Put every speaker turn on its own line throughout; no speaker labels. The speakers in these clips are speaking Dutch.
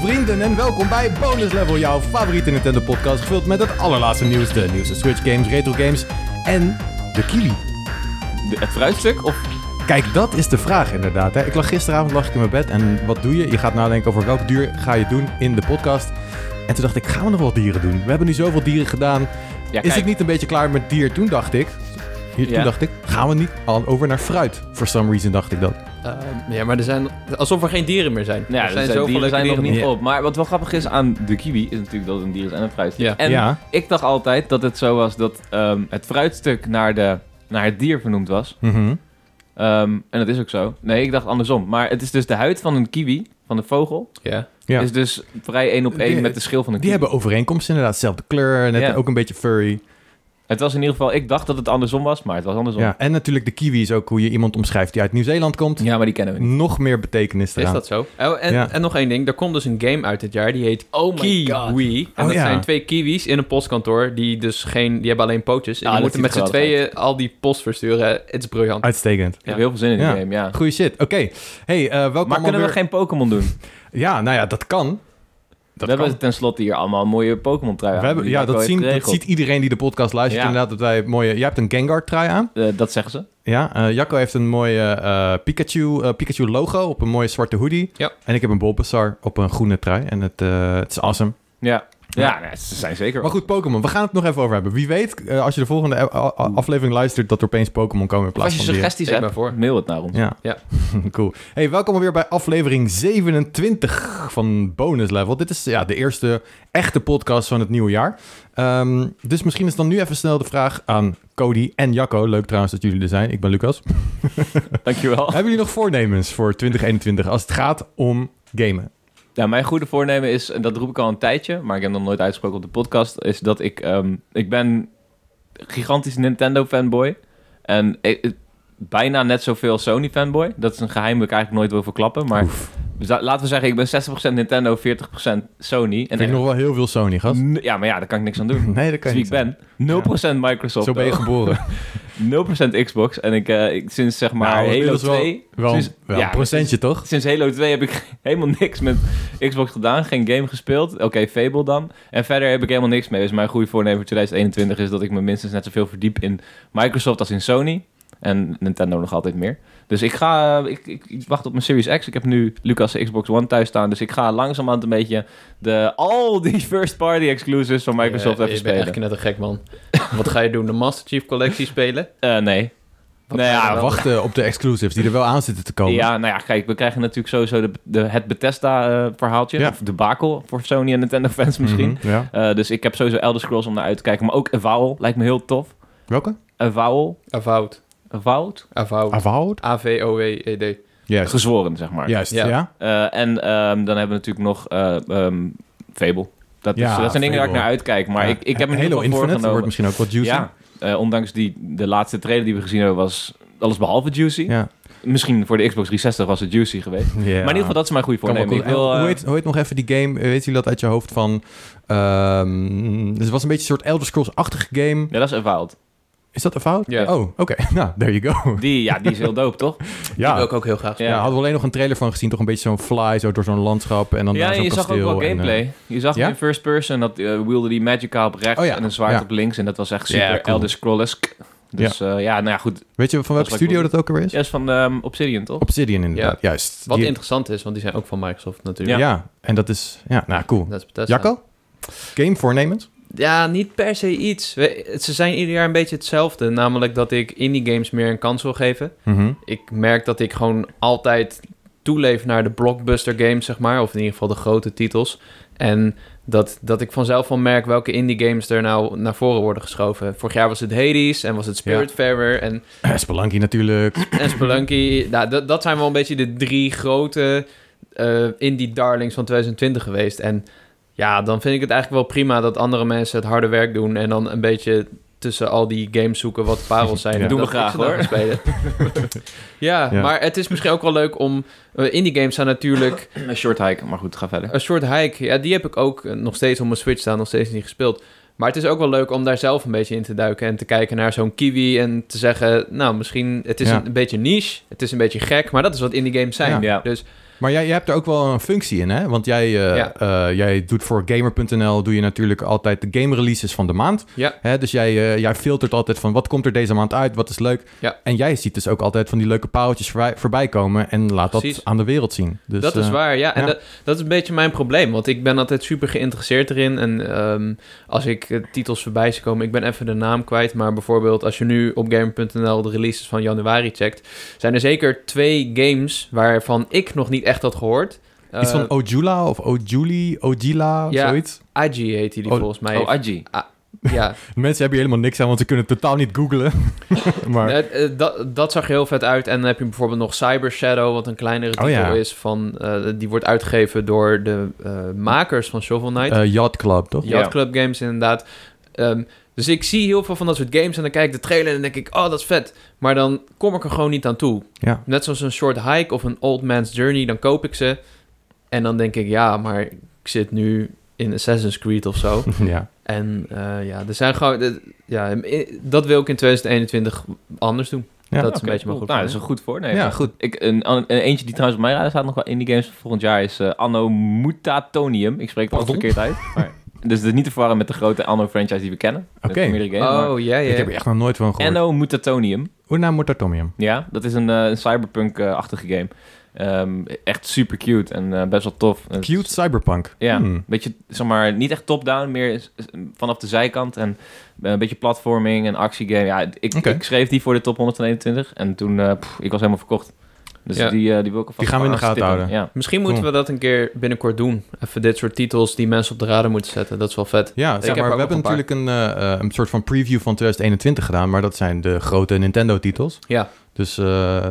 vrienden en welkom bij Bonus Level, jouw favoriete Nintendo podcast gevuld met het allerlaatste nieuws, de nieuwste Switch games, retro games en de Kili.
De- Het fruitstuk? Of
Kijk, dat is de vraag inderdaad. Hè. Ik lag gisteravond lag ik in mijn bed en wat doe je? Je gaat nadenken over welk duur ga je doen in de podcast. En toen dacht ik, gaan we nog wel dieren doen? We hebben nu zoveel dieren gedaan.
ja,
is
kijk,
het niet een beetje klaar met dier? Toen dacht ik, hier, toen
Ja.
dacht ik, gaan we niet al over naar fruit? For some reason dacht ik dat.
Ehm, ja, maar er zijn... Alsof er geen dieren meer zijn.
Nou, ja,
er zijn
zijn
zoveel
dieren
leuke
zijn nog
dieren.
niet
Ja.
op. Maar wat wel grappig is aan de kiwi is natuurlijk dat het een dier is en een fruitstuk.
Ja.
En
ja,
ik dacht altijd dat het zo was dat ehm, het fruitstuk naar, de, naar het dier vernoemd was.
Mhm.
Ehm, en dat is ook zo. Nee, ik dacht andersom. Maar het is dus de huid van een kiwi, van de vogel,
Ja.
Ja.
is dus vrij één op één
Die-
met de schil van een
die
kiwi.
hebben overeenkomsten inderdaad. Zelfde kleur, net
Ja.
ook een beetje furry.
Het was in ieder geval, ik dacht dat het andersom was, maar het was andersom.
Ja, en natuurlijk de kiwi is ook hoe je iemand omschrijft die uit Nieuw-Zeeland komt.
Ja, maar die kennen we niet.
Nog meer betekenis
Is
eraan.
dat zo? Oh, en,
Ja.
en nog één ding. Er komt dus een game uit dit jaar. Die heet
Oh
Kiwi. En
Oh,
dat
ja.
zijn twee kiwis in een postkantoor. Die dus geen... Die hebben alleen pootjes. En
Ah, dat
die moeten met z'n
ziet er geweldig
tweeën al die post versturen. Het is briljant.
Uitstekend.
Ik heb heel veel zin in die
Ja.
game, ja.
Goeie shit. Oké. Hey, eh welkom
Maar kunnen we
alweer-
geen Pokémon doen?
Ja, nou ja, dat kan. Dat
We
kan.
hebben tenslotte hier allemaal mooie Pokémon trui
we hebben, ja, dat, zien, dat ziet iedereen die de podcast luistert
Ja.
inderdaad. Dat wij mooie... Jij hebt een Gengar-trui aan.
Eh, dat zeggen ze.
Ja, eh, Jacco heeft een mooie eh, Pikachu, eh, Pikachu logo op een mooie zwarte hoodie.
Ja.
En ik heb een Bulbasaur op een groene trui. En het, eh, het is awesome.
Ja,
Ja.
ja, nee, ze zijn zeker.
Maar goed, Pokémon. We gaan het nog even over hebben. Wie weet, eh, als je de volgende a- a- aflevering luistert, dat er opeens Pokémon komen in
Of als
plaats van
je
dieren.
suggesties
Ik
hebt,
ben voor.
mail het naar ons.
Ja.
Ja.
cool. Hey, welkom weer bij aflevering 27 van Bonus Level. Dit is ja, de eerste echte podcast van het nieuwe jaar. Ehm, dus misschien is dan nu even snel de vraag aan Cody en Jacco. Leuk trouwens dat jullie er zijn. Ik ben Lucas.
Dankjewel.
Hebben jullie nog voornemens voor 2021 als het gaat om gamen?
Ja, mijn goede voornemen is, en dat roep ik al een tijdje, maar ik heb nog nooit uitgesproken op de podcast, is dat ik, ehm, ik ben gigantisch Nintendo fanboy. En ik- ik- bijna net zoveel Sony fanboy. Dat is een geheim dat ik eigenlijk nooit wil verklappen. Maar
Oef.
za- laten we zeggen, ik ben 60% Nintendo, 40% Sony.
Vind ik nog wel heel veel Sony, gast.
N- Ja, maar ja, daar kan ik niks aan doen.
Nee, dat
Dat
kan je
is wie
niet
ik ben. 0% Microsoft.
Zo ben Nou, je geboren.
0% Xbox. En ik, eh, ik sinds zeg maar
Nou,
Halo
inmiddels
2...
Wel, wel
sinds,
een
ja,
procentje, toch?
Sinds Halo 2 heb ik helemaal niks met Xbox gedaan. Geen game gespeeld. Oké, Fable dan. En verder heb ik helemaal niks mee. Dus mijn goede voornemen voor 2021 is dat ik me minstens net zoveel verdiep in Microsoft als in Sony. En Nintendo nog altijd meer. Dus ik ga... eh, Ik, ik, ik wacht op mijn Series X. Ik heb nu Lucas' Xbox One thuis staan. Dus ik ga langzamerhand een beetje de, al die first-party exclusives van Microsoft even
Eh, je bent
spelen.
echt net een gek man. Wat ga je doen? De Master Chief collectie spelen?
Eh, nee.
Wat
Nou
ga je
ja,
dan-
wel.
Wachten op de exclusives die er wel aan zitten te komen.
Ja, nou ja, kijk, we krijgen natuurlijk sowieso de, de, het Bethesda-verhaaltje.
Ja.
Of de bakel voor Sony en Nintendo-fans misschien.
Mhm, ja.
Eh, dus ik heb sowieso Elder Scrolls om naar uit te kijken. Maar ook Avowal lijkt me heel tof.
Welke?
Avowal?
Avowed.
Avowed?
Avowed.
Avowed?
A-V-O-W-E-D.
Juist.
Gezworen, zeg maar.
Juist, ja.
Ja.
Eh, en ehm, dan hebben we natuurlijk nog eh ehm, Fable. Dat, is,
Ja,
dat zijn dingen waar ik
Fable.
naar uitkijk. Maar
Ja.
ik, ik heb me
En Halo
heel
Infinite dat wordt
voorgenomen.
misschien ook wat juicy.
Ja, eh, ondanks die, de laatste trailer die we gezien hebben was alles behalve juicy.
Ja.
Misschien voor de Xbox 360 was het juicy geweest. Maar in ieder geval, dat is mijn goede
Kan wel
voornemen. Ik
cool.
wil,
En
eh,
hoe, heet, hoe heet nog even die game? Eh, Weet jullie dat uit je hoofd van... ehm, dus het was een beetje een soort Elder Scrolls-achtige game.
Ja, dat is Avowed.
Is dat een fout?
Ja.
Oh, oké. Nou, there you go.
Die, ja, die is heel dope, toch?
Die
Ja.
wil ik ook heel graag
ja.
Ja.
hadden we alleen nog een trailer van gezien. Toch een beetje zo'n fly zo door zo'n landschap en dan
ja,
daar zo'n
je
kasteel.
zag ook wel
en, eh,
gameplay. je zag
ja?
in first person dat eh wielde die Magica op rechts
Oh ja,
en een zwaard
ja.
op links. En dat was echt super
Ja, cool.
Elder Scrolls-esk. Dus ja. ja, nou ja, goed.
weet je van welke
was
studio
wel
dat ook alweer is?
Ja, is van ehm, Obsidian, toch?
Obsidian inderdaad, juist.
Wat
Die-
interessant is, want die zijn ook van Microsoft
ja.
natuurlijk.
en dat is... Ja, nou, cool.
Dat is Bethesda.
eh,
Jacco? Game voornemens?
Ja, niet per se iets. We- ze zijn ieder jaar een beetje hetzelfde. Namelijk dat ik indie games meer een kans wil geven.
Mhm.
Ik merk dat ik gewoon altijd toeleef naar de blockbuster games, zeg maar. Of in ieder geval de grote titels. En dat, dat ik vanzelf wel merk welke indie games er nou naar voren worden geschoven. Vorig jaar was het Hades en was het Spiritfarer en
Spelunky natuurlijk.
En Spelunky, nou, dat, dat zijn wel een beetje de drie grote eh, indie darlings van 2020 geweest. En ja, dan vind ik het eigenlijk wel prima dat andere mensen het harde werk doen en dan een beetje tussen al die games zoeken wat de parels zijn.
Ja.
en
Doen we
dat ik
graag,
ze dan
hoor.
ga Spelen. ja,
Ja.
maar het is misschien ook wel leuk om... eh, indie games zijn natuurlijk
Een short hike, maar goed, ga verder.
een soort hike. Ja, die heb ik ook eh, nog steeds op mijn Switch staan, nog steeds niet gespeeld. Maar het is ook wel leuk om daar zelf een beetje in te duiken en te kijken naar zo'n kiwi en te zeggen, nou, misschien het is
Ja.
een, beetje niche, het is een beetje gek, maar dat is wat indie games zijn.
Ja.
Dus
Maar jij, jij hebt er ook wel een functie in, hè? Want jij, eh,
Ja.
eh, jij doet voor gamer.nl doe je natuurlijk altijd de game releases van de maand.
Ja.
Hè? Dus jij, eh, jij filtert altijd van wat komt er deze maand uit, wat is leuk.
Ja.
En jij ziet dus ook altijd van die leuke paaltjes voorbij, voorbij komen en laat
Precies.
dat aan de wereld zien. Dus,
dat is
eh,
waar, ja. En
ja.
Dat, dat is een beetje mijn probleem. Want ik ben altijd super geïnteresseerd erin. En ehm, als ik eh, titels voorbij zie komen, ik ben even de naam kwijt. Maar bijvoorbeeld als je nu op Gamer.nl de releases van januari checkt... zijn er zeker twee games waarvan ik nog niet echt had gehoord.
Iets van
Eh,
Ojula of Ojuli, Ojila,
Ja.
zoiets.
Agi heet die
Oh,
volgens mij.
Oh, Adji.
ja.
Mensen hebben hier helemaal niks aan, want ze kunnen het totaal niet googlen. maar
Eh, eh, dat, dat zag er heel vet uit. En dan heb je bijvoorbeeld nog Cyber Shadow, wat een kleinere
Oh,
titel
ja.
is. Van, eh, die wordt uitgegeven door de eh, makers van Shovel Knight.
eh, Yacht Club, toch?
Yacht
Ja.
Club games inderdaad. Ehm, dus ik zie heel veel van dat soort games en dan kijk ik de trailer en dan denk ik, oh, dat is vet. Maar dan kom ik er gewoon niet aan toe.
Ja.
Net zoals een short hike of een old man's journey, dan koop ik ze. En dan denk ik, ja, maar ik zit nu in Assassin's Creed of zo.
ja.
en eh, ja, er zijn gewoon... eh, ja, eh, dat wil ik in 2021 anders doen.
Ja,
dat is
Oké,
een beetje
cool.
mijn goed.
Nou, dat is een goed voornemen.
ja, goed.
Ik, een, een eentje die trouwens op mijn radar staat nog wel in die games van volgend jaar is eh, Anno Mutatonium. Ik spreek het altijd
Pardon?
verkeerd uit. Maar, dus het is niet te verwarren met de grote Anno franchise die we kennen. Met
Oké.
meerdere games, maar-
oh, ja, ja.
Ik heb er echt nog nooit van gehoord.
Anno Mutatonium.
Una Mortartomium.
Ja, dat is een, eh, een cyberpunk-achtige game. Ehm, echt super cute en eh, best wel tof.
dus-
En het is-
Cute cyberpunk.
Ja,
Hmm.
beetje, zeg maar, niet echt top-down, meer s- s- vanaf de zijkant. En eh, een beetje platforming en actiegame. Ja, ik,
Oké.
ik schreef die voor de top 121 en toen, eh, pff, ik was helemaal verkocht. Dus
Ja.
die, eh, die wil ik alvast
Die gaan we in de
gewoon
gaten
aanstippen. Ja.
Misschien moeten we dat een keer binnenkort doen. Even dit soort titels die mensen op de radar moeten zetten. Dat is wel vet.
Ja, zeg
heb
maar,
ook
we hebben
nog een
natuurlijk een, eh, eh, een soort van preview van 2021 gedaan, maar dat zijn de grote Nintendo-titels.
Ja.
Dus eh,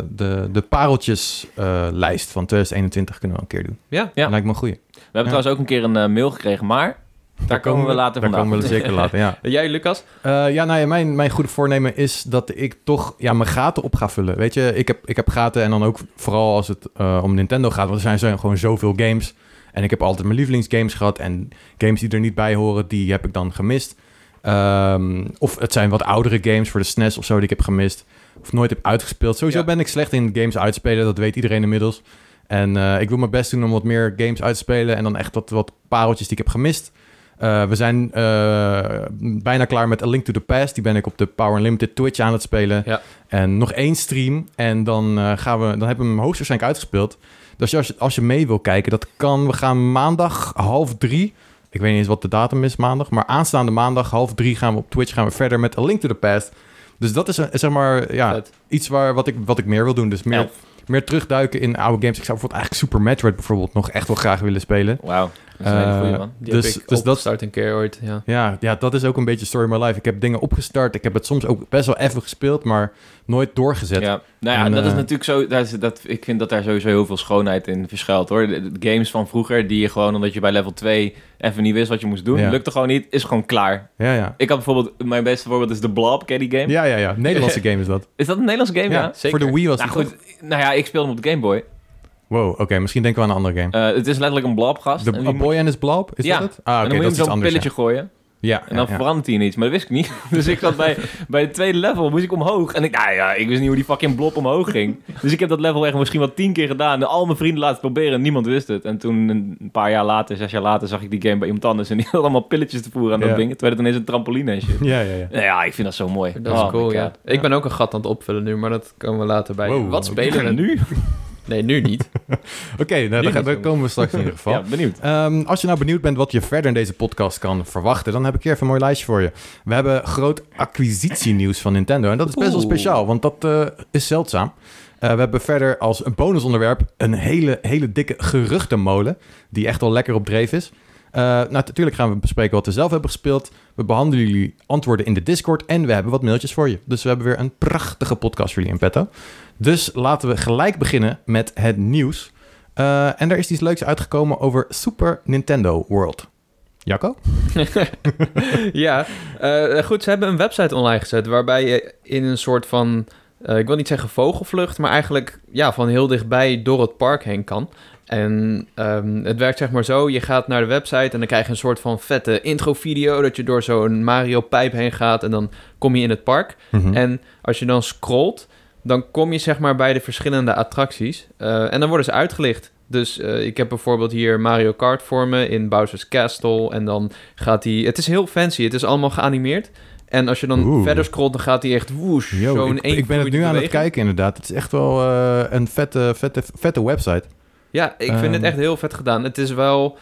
de, de pareltjeslijst van 2021 kunnen we een keer doen.
Ja,
Ja.
Lijkt me een goeie.
We hebben trouwens ook een keer een eh, mail gekregen, maar daar, komen we later
Daar
vandaag.
komen we zeker later, ja.
Jij, Lucas?
Eh, ja, nou ja, mijn, mijn goede voornemen is dat ik toch ja, mijn gaten op ga vullen. Weet je, ik heb, ik heb gaten en dan ook vooral als het eh, om Nintendo gaat. Want er zijn, zijn gewoon zoveel games. En ik heb altijd mijn lievelingsgames gehad. En games die er niet bij horen, die heb ik dan gemist. Ehm, of het zijn wat oudere games voor de SNES of zo die ik heb gemist. Of nooit heb uitgespeeld. Sowieso
Ja.
ben ik slecht in games uitspelen. Dat weet iedereen inmiddels. En eh, ik wil mijn best doen om wat meer games uit te spelen. En dan echt wat, wat pareltjes die ik heb gemist. Eh, we zijn eh, bijna klaar met A Link to the Past. Die ben ik op de Power Unlimited Twitch aan het spelen.
Ja.
En nog één stream. En dan, eh, gaan we, dan hebben we hem hoogstwaarschijnlijk uitgespeeld. Dus als je, als je mee wil kijken, dat kan. We gaan maandag half drie. Ik weet niet eens wat de datum is maandag. Maar aanstaande maandag half drie gaan we op Twitch gaan we verder met A Link to the Past. Dus dat is eh, zeg maar ja,
Vet.
iets waar, wat, ik, wat ik meer wil doen. Dus meer,
Elf.
meer terugduiken in oude games. Ik zou bijvoorbeeld eigenlijk Super Metroid bijvoorbeeld nog echt wel graag willen spelen.
Wauw, dat is een hele
Eh,
goeie man.
Die
Dus-
heb ik
dus dat-
opgestart een keer ooit, ja.
Ja, ja, dat is ook een beetje story of my life. Ik heb dingen opgestart. Ik heb het soms ook best wel even gespeeld, maar nooit doorgezet.
Ja, nou ja,
En,
dat is
eh,
natuurlijk zo. Daar is, dat, ik vind dat daar sowieso heel veel schoonheid in verschuilt hoor. De, de games van vroeger, die je gewoon omdat je bij level 2 even niet wist wat je moest doen,
Ja.
lukte gewoon niet, is gewoon klaar.
Ja, ja.
Ik had bijvoorbeeld, mijn beste voorbeeld is de Blob, ken je die game?
Ja, ja, ja. Nederlandse game is dat.
Is dat een Nederlands game? Ja.
zeker.
Voor de Wii was
Nou
het
goed, nou ja, ik speelde hem op de Game Boy.
Wow, oké. misschien denken we aan een andere game.
Eh, het is letterlijk een blobgast.
The
en die
A
moet-
Boy and His Blob, is
Ja.
dat het? Ah,
en
oké,
dan
dat
moet je
is
hem
iets
zo'n
anders.
pilletje
ja.
gooien.
Ja,
En dan
ja, ja.
verandert hij in iets. Maar dat wist ik niet. Dus ik zat bij, bij het tweede level. Moest ik omhoog. En ik, nou ja, ik wist niet hoe die fucking blob omhoog ging. Dus ik heb dat level echt misschien wel tien keer gedaan. En al mijn vrienden laten proberen. En niemand wist het. En toen een paar jaar later, zes jaar later, zag ik die game bij iemand anders. En die had allemaal pilletjes te voeren aan
Ja.
dat ding. Terwijl het ineens een trampoline en shit.
Ja, ja, ja.
Nou ja, ik vind dat zo mooi.
Dat
Oh
is
my
cool,
God.
ja. Ik ben ook een gat aan het opvullen nu, maar dat komen we later bij.
Wow,
Wat
wat
spelen we nu?
nu?
Nee, nu niet.
Oké, nou, daar,
niet,
gaan- daar
jongens.
komen we straks in ieder geval.
Ja, benieuwd.
Ehm, als je nou benieuwd bent wat je verder in deze podcast kan verwachten, dan heb ik hier even een mooi lijstje voor je. We hebben groot acquisitienieuws van Nintendo. En dat is best wel
Oeh.
speciaal, want dat eh, is zeldzaam. Eh, we hebben verder als een bonusonderwerp een hele, hele dikke geruchtenmolen. Die echt wel lekker op dreef is. Eh, nou, natuurlijk gaan we bespreken wat we zelf hebben gespeeld. We behandelen jullie antwoorden in de Discord. En we hebben wat mailtjes voor je. Dus we hebben weer een prachtige podcast voor jullie in petto. Dus laten we gelijk beginnen met het nieuws. Eh, en er is iets leuks uitgekomen over Super Nintendo World. Jacco?
ja, eh, goed, ze hebben een website online gezet waarbij je in een soort van, eh, ik wil niet zeggen vogelvlucht, maar eigenlijk ja, van heel dichtbij door het park heen kan. En ehm, het werkt zeg maar zo, je gaat naar de website en dan krijg je een soort van vette intro-video dat je door zo'n Mario-pijp heen gaat en dan kom je in het park.
Mhm. Hm?
En als je dan scrolt, dan kom je zeg maar bij de verschillende attracties. Eh, en dan worden ze uitgelicht. Dus eh, ik heb bijvoorbeeld hier Mario Kart voor me in Bowser's Castle. En dan gaat hij... Het is heel fancy. Het is allemaal geanimeerd. En als je dan
Oeh.
verder scrolt, dan gaat hij echt woesh.
Yo,
zo'n
ik, ik ben het nu aan het
eenvoerige
kijken inderdaad. Het is echt wel eh, een vette, vette, vette website.
Ja, ik vind het
Ehm.
echt heel vet gedaan. Het is wel...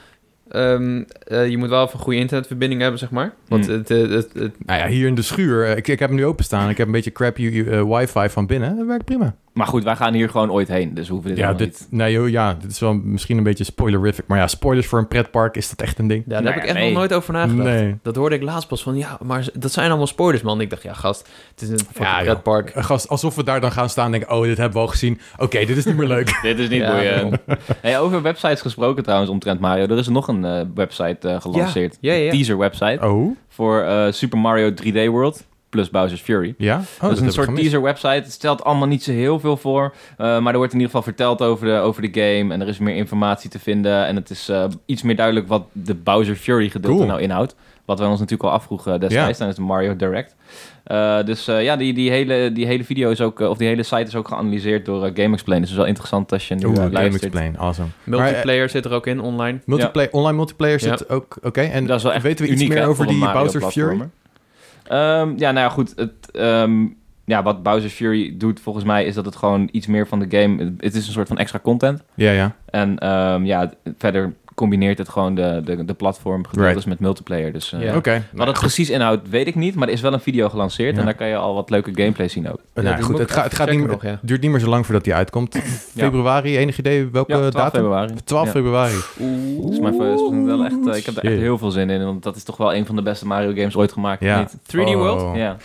ehm, eh, je moet wel even een goede internetverbinding hebben, zeg maar. Want
Hm.
Hmm.
het, het, het, het-
Nou ja, hier in de schuur. eh, Ik, ik heb hem nu openstaan. Ik heb een beetje crappy eh, wifi van binnen. Dat werkt prima.
Maar goed, wij gaan hier gewoon ooit heen, dus we hoeven dit
Ja,
helemaal
dit, nee, joh, ja, dit is wel misschien een beetje spoilerific. Maar ja, spoilers voor een pretpark, is dat echt een ding?
ja, daar
Nou
heb
ja,
ik echt
nee.
nog nooit over nagedacht.
Nee.
Dat hoorde ik laatst pas van, ja, maar z- dat zijn allemaal spoilers, man. Ik dacht, ja, gast, het is een fucking
Ja, joh.
pretpark.
Eh, Gast, alsof we daar dan gaan staan en denken... oh, dit hebben we al gezien. Oké, dit is niet meer leuk.
niet. Dit is niet
Ja,
boeiend.
daarom.
Hey, over websites gesproken trouwens, omtrent Mario. Er is nog een eh, website eh, gelanceerd.
Ja, ja, ja.
Een teaser website
Oh,
voor eh, Super Mario 3D World plus Bowser's Fury.
ja? Oh,
dat is
heb
een
ik
soort
gemist.
teaser website. Het stelt allemaal niet zo heel veel voor. eh, maar er wordt in ieder geval verteld over de, over de game. En er is meer informatie te vinden. En het is eh, iets meer duidelijk wat de Bowser Fury gedeelte
Cool.
nou inhoudt. Wat wij ons natuurlijk al afvroegen eh, destijds
Ja.
tijdens de Mario Direct. Eh, dus eh, ja, die, die, hele, die hele video is ook, eh, of die hele site is ook geanalyseerd door eh, Game Explain. Dus het is wel interessant als je nu
Oeh,
eh,
Game
luistert.
Explain, awesome. Maar, eh,
Multiplayer zit er ook in, online.
multiplayer, Online multiplayer
Ja.
zit ook... Oké, en
Dat is wel echt
weten we
uniek,
iets meer
hè,
over
voor een
die
Mario
Bowser Fury?
platformer. Ehm, ja, nou ja, goed. Het, ehm, ja, wat Bowser Fury doet volgens mij is dat het gewoon iets meer van de game... Het is een soort van extra content.
Ja, ja.
En ehm, ja, verder combineert het gewoon de, de, de platform
Right.
met multiplayer. Dus eh,
Ja.
Oké.
wat het precies inhoudt, weet ik niet. Maar er is wel een video gelanceerd.
Ja.
En daar kan je al wat leuke gameplay zien ook.
Nou,
Ja, die
goed,
moet
het,
ik
ga-
even
het gaat niet meer,
checken nog, ja.
het duurt niet meer zo lang voordat die uitkomt. Februari, enig idee welke
Ja, 12
eh, datum?
februari.
12
Ja.
februari.
Oeh.
Dat is mijn first- dat is wel echt, eh, ik heb er echt
Shit.
heel veel zin in. Want dat is toch wel een van de beste Mario games ooit gemaakt.
Ja.
Niet?
3D World?
Ja.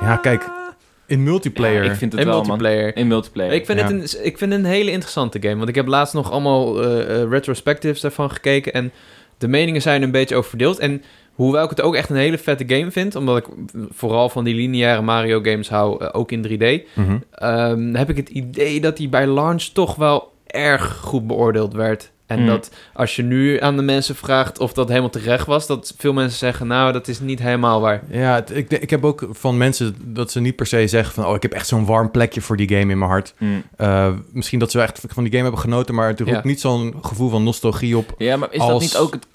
Oh. Ja, kijk, In multiplayer.
Ja, ik vind het
En
wel, man.
multiplayer.
In multiplayer.
Ik vind,
Ja.
het een, ik vind het een hele interessante game. Want ik heb laatst nog allemaal eh, eh, retrospectives daarvan gekeken. En de meningen zijn er een beetje over verdeeld. En hoewel ik het ook echt een hele vette game vind. Omdat ik vooral van die lineaire Mario games hou. eh, ook in 3D.
Mhm.
ehm, heb ik het idee dat die bij launch toch wel erg goed beoordeeld werd. En
Mm.
dat als je nu aan de mensen vraagt of dat helemaal terecht was. Dat veel mensen zeggen: Nou, dat is niet helemaal waar.
Ja, het- ik, ik heb ook van mensen dat ze niet per se zeggen van... oh, ik heb echt zo'n warm plekje voor die game in mijn hart.
Mm.
Eh, misschien dat ze echt van die game hebben genoten... maar het roept
Ja.
niet zo'n gevoel van nostalgie op.
Ja, maar is dat
Als-
niet ook het,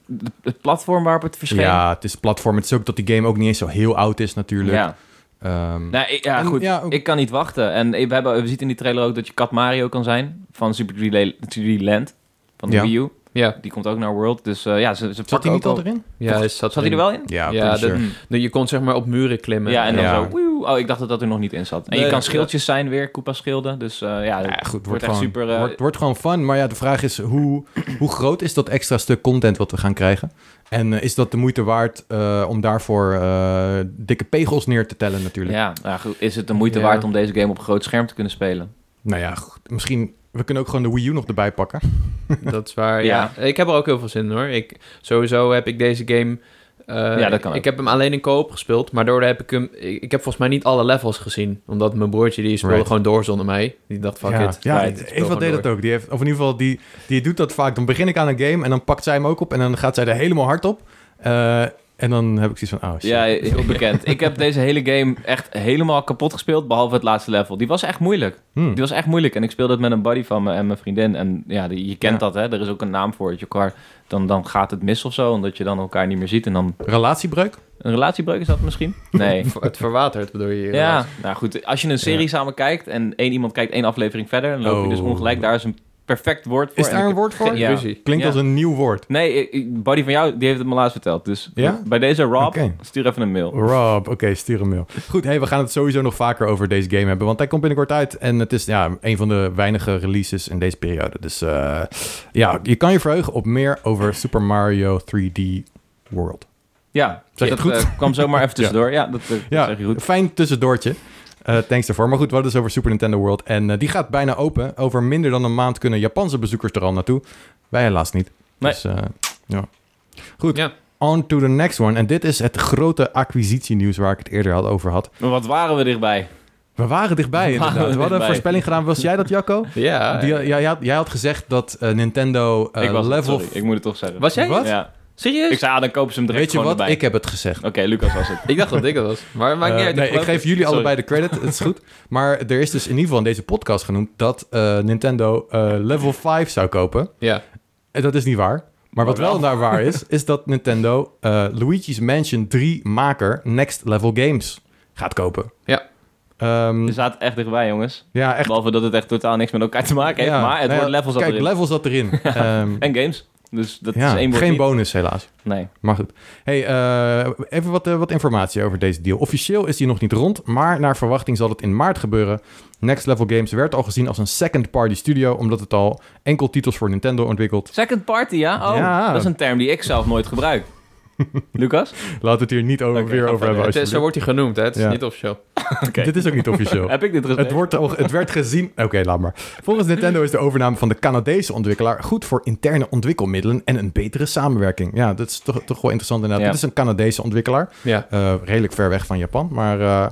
het platform waarop het verscheen?
Ja, het is platform. Het is ook dat die game ook niet eens zo heel oud is natuurlijk.
Ja.
Ehm,
Nou, ik- ja,
en
goed.
ja, ook-
Ik kan niet wachten. En we, hebben, we zien in die trailer ook dat je Kat Mario kan zijn. Van Super 3D, 3D Land. Van de
Ja.
Wii U.
Ja,
Die komt ook naar World. Dus eh, ja, ze, ze
Zat
pakken
hij niet
ook
al erin?
ja is dat
Zat hij er wel in?
Ja,
Ja,
pretty
dat-
sure.
Nou, Je kon zeg maar op muren klimmen.
Ja, en dan
Ja.
zo... woehoe. Oh, ik dacht dat dat er nog niet in zat. En je
Nee,
kan
ja.
schildjes zijn weer, Koopa schilden. Dus eh, ja,
Ja,
dat
goed, wordt,
wordt echt
gewoon,
super... eh,
wordt, wordt gewoon fun. Maar ja, de vraag is hoe, hoe groot is dat extra stuk content wat we gaan krijgen? En eh, is dat de moeite waard eh, om daarvoor eh, dikke pegels neer te tellen natuurlijk?
ja, nou goed, is het de moeite
Ja.
waard om deze game op een groot scherm te kunnen spelen?
Nou ja, goed, misschien... We kunnen ook gewoon de Wii U nog erbij pakken.
Dat is waar, ja. Ik heb er ook heel veel zin in, hoor. Ik, sowieso heb ik deze game... eh,
Ja, dat kan ook.
Ik heb hem alleen in co-op gespeeld, maar daardoor heb ik hem... Ik, ik heb volgens mij niet alle levels gezien. Omdat mijn broertje, die speelde
Right.
gewoon door zonder mij. Die dacht, fuck
ja,
it.
ja
Right,
speel
Eva
gewoon
deed
door.
dat ook. Die heeft, of in ieder geval, die, die doet dat vaak. Dan begin ik aan een game en dan pakt zij hem ook op en dan gaat zij er helemaal hard op. Eh, en dan heb ik zoiets van, oh shit.
Ja, heel bekend. ik heb deze hele game echt helemaal kapot gespeeld, behalve het laatste level. Die was echt moeilijk.
Hmm.
Die was echt moeilijk. En ik speelde het met een buddy van me en mijn vriendin. En ja, die- je kent
Ja.
dat, hè. Er is ook een naam voor. Dat je elkaar, dan, dan gaat het mis of zo, omdat je dan elkaar niet meer ziet. En dan...
Relatiebreuk?
Een relatiebreuk is dat misschien? Nee.
Ver- Het verwatert, bedoel je?
Ja,
inderdaad.
nou goed. Als je een serie
Ja.
samen kijkt en één iemand kijkt één aflevering verder, dan loop je dus
Oh.
ongelijk. Daar is een perfect woord voor.
Is daar
En
een
ik-
woord voor?
Geen
Ja.
ruzie.
Klinkt
Ja.
als een nieuw woord.
Nee, ik- ik- buddy van jou, die heeft het me laatst verteld. Dus
Ja?
bij deze Rob,
Oké.
stuur even een mail.
Rob, oké, stuur een mail. Goed, hey, we gaan het sowieso nog vaker over deze game hebben, want hij komt binnenkort uit. En het is ja, een van de weinige releases in deze periode. Dus eh, ja, je kan je verheugen op meer over Super Mario 3D World.
Ja,
Zeg
dat
het goed?
eh, kwam zomaar even tussendoor. ja. dat, eh, dat
Ja,
zeg je goed.
fijn tussendoortje. Eh, thanks daarvoor. Maar goed, we hadden het dus over Super Nintendo World. En eh, die gaat bijna open. Over minder dan een maand kunnen Japanse bezoekers er al naartoe. Wij helaas niet.
Nee.
Dus, eh, ja. Goed,
Ja.
on to the next one. En dit is het grote acquisitienieuws waar ik het eerder al over had.
Maar wat waren we dichtbij?
Eh, We waren dichtbij
We waren
inderdaad. We hadden
dichtbij.
een voorspelling gedaan. Was jij dat, Jacco?
Ja.
Die, ja, jij, had, jij had gezegd dat eh, Nintendo eh,
ik was
level...
sorry, ik moet het toch zeggen.
Was jij?
Wat?
Ja.
Serieus?
Ik zei, ah, dan kopen ze hem direct
Weet je
gewoon
wat?
erbij.
Ik Mm. heb het gezegd.
Oké, Lucas was het.
Ik dacht dat ik het was. Maar maakt niet
Eh,
uit.
nee, ik
geloof
geef
het.
jullie
Sorry.
allebei de credit. Het is goed. Maar er is dus in ieder geval in deze podcast genoemd dat eh, Nintendo eh, Level 5 zou kopen.
Ja.
En dat is niet waar. Maar wat
Maar wel.
wel daar waar is, is dat Nintendo eh, Luigi's Mansion 3 maker Next Level Games gaat kopen.
Ja.
Ehm,
We zaten echt dichtbij, jongens.
ja, echt.
Behalve dat het echt totaal niks met elkaar te maken heeft.
ja,
maar het
nou ja,
wordt levels dat
Kijk,
erin.
levels zat erin. Ehm,
En games. Dus dat
ja,
is één woord
geen
niet.
bonus helaas.
Nee.
Maar goed. Hey, eh, even wat, eh, wat informatie over deze deal. Officieel is die nog niet rond, maar naar verwachting zal het in maart gebeuren. Next Level Games werd al gezien als een second-party studio, omdat het al enkel titels voor Nintendo ontwikkelt.
Second party, ja? Oh,
Ja.
dat is een term die ik zelf nooit gebruik. Lucas?
Laten we het hier niet over,
Oké,
weer
ga
over
verder.
hebben.
Het is- zo
alsjeblieft.
wordt hij genoemd, hè? Het is
Ja.
niet officieel.
Oké.
Dit is ook niet officieel.
Heb ik dit gezegd?
Het, wordt, al- het werd gezien... Oké, laat maar. Volgens Nintendo is de overname van de Canadese ontwikkelaar... goed voor interne ontwikkelmiddelen en een betere samenwerking. Ja, dat is toch, toch wel interessant inderdaad.
Ja.
Dit is een Canadese ontwikkelaar.
Ja.
Eh, redelijk ver weg van Japan. Maar eh,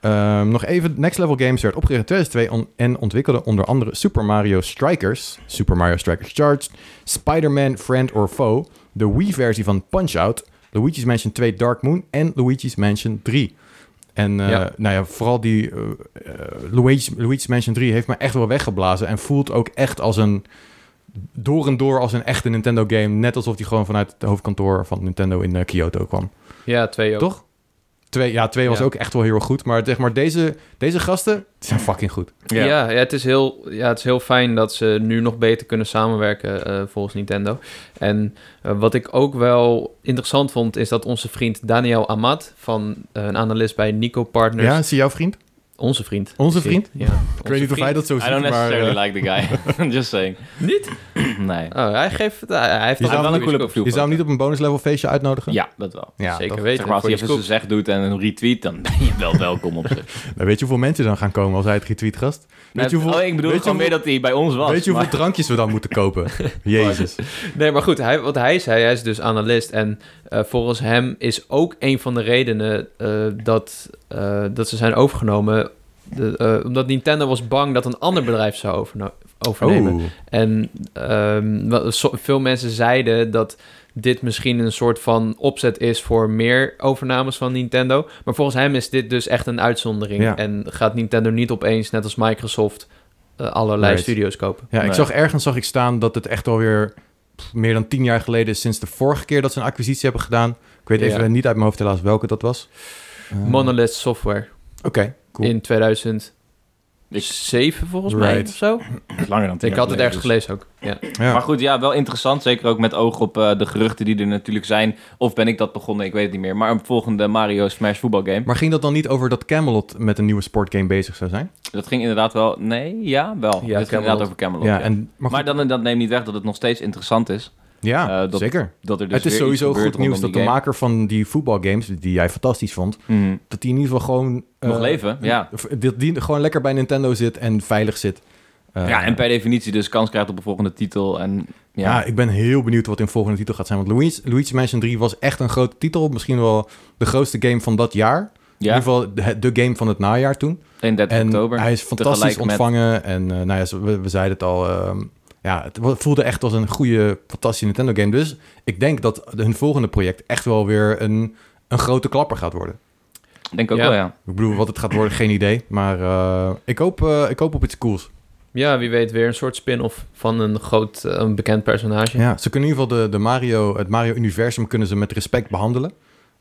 ehm, nog even, Next Level Games werd opgericht in 2002 on- en ontwikkelde onder andere Super Mario Strikers, Super Mario Strikers Charged, Spider-Man Friend or Foe, de Wii-versie van Punch-Out, Luigi's Mansion 2 Dark Moon en Luigi's Mansion 3. En eh,
Ja.
nou ja, vooral die eh, eh, Luigi's, Luigi's Mansion 3 heeft me echt wel weggeblazen en voelt ook echt als een door en door als een echte Nintendo game, net alsof die gewoon vanuit het hoofdkantoor van Nintendo in eh, Kyoto kwam.
Ja, twee ook.
Toch? Twee, ja, twee was
Ja.
ook echt wel heel erg goed. Maar zeg maar, deze, deze gasten die zijn fucking goed.
Ja,
Ja.
ja, het, is heel, ja het is heel fijn dat ze nu nog beter kunnen samenwerken eh, volgens Nintendo. En eh, wat ik ook wel interessant vond, is dat onze vriend Daniel Amat, van eh, een analist bij Nico Partners,
Ja, zie jouw vriend?
onze vriend.
Onze
is hij.
vriend?
Ja.
Ik weet niet of hij dat zo
I
ziet,
don't
maar...
necessarily
eh,
like the guy. Just saying.
Niet?
Nee.
Oh, hij geeft... het- Hij, hij heeft
Je zou
al
hem
een
wel een
goede
coole
Je zou hem niet op een bonuslevel feestje uitnodigen?
Ja, dat wel.
Ja,
Zeker
toch?
weten.
Zeg maar, als
voor
hij
je
even
scoop.
zijn zeg doet en een retweet, dan ben je wel welkom op zich.
Maar weet je hoeveel mensen dan gaan komen als hij het retweet gast? Weet je hoeveel,
oh, ik bedoel
weet je
gewoon
hoeveel-
meer dat hij bij ons was.
Weet je hoeveel
maar-
drankjes we dan moeten kopen? Jezus.
Nee, maar goed, hij, wat hij zei, hij is dus analist. En eh, volgens hem is ook een van de redenen eh, dat, eh, dat ze zijn overgenomen... de- eh, omdat Nintendo was bang dat een ander bedrijf zou overno- overnemen.
Oh,
En ehm, wel- zo- veel mensen zeiden dat dit misschien een soort van opzet is voor meer overnames van Nintendo. Maar volgens hem is dit dus echt een uitzondering.
Ja.
En gaat Nintendo niet opeens, net als Microsoft, eh, allerlei
Right.
studios kopen.
Ja, ik
Nee.
zag ergens zag ik staan dat het echt alweer pff, meer dan tien jaar geleden is sinds de vorige keer dat ze een acquisitie hebben gedaan. Ik weet
Ja.
even niet uit mijn hoofd helaas welke dat was. Eh,
Monolith Software
Oké, cool.
in 2007 volgens mij
Right.
of zo.
Langer dan tien
Ik
jaar
had het
geleden,
ergens
dus.
gelezen ook. Ja.
Ja.
Maar goed, ja, wel interessant. Zeker ook met oog op eh, de geruchten die er natuurlijk zijn. Of ben ik dat begonnen, ik weet het niet meer. Maar een volgende Mario Smash voetbalgame.
Maar ging dat dan niet over dat Camelot met een nieuwe sportgame bezig zou zijn?
Dat ging inderdaad wel... Nee, ja, wel. Het ging inderdaad
Camelot.
over Camelot.
ja,
ja.
en, maar,
Maar
goed,
dan, dat neemt niet weg dat het nog steeds interessant is.
ja
eh, dat-
zeker.
Dat er dus
het is
weer iets
sowieso
gebeurt
goed nieuws dat
rondom
de
die game.
maker van die voetbalgames, die jij fantastisch vond,
Mhm.
dat die in ieder geval gewoon... eh,
Nog leven, ja.
v- Dat die gewoon lekker bij Nintendo zit en veilig zit. Eh,
ja, en per definitie dus kans krijgt op een volgende titel. En ja,
ja, ik ben heel benieuwd wat in volgende titel gaat zijn. Want Luigi, Luigi's Mansion 3 was echt een grote titel. Misschien wel de grootste game van dat jaar.
ja
In ieder geval de, de game van het najaar toen.
31
En
oktober.
hij is fantastisch
Tegelijk met-
ontvangen. En eh, nou ja, zo- we, we zeiden het al. ehm, ja, het wa- voelde echt als een goede, fantastische Nintendo game. Dus ik denk dat hun volgende project echt wel weer een, een grote klapper gaat worden.
Denk ook
Ja.
wel, ja.
Ik bedoel, wat het gaat worden, geen idee. Maar eh, ik, hoop, eh, ik hoop op iets cools.
ja, wie weet weer een soort spin-off van een groot, eh, een bekend personage.
Ja, ze kunnen in ieder geval de, de Mario, het Mario-universum kunnen ze met respect behandelen.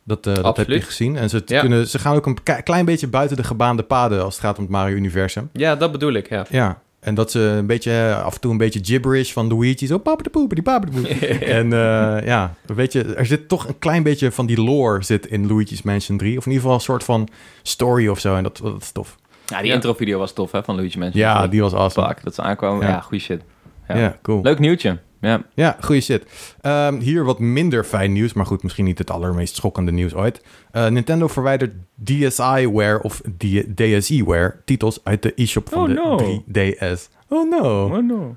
Dat, eh, dat heb je
Absoluut.
gezien. En ze,
Ja.
kunnen, ze gaan ook een ka- klein beetje buiten de gebaande paden als het gaat om het Mario-universum.
Ja, dat bedoel ik, ja.
Ja, en dat ze een beetje, eh, af en toe een beetje gibberish van Luigi. Zo, papadepoep, die papadepoep. en eh, ja, weet je, er zit toch een klein beetje van die lore zit in Luigi's Mansion 3. Of in ieder geval een soort van story of zo. En dat, dat is tof.
Ja, die
Ja.
intro-video was tof, hè, van Luigi Mansion.
Ja, die was awesome.
vaak dat ze aankwamen.
Ja.
Ja, goeie shit.
Ja,
Ja.
cool.
Leuk nieuwtje. Ja.
Ja, goede shit. Ehm, hier wat minder fijn nieuws, maar goed, misschien niet het allermeest schokkende nieuws ooit. Eh, Nintendo verwijdert DSiWare of D- DSiWare titels uit de e-shop van
Oh,
de
no.
3DS. Oh no.
no.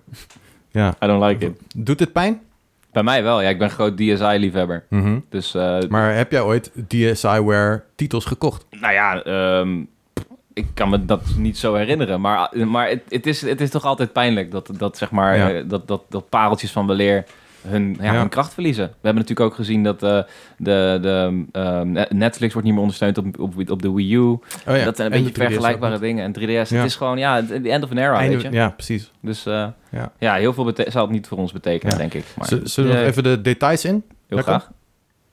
Ja.
I don't like it.
Doet dit pijn?
Bij mij wel. Ja, ik ben groot DSI-liefhebber.
Mhm.
Dus, eh,
Maar heb jij ooit DSiWare titels gekocht?
nou ja, ehm, ik kan me dat niet zo herinneren. Maar, maar het, het, is, het is toch altijd pijnlijk dat, dat zeg maar,
Ja.
eh, dat, dat, dat pareltjes van weleer... hun, ja,
Ja.
hun kracht verliezen. We hebben natuurlijk ook gezien dat eh, de, de, ehm, Netflix wordt niet meer ondersteund op, op, op de Wii U.
Oh ja,
Dat zijn een
en de
beetje
3DS ook
vergelijkbare
nog.
dingen. En 3DS,
Ja.
het is gewoon, ja, the end of an era, weet
Einde-
je.
ja, precies.
Dus eh,
Ja.
ja. heel veel bete- zou het niet voor ons betekenen,
Ja.
denk ik. Maar
Z- Zullen we
Ja.
nog even de details in?
heel
Ja, kom.
graag.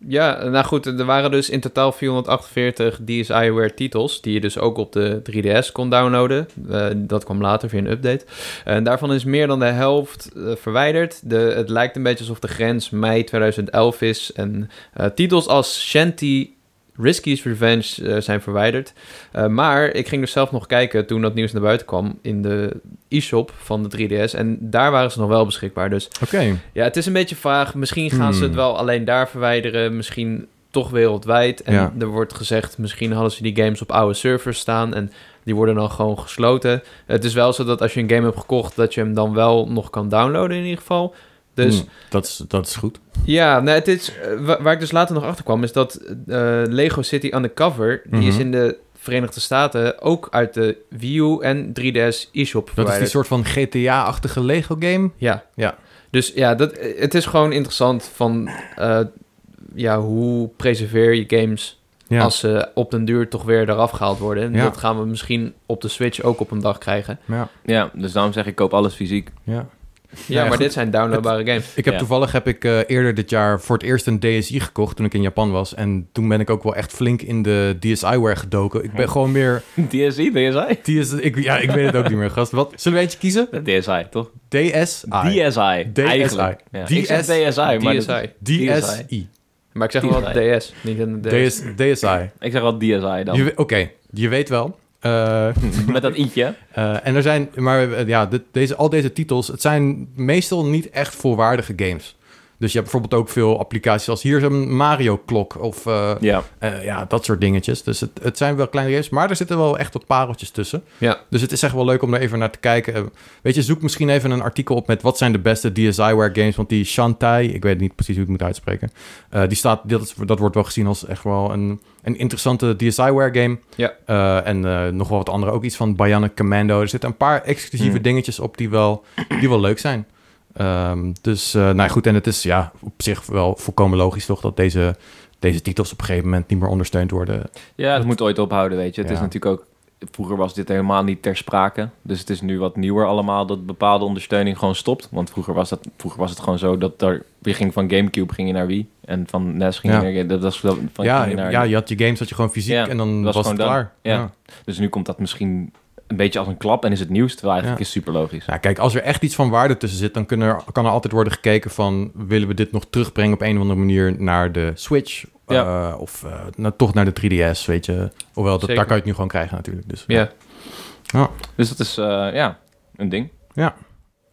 Ja, nou goed, er waren dus in totaal 448 DSiWare titels, die je dus ook op de 3DS kon downloaden. Eh, dat kwam later via een update. En daarvan is meer dan de helft eh, verwijderd. De, het lijkt een beetje alsof de grens mei 2011 is. En eh, titels als Shanty, Risky's Revenge eh, zijn verwijderd. Eh, maar ik ging dus zelf nog kijken toen dat nieuws naar buiten kwam in de e-shop van de 3DS. En daar waren ze nog wel beschikbaar. Dus
Oké.
ja, het is een beetje vaag. Misschien gaan ze het
Hmm.
wel alleen daar verwijderen. Misschien toch wereldwijd. En
Ja.
er wordt gezegd, misschien hadden ze die games op oude servers staan. En die worden dan gewoon gesloten. Het is wel zo dat als je een game hebt gekocht, dat je hem dan wel nog kan downloaden in ieder geval. Dus
Hmm, dat, is, dat is goed.
ja, nou, het is, eh, wa- waar ik dus later nog achter kwam, is dat eh, Lego City Undercover, die is
Mhm.
in de Verenigde Staten ook uit de Wii U en 3DS e-shop
Dat is
verwijderd.
die soort van GTA-achtige Lego-game.
Ja.
Ja.
Dus ja, dat, het is gewoon interessant van eh, ja, hoe preserveer je games
Ja.
als ze op den duur toch weer eraf gehaald worden. En
Ja.
dat gaan we misschien op de Switch ook op een dag krijgen.
ja,
Ja, dus daarom zeg ik, koop alles fysiek.
ja.
Ja,
ja,
maar
goed.
dit zijn downloadbare games.
Ik heb
Ja.
toevallig heb ik eh, eerder dit jaar voor het eerst een DSi gekocht toen ik in Japan was. En toen ben ik ook wel echt flink in de DSiWare gedoken. Ik ben gewoon meer.
DSI, DSI?
DS, ik, ja, ik weet het ook niet meer, gast. Wat? Zullen we eentje kiezen?
DSI, toch?
DSi.
DSI.
DSI.
eigenlijk. Ja. Ik zeg DSI, maar dat-
DSi.
DSi.
Maar ik zeg wel
DSi.
DS, niet een DS.
DS, DSi.
ik zeg wel DSI dan.
Je we- Oké, je weet wel. Eh,
Met dat i'tje.
Eh, en er zijn, maar eh, ja, dit- deze, al deze titels, het zijn meestal niet echt volwaardige games. Dus je hebt bijvoorbeeld ook veel applicaties als hier is een Mario-klok of eh,
Ja.
eh, ja, dat soort dingetjes. Dus het, het zijn wel kleine games, maar er zitten wel echt wat pareltjes tussen.
Ja.
Dus het is echt wel leuk om daar even naar te kijken. Eh, weet je, zoek misschien even een artikel op met wat zijn de beste DSiWare games. Want die Shantai, ik weet niet precies hoe ik het moet uitspreken. eh, die staat, dat, is- dat wordt wel gezien als echt wel een, een interessante DSiWare game.
Ja.
Eh, en eh, nog wel wat andere, ook iets van Bionic Commando. Er zitten een paar exclusieve
Hmm.
dingetjes op die wel, die wel leuk zijn. Ehm, dus, eh, nou ja, goed, en het is ja, op zich wel volkomen logisch toch dat deze, deze titels op een gegeven moment niet meer ondersteund worden.
ja, het moet ooit ophouden, weet je. Het
Ja.
is natuurlijk ook... Vroeger was dit helemaal niet ter sprake. Dus het is nu wat nieuwer allemaal dat bepaalde ondersteuning gewoon stopt. Want vroeger was, dat, vroeger was het gewoon zo dat er... Je ging van Gamecube ging je naar Wii. En van E NES ging je
Ja.
naar... Dat was, van,
ja,
ging je naar,
ja, je had je games, had je gewoon fysiek
Ja,
en dan was,
was
het
gewoon dan.
klaar.
Ja. Dus nu komt dat misschien een beetje als een klap en is het nieuws. Terwijl eigenlijk is super logisch.
Nou, kijk, als er echt iets van waarde tussen zit, dan kunnen er, kan er altijd worden gekeken van... willen we dit nog terugbrengen op een of andere manier naar de Switch?
Ja.
Eh, of eh, nou, toch naar de 3DS, weet je. Hoewel, dat, daar
Zeker.
kan je het nu gewoon krijgen natuurlijk. Dus,
Ja.
Dus dat is, eh, ja, een ding.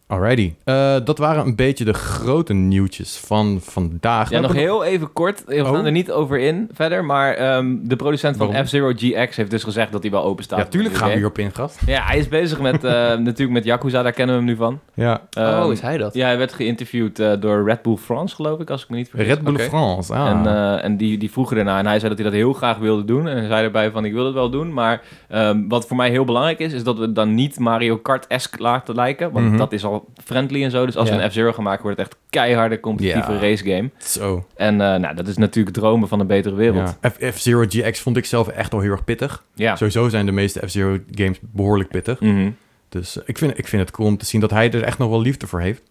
Alrighty. Eh, dat waren een beetje de grote nieuwtjes van vandaag.
Ja,
We
nog
hebben
heel even kort. We gaan
Oh.
er niet over in verder. Maar ehm, de producent van
Waarom?
F-Zero GX heeft dus gezegd dat hij wel open staat.
Ja, tuurlijk gaan we
hier.
hierop in, gast.
Ja, hij is bezig met, eh, natuurlijk met Yakuza. Daar kennen we hem nu van.
Ja.
Ehm,
oh, is hij dat?
Ja, hij werd geïnterviewd eh, door Red Bull France, geloof ik, als ik me niet vergis.
Red Bull
Oké.
France. Ah.
En, eh, en die, die vroegen daarna en hij zei dat hij dat heel graag wilde doen. En hij zei erbij van, ik wil het wel doen. Maar ehm, wat voor mij heel belangrijk is, is dat we dan niet Mario Kart-esque laten lijken. Want
Mhm.
dat is al friendly en zo. Dus als
Ja.
we een F-Zero gaan maken, wordt het echt keiharde competitieve
Ja.
race game.
Zo.
En eh, nou, dat is natuurlijk dromen van een betere wereld. Ja.
Ja. F- F-Zero GX vond ik zelf echt al heel erg pittig. Sowieso zijn de meeste F-Zero games behoorlijk pittig.
Mhm.
Dus eh, ik vind, ik vind het cool om te zien dat hij er echt nog wel liefde voor heeft.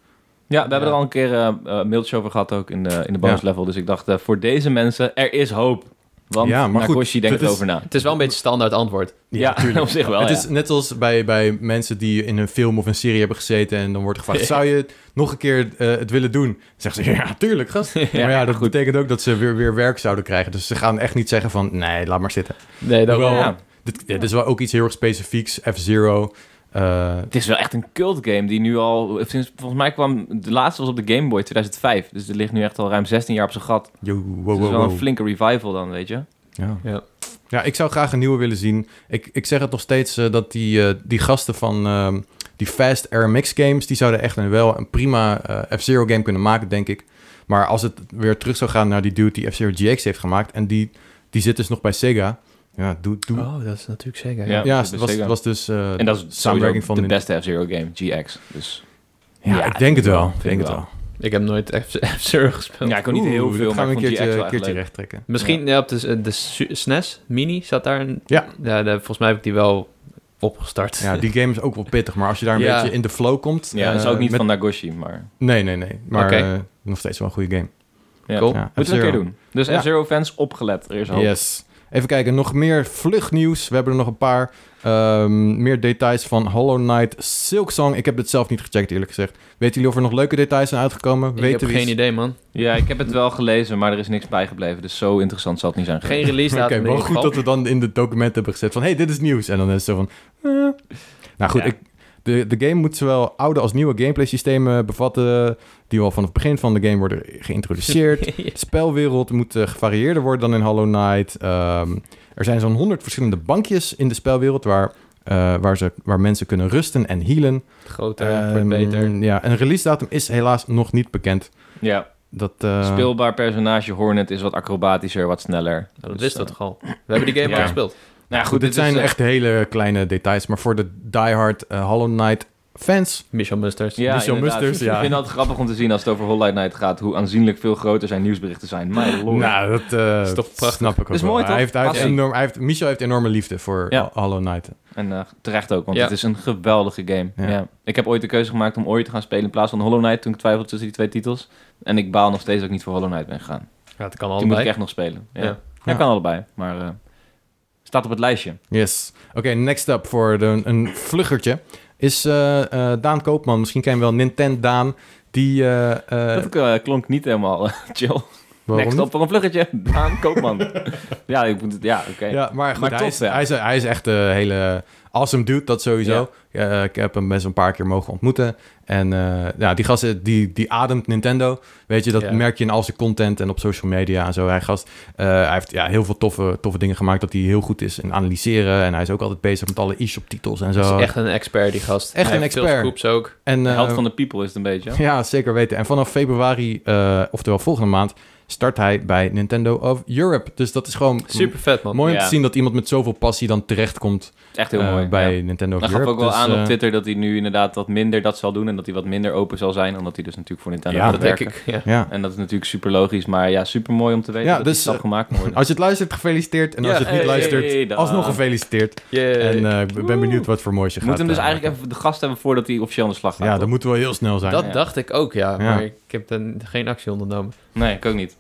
Ja, we hebben
Ja.
er al een keer eh eh, mailtjes over gehad ook in de, in de bonus level. Dus ik dacht, eh, voor deze mensen, er is hoop. Want
Ja, maar goed,
Nakoshi denkt
dit is-
erover na.
Het is wel een beetje standaard antwoord.
Ja, op zich wel,
het
ja.
is net als bij, bij mensen die in een film of een serie hebben gezeten en dan wordt gevraagd, zou je het nog een keer eh, het willen doen? Dan zeggen ze, ja, tuurlijk, gast. maar ja, dat betekent ook dat ze weer, weer werk zouden krijgen. Dus ze gaan echt niet zeggen van, nee, laat maar zitten.
Nee, dat
Hoewel,
ja.
Dit, dit is wel ook iets heel erg specifieks, F-Zero. eh,
Het is wel echt een cult game die nu al... Sinds, volgens mij kwam... De laatste was op de Game Boy 2005. Dus het ligt nu echt al ruim 16 jaar op zijn gat.
yo, wow,
Dus het
wow,
is wel
wow.
een flinke revival dan, weet je.
Ja.
Ja.
ja, ik zou graag een nieuwe willen zien. Ik, ik zeg het nog steeds eh, dat die, eh, die gasten van ehm, die Fast RMX games, die zouden echt een, wel een prima eh, F-Zero game kunnen maken, denk ik. Maar als het weer terug zou gaan naar die dude die F-Zero GX heeft gemaakt en die, die zit dus nog bij Sega. Ja, doe, doe.
Oh, dat is natuurlijk zeker.
Ja.
Ja.
ja,
zit
het
bij
was,
Sega.
was dus eh,
En dat is
samenwerking
samenwerking
van
van de
Nin-
beste F-Zero game, GX. Dus
Ja,
Ja,
ik denk het wel. Ik
ik
denk het
wel.
wel.
Ik heb nooit F- F-Zero gespeeld.
Ja, ik kon niet
Oeh,
heel veel,
dat
maar
gaan we
ik
een
vond die echt
keertje, eh,
wel echt
keertje
leuk.
recht trekken.
Misschien ja. op de, de Su- SNES Mini zat daar een...
Ja.
ja daar- volgens mij heb ik die wel opgestart.
Ja, die game is ook wel pittig, maar als je daar een
Ja.
beetje in de flow komt...
Ja, dat is
eh,
ook niet
met-
van Nagoshi, maar...
Nee, nee, nee. Maar
Oké.
eh, nog steeds wel een goede game.
Ja.
Cool.
Ja,
Moeten we een
F-Zero.
keer doen. Dus
Ja.
F-Zero fans, opgelet. Er is hoop.
Yes. Even kijken, nog meer vlugnieuws. We hebben er nog een paar. Ehm, meer details van Hollow Knight Silksong. Ik heb het zelf niet gecheckt, eerlijk gezegd. Weten jullie of er nog leuke details zijn uitgekomen?
Ik
Weten
heb
we iets?
geen idee, man.
Ja, ik heb het wel gelezen, maar er is niks bijgebleven. Dus zo interessant zal het niet zijn.
Geen release
Oké,
datum. in
wel
ieder
goed
geval.
dat we dan in de documenten hebben gezet van... hey, dit is nieuws. En dan is het zo van... eh. Nou goed,
Ja.
ik, de, de game moet zowel oude als nieuwe gameplay systemen bevatten... die al vanaf het begin van de game worden geïntroduceerd.
Ja.
De spelwereld moet eh, gevarieerder worden dan in Hollow Knight. Ehm, er zijn zo'n 100 verschillende bankjes in de spelwereld... waar, eh, waar, ze, waar mensen kunnen rusten en healen.
Groter, wordt
Ehm,
beter. Nou,
Ja, en release datum is helaas nog niet bekend.
Ja,
Dat, eh,
speelbaar personage Hornet is wat acrobatischer, wat sneller.
Nou, dat
Dus,
wist
eh,
dat toch al. We hebben die game
Ja.
al gespeeld.
Nou ja,
Goed,
goed,
dit,
is,
zijn
eh,
echt hele kleine details, maar voor de diehard eh, Hollow Knight fans.
Michel Musters.
Ja,
Michel
inderdaad.
Dus Musters, ja.
Ik vind het altijd grappig om te zien als het over Hollow Knight gaat, hoe aanzienlijk veel groter zijn nieuwsberichten zijn. My lord.
Nou, dat eh,
Is toch prachtig?
snap ik ook
Is
wel.
mooi,
hij
toch?
heeft, hij heeft
Passie.
enorm, hij heeft, Michel heeft enorme liefde voor
Ja.
Hollow Knight.
En eh, terecht ook, want
Ja.
het is een geweldige game.
Ja.
Ja. Ik heb ooit de keuze gemaakt om Ori te gaan spelen in plaats van Hollow Knight toen ik twijfelde tussen die twee titels. En ik baal nog steeds dat ik niet voor Hollow Knight ben gegaan.
Ja, dat
Die
kan
moet ik
allebei.
echt nog spelen. Ja.
Ja.
Ja.
Ja.
kan allebei, maar eh, staat op het lijstje.
Yes. Oké, next up voor de- een vluggertje is eh, eh, Daan Koopman. Misschien ken je hem wel Nintendo Daan. Die, eh, eh,
dat eh, klonk niet helemaal eh, chill.
waarom
Next
niet?
op voor een vluggetje. Daan Koopman. ja, ik moet het- ja oké.
Ja, maar goed,
Maar
hij,
tof,
is,
ja.
hij, is, hij is echt een hele awesome dude, dat sowieso. Eh, ik heb hem best een paar keer mogen ontmoeten. En eh, ja, die gast eh, die, die ademt Nintendo. Weet je, dat
Ja.
merk je in al zijn content en op social media en zo. Hij, gast, eh, hij heeft ja, heel veel toffe, toffe dingen gemaakt dat hij heel goed is in analyseren. En hij is ook altijd bezig met alle e-shop titels en zo.
Dat is echt een expert, die gast.
Echt
Hij
een
heeft
expert.
Veel scoops ook.
en,
De
eh,
helft van de people is het een beetje.
ja, zeker weten. En vanaf februari, eh, oftewel volgende maand, start hij bij Nintendo of Europe. Dus dat is gewoon
Super vet, man.
mooi om
Ja.
te zien dat iemand met zoveel passie dan terechtkomt
Het is echt heel
eh,
mooi.
bij
ja.
Nintendo of
Dan gaf
Europe.
ook wel
Dus,
aan
eh,
op Twitter dat hij nu inderdaad wat minder dat zal doen. En dat hij wat minder open zal zijn. Omdat hij dus natuurlijk voor Nintendo
Ja,
gaat
Dat denk
werken.
ik. Ja.
Ja.
En dat is natuurlijk super logisch. Maar ja, super mooi om te weten
Ja,
dat dus,
dus,
die stap
eh,
gemaakt moet worden.
Als je het luistert, gefeliciteerd. En als
Ja,
je het niet
hey,
luistert,
hey, dan.
alsnog gefeliciteerd. En
Yay.
eh, ik ben
Woe.
benieuwd wat voor moois je
We
gaat...
moeten hem dus
eh,
eigenlijk even de gast hebben voordat hij officieel aan de slag gaat.
Ja,
toch?
dat moet wel heel snel zijn.
dat
ja.
dacht ik ook, ja.
Ja.
Maar ik heb dan geen actie ondernomen.
Nee, ik ook niet.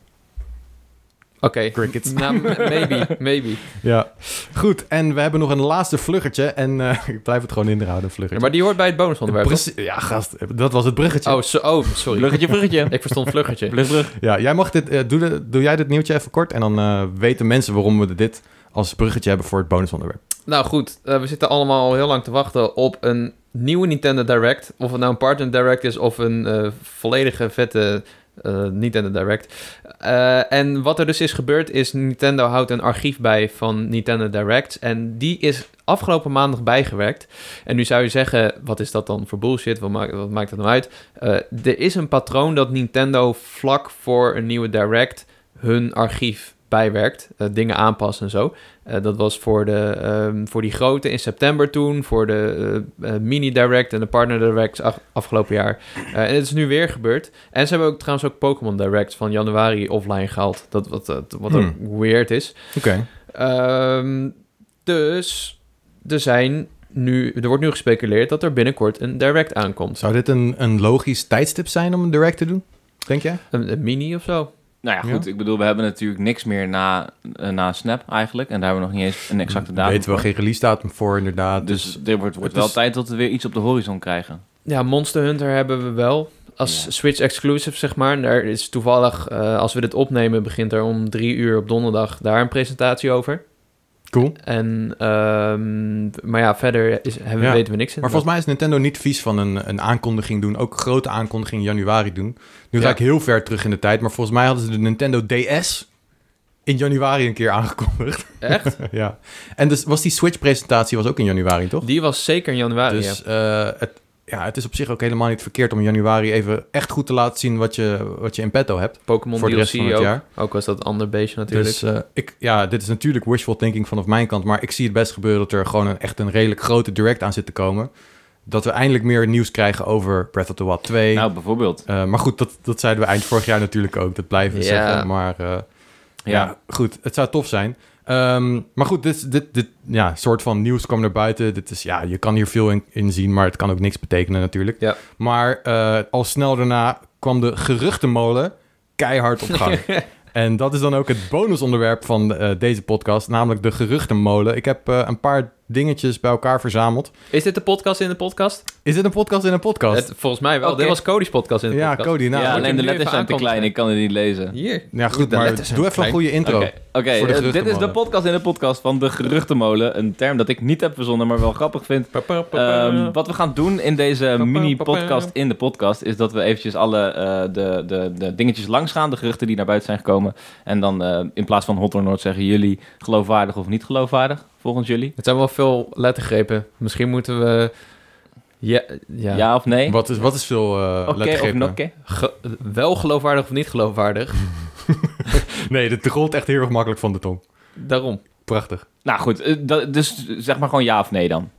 Oké.
Crickets.
Nou, m- maybe, maybe.
Ja. Goed, en we hebben nog een laatste vluggertje. En eh, ik blijf het gewoon inhouden,
Ja,
vluggertje.
maar die hoort bij het bonusonderwerp. toch?
Precie- ja, gast, dat was het bruggetje.
Oh, so- oh, sorry.
Bruggetje, bruggetje.
Ik verstond vluggertje.
Brug, brug.
Ja, jij mag dit... eh, doe, de- doe jij dit nieuwtje even kort? En dan eh, weten mensen waarom we dit als bruggetje hebben voor het bonusonderwerp.
Nou goed, eh, we zitten allemaal al heel lang te wachten op een nieuwe Nintendo Direct. Of het nou een Partner Direct is of een eh, volledige vette eh, Nintendo Direct. Eh, en wat er dus is gebeurd is, Nintendo houdt een archief bij van Nintendo Directs. En die is afgelopen maandag bijgewerkt. En nu zou je zeggen, wat is dat dan voor bullshit? Wat maakt, wat maakt dat nou uit? Eh, er is een patroon dat Nintendo vlak voor een nieuwe Direct hun archief bijwerkt. Eh, dingen aanpassen en zo. Eh, dat was voor, de, ehm, voor die grote in september toen, voor de eh, eh, mini direct en de partner direct af- afgelopen jaar. Eh, en het is nu weer gebeurd. En ze hebben ook trouwens ook Pokémon Direct van januari offline gehaald. Dat wat, dat- wat ook weird is.
Oké.
Ehm, dus er zijn nu, er wordt nu gespeculeerd dat er binnenkort een direct aankomt.
Zou dit een, een logisch tijdstip zijn om een direct te doen? Denk jij?
Een, een mini of zo.
Nou ja, goed. Ik bedoel, we hebben natuurlijk niks meer na, eh, na Snap eigenlijk. En daar hebben we nog niet eens een exacte datum
Weten we
voor.
geen release datum voor, inderdaad.
Dus,
Dus
er wordt, wordt
het
wel
is-
tijd dat we weer iets op de horizon krijgen.
Ja, Monster Hunter hebben we wel. Als
Ja.
Switch exclusive, zeg maar. Daar is toevallig, eh, als we dit opnemen, begint er om drie uur op donderdag daar een presentatie over.
cool.
En, ehm, maar ja, verder is, hebben,
Ja.
weten we niks in.
Maar volgens mij is Nintendo niet vies van een, een aankondiging doen. Ook grote aankondiging in januari doen. Nu ga
Ja.
ik heel ver terug in de tijd. Maar volgens mij hadden ze de Nintendo DS in januari een keer aangekondigd.
Echt?
ja. En dus was die Switch-presentatie was ook in januari, toch?
Die was zeker in januari, Ah, ja.
dus eh, het, ja, het is op zich ook helemaal niet verkeerd om in januari even echt goed te laten zien wat je, wat je in petto hebt.
Pokémon
voor de rest
DLC
van het
ook.
jaar.
Ook was dat een ander beestje natuurlijk.
Dus eh, ik, ja, dit is natuurlijk wishful thinking vanaf mijn kant. Maar ik zie het best gebeuren dat er gewoon een, echt een redelijk grote direct aan zit te komen. dat we eindelijk meer nieuws krijgen over Breath of the Wild 2.
Nou, bijvoorbeeld.
Eh, maar goed, dat, dat zeiden we eind vorig jaar natuurlijk ook. Dat blijven we
Ja.
zeggen. Maar eh, ja.
Ja.
goed, het zou tof zijn. Ehm, maar goed, dit, dit, dit ja, soort van nieuws kwam naar buiten. Dit is, ja, je kan hier veel in, in zien, maar het kan ook niks betekenen natuurlijk.
Ja.
Maar eh, al snel daarna kwam de geruchtenmolen keihard op gang. en dat is dan ook het bonusonderwerp van eh, deze podcast, namelijk de geruchtenmolen. Ik heb eh, een paar dingetjes bij elkaar verzameld.
Is dit de podcast in de podcast?
Is dit een podcast in een podcast?
Het, volgens mij wel.
Oké.
Dit was Cody's podcast in de
ja,
podcast.
Cody, nou,
ja,
moet
alleen
je-
de
nu
letters zijn
even
te
aankondigen.
klein. Ik kan het niet lezen.
Hier.
ja, goed,
de
maar
letters zijn
doe even een
klein.
goede intro.
Oké, oké,
Voor de
eh, dit is de
geruchtenmolen.
podcast in de podcast van de geruchtenmolen. Een term dat ik niet heb verzonnen, maar wel grappig vind. Ehm, wat we gaan doen in deze mini-podcast in de podcast... is dat we eventjes alle eh, de, de, de dingetjes langs gaan. De geruchten die naar buiten zijn gekomen. En dan eh, in plaats van hot or not zeggen jullie geloofwaardig of niet geloofwaardig. Volgens jullie.
het zijn wel veel lettergrepen. Misschien moeten we... Ja,
Ja,
ja.
of nee?
Wat is, wat is veel eh
Oké of
lettergrepen?
nokke?
Ge- wel geloofwaardig of niet geloofwaardig.
Nee, dit rolt echt heel erg makkelijk van de tong.
Daarom.
Prachtig.
Nou goed, eh, dat, dus zeg maar gewoon ja of nee dan.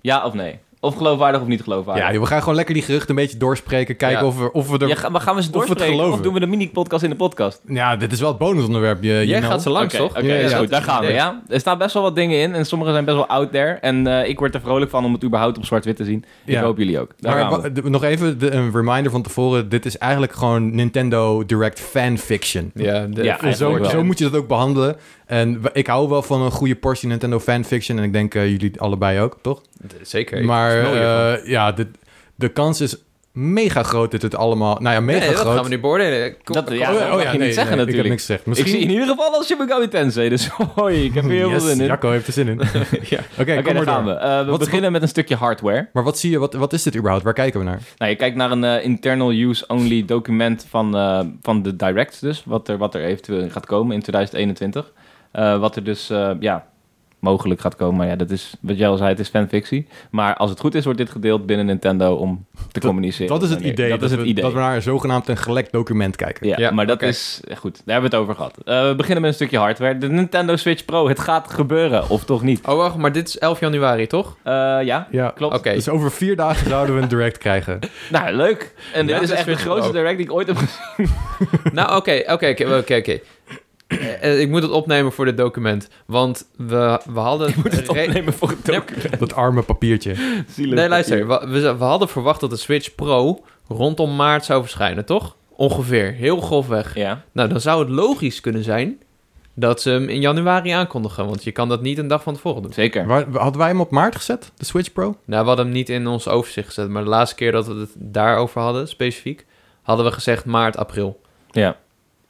Ja of nee? Of geloofwaardig of niet geloofwaardig?
Ja, joh, we gaan gewoon lekker die geruchten een beetje doorspreken. Kijken
Ja.
of, we, of we er...
Ja,
Ja,
ga- maar gaan we ze
Of we het
doorspreken of,
geloven.
doen we de mini-podcast in de podcast?
dit is wel het bonusonderwerp. Je,
Eh, Jij
you know.
gaat ze langs,
Oké,
toch?
Oké,
Ja,
is
ja.
goed, daar gaan we,
Nee.
ja. Er staan best wel wat dingen in en sommige zijn best wel out there. En eh, ik word er vrolijk van om het überhaupt op zwart-wit te zien.
Ja.
Ik hoop jullie ook. Daar
Maar
gaan we.
wa- d- nog even de- een reminder van tevoren. Dit is eigenlijk gewoon Nintendo Direct fanfiction.
Ja, de-
Ja,
En
eigenlijk
zo,
wel.
zo moet je dat ook behandelen. En w- ik hou wel van een goede portie Nintendo fanfiction. En ik denk eh, jullie allebei ook, toch?
Zeker.
maar
Ik snap je ervan.
eh, ja, de, de kans is mega groot dat het allemaal... Nou ja, mega
Nee, dat
groot.
gaan we nu beoordelen. Kom-
Dat-
kom-
ja,
oh,
dat mag je niet
nee,
zeggen
nee, Ik heb
natuurlijk.
niks gezegd.
Ik zie
Misschien...
in ieder geval als Shin Megami Tensei, dus hoi, ik heb er heel
Yes,
veel zin in.
Jacco heeft er zin in.
Ja.
Oké,
Oké,
kom
daar
maar
gaan
door.
we. Eh, we
Wat-
beginnen met een stukje hardware.
Maar wat zie je, wat, wat is dit überhaupt? Waar kijken we naar?
Nou, je kijkt naar een eh, internal use only document van, eh, van de direct, dus wat er, wat er eventueel in gaat komen in 2021. Eh, wat er dus eh, ja, mogelijk gaat komen, maar ja, dat is wat jij al zei, het is fanfictie. Maar als het goed is, wordt dit gedeeld binnen Nintendo om te communiceren.
Dat is het
Wanneer-
idee.
Dat, is het
we,
idee.
Dat we naar een zogenaamd een gelekt document kijken.
Ja,
Ja,
maar dat
oké.
is eh, goed. Daar hebben we het over gehad. Eh, we beginnen met een stukje hardware. De Nintendo Switch Pro, het gaat gebeuren, of toch niet?
Oh, wacht, maar dit is 11 januari, toch?
Eh, ja,
Ja.
klopt.
Oké.
Dus over vier dagen zouden we een direct krijgen.
Nou, leuk. En dit
Ja,
is
de
echt de
Switch
grootste
Pro.
direct die ik ooit heb gezien.
nou, oké, oké, oké, oké, oké. Eh, eh, Ik moet het opnemen voor dit document. Want we, we hadden... re-
Opnemen voor het
Nee,
Dat arme papiertje.
zielig
Nee, luister. We, we, we hadden verwacht dat de Switch Pro rondom maart zou verschijnen, toch? Ongeveer. Heel grofweg.
Ja.
Nou, dan zou het logisch kunnen zijn dat ze hem in januari aankondigen. Want je kan dat niet een dag van tevoren doen.
Zeker.
Waar- Hadden wij hem op maart gezet? De Switch Pro?
Nou, we hadden hem niet in ons overzicht gezet. Maar de laatste keer dat we het daarover hadden, specifiek, hadden we gezegd maart, april.
Ja.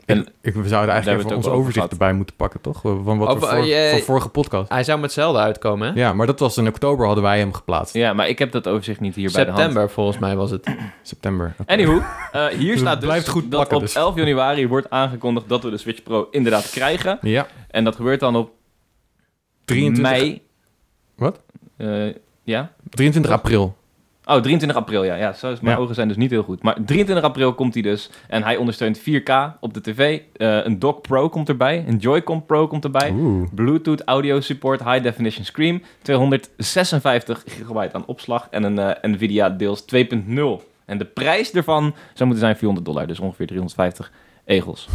En-
En ik, we zouden
hebben we
eigenlijk
het
even
ook
ons
over
overzicht
gehad.
erbij moeten pakken, toch? Van wat
Oh,
we
eh,
voor,
jij-
van vorige podcast.
Hij zou met Zelda uitkomen, hè?
Ja, maar dat was in oktober hadden wij hem geplaatst.
eh? Ja, maar ik heb dat overzicht niet hier bij de hand.
September, volgens mij, was het.
September. Oké.
Anywho, eh, hier
Het
staat dus
blijft goed
dat
plakken
op
dus.
11 januari wordt aangekondigd dat we de Switch Pro inderdaad krijgen.
Ja,
En dat gebeurt dan op
23,
mei.
Wat?
Eh, ja?
23 april.
Oh, 23 april, ja. ja zo is, mijn
Ja.
ogen zijn dus niet heel goed. Maar 23 april komt hij dus. En hij ondersteunt 4K op de tv. Eh, een Dock Pro komt erbij. Een Joy-Con Pro komt erbij.
Oeh.
Bluetooth audio support, high definition screen, 256 gigabyte aan opslag en een eh, Nvidia deels 2.0. En de prijs daarvan zou moeten zijn 400 dollar, dus ongeveer 350 egels.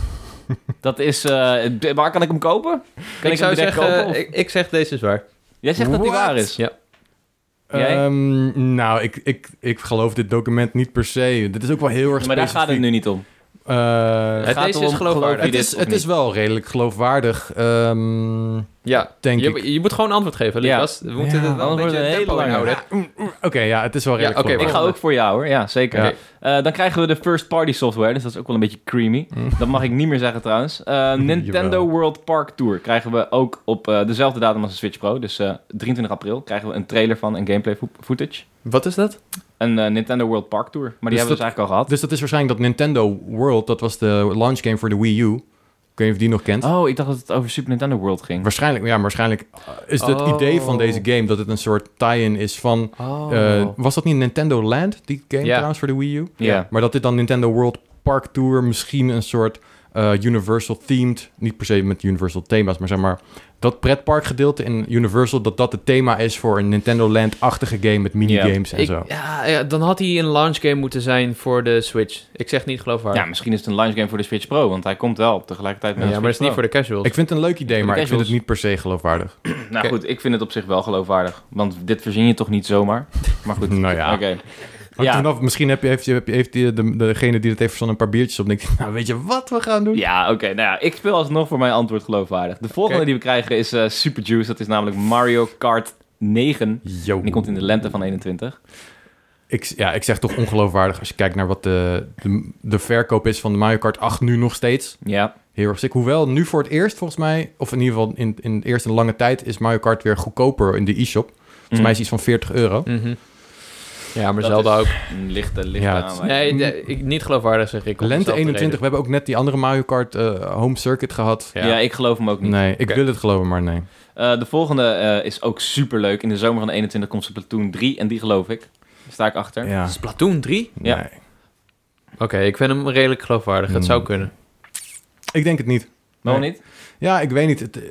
Dat is, eh, d- waar kan ik hem kopen? Kan hem
ik zou
direct
zeggen,
kopen? of-
ik, ik zeg deze is waar.
Jij zegt dat die
What?
waar is.
Ja.
Jij?
Ehm, nou, ik, ik, ik geloof dit document niet per se. Dit is ook wel heel erg
Maar daar gaat het nu niet om.
Eh,
Het gaat
deze is
erom,
geloofwaardig.
geloof je
het
dit
is,
of
het
niet?
is wel redelijk geloofwaardig, ehm,
Ja,
denk ik.
je, je moet gewoon antwoord geven,
Ja.
Lucas. We moeten
Ja,
het wel een
anders wordt
beetje
het een hele
tempo
lange
inhouden.
Ja, mm, mm, Oké, ja, het is wel
Ja,
redelijk
oké,
geloofwaardig.
Ik ga ook voor jou hoor, ja zeker.
Ja.
Eh, dan krijgen we de first party software, dus dat is ook wel een beetje creamy.
Mm.
Dat mag ik niet meer zeggen trouwens. Eh, Nintendo
Jawel.
World Park Tour krijgen we ook op eh, dezelfde datum als de Switch Pro. Dus eh, 23 april krijgen we een trailer van en gameplay fo- footage.
Wat is dat?
Een eh, Nintendo World Park Tour. Maar die
Dus
hebben we dus eigenlijk al gehad.
Dus dat is waarschijnlijk dat Nintendo World, dat was de launch game voor de Wii U. Ik weet niet of die nog kent.
Ah.
Oh, ik dacht dat het over Super Nintendo World ging.
Waarschijnlijk, ja, maar waarschijnlijk eh, is het
Oh.
idee van deze game dat het een soort tie-in is van...
Oh.
eh, was dat niet Nintendo Land, die game
Ja.
trouwens voor de Wii U?
Ja.
Maar dat dit dan Nintendo World Park Tour misschien een soort eh, Universal-themed. Niet per se met Universal-thema's, maar zeg maar dat pretparkgedeelte in Universal, dat dat het thema is voor een Nintendo Land-achtige game met minigames en
Ik-
zo.
ja, ja, dan had hij een launch game moeten zijn voor de Switch. Ik zeg niet geloofwaardig.
Ja, misschien is het een launch game voor de Switch Pro, want hij komt wel tegelijkertijd met
Ja,
de
maar dat is
Switch
niet voor de casuals.
Ik vind het een leuk idee,
de
maar ik vind het
casuals.
niet per se geloofwaardig.
Pro. Nou
Oké.
goed, ik vind het op zich wel geloofwaardig, want dit verzin je toch niet zomaar. Maar goed,
Nou ja.
oké.
Hangt
Ja.
ervan af, misschien heb je, heeft, heeft, heeft die- de, degene die het heeft verzonnen een paar biertjes op en denkt, nou weet je wat we gaan doen?
Ja, oké. nou ja, ik speel alsnog voor mijn antwoord geloofwaardig. De volgende
Oké.
die we krijgen is eh, Super Juice. Dat is namelijk Mario Kart 9.
Yo.
En die komt in de lente van 21.
Ik, ja, ik zeg toch ongeloofwaardig als je kijkt naar wat de, de, de verkoop is van de Mario Kart 8 nu nog steeds.
Ja,
Heel erg sick. Hoewel nu voor het eerst volgens mij, of in ieder geval in, in het eerst een lange tijd, is Mario Kart weer goedkoper in de e-shop. Volgens
Mhm.
mij is het iets van 40 euro.
Mhm. Ja, maar
Dat
Zelda
is- Oh,
ook.
een Mm, lichte, lichte
Ja, het-
aanwijzing.
Nee, de- ik, niet geloofwaardig zeg ik. om
Lente
dezelfde
21, we hebben ook net die andere Mario Kart eh, Home Circuit gehad.
Ja. ik geloof hem ook niet.
Nee, ik
Oké.
wil het geloven, maar nee.
Eh, de volgende eh, is ook super leuk. In de zomer van 21 komt Splatoon 3 en die geloof ik. Daar sta ik achter.
Ja,
reden. Splatoon 3?
Ja.
nee.
Oké, ik vind hem redelijk geloofwaardig. Het
Hmm.
zou kunnen.
Ik denk het niet.
Waarom
Nee.
niet?
Ja, ik weet niet. Het, eh,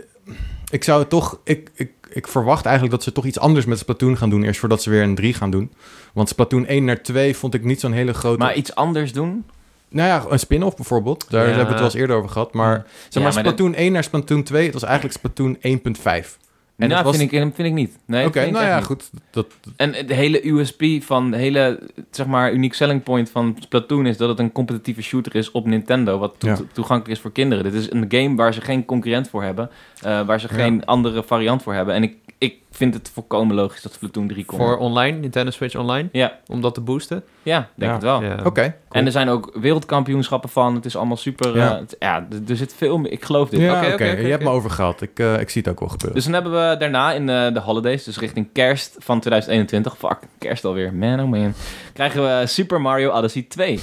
ik zou het toch. Ik, ik, ik verwacht eigenlijk dat ze toch iets anders met Splatoon gaan doen. Eerst voordat ze weer een 3 gaan doen. Want Splatoon 1 naar 2 vond ik niet zo'n hele grote.
Maar iets anders doen?
Nou ja, een spin-off bijvoorbeeld. Daar
Ja.
hebben we het wel eens eerder over gehad. Maar zeg
Ja,
maar,
maar
Splatoon 1 naar Splatoon 2, het was eigenlijk Splatoon 1.5. En
En
dat
nou,
was...
vind, ik, vind ik niet. Nee,
Oké,
dat vind ik
nou
echt
ja,
niet.
goed. Dat,
En het hele USP van, de hele, zeg maar, unique selling point van Splatoon is dat het een competitieve shooter is op Nintendo, wat to-
Ja.
toegankelijk is voor kinderen. Dit is een game waar ze geen concurrent voor hebben, eh, waar ze
Ja.
geen andere variant voor hebben. En ik, ik vind het volkomen logisch dat Splatoon 3 komt.
Voor online, Nintendo Switch Online.
Ja.
Om dat te boosten.
Ja, denk
Ja.
het wel.
Ja.
Oké. cool.
En er zijn ook wereldkampioenschappen van. Het is allemaal super.
Ja.
Ja, ja d- er zit veel meer. Ik geloof dit.
Ja,
Oké,
oké.
oké, oké,
Je hebt me
oké.
overgehaald. Ik, eh, ik zie het ook wel gebeuren.
Dus dan hebben we daarna in eh, de holidays, dus richting kerst van 2021, fuck, kerst alweer, man oh man, krijgen we Super Mario Odyssey 2.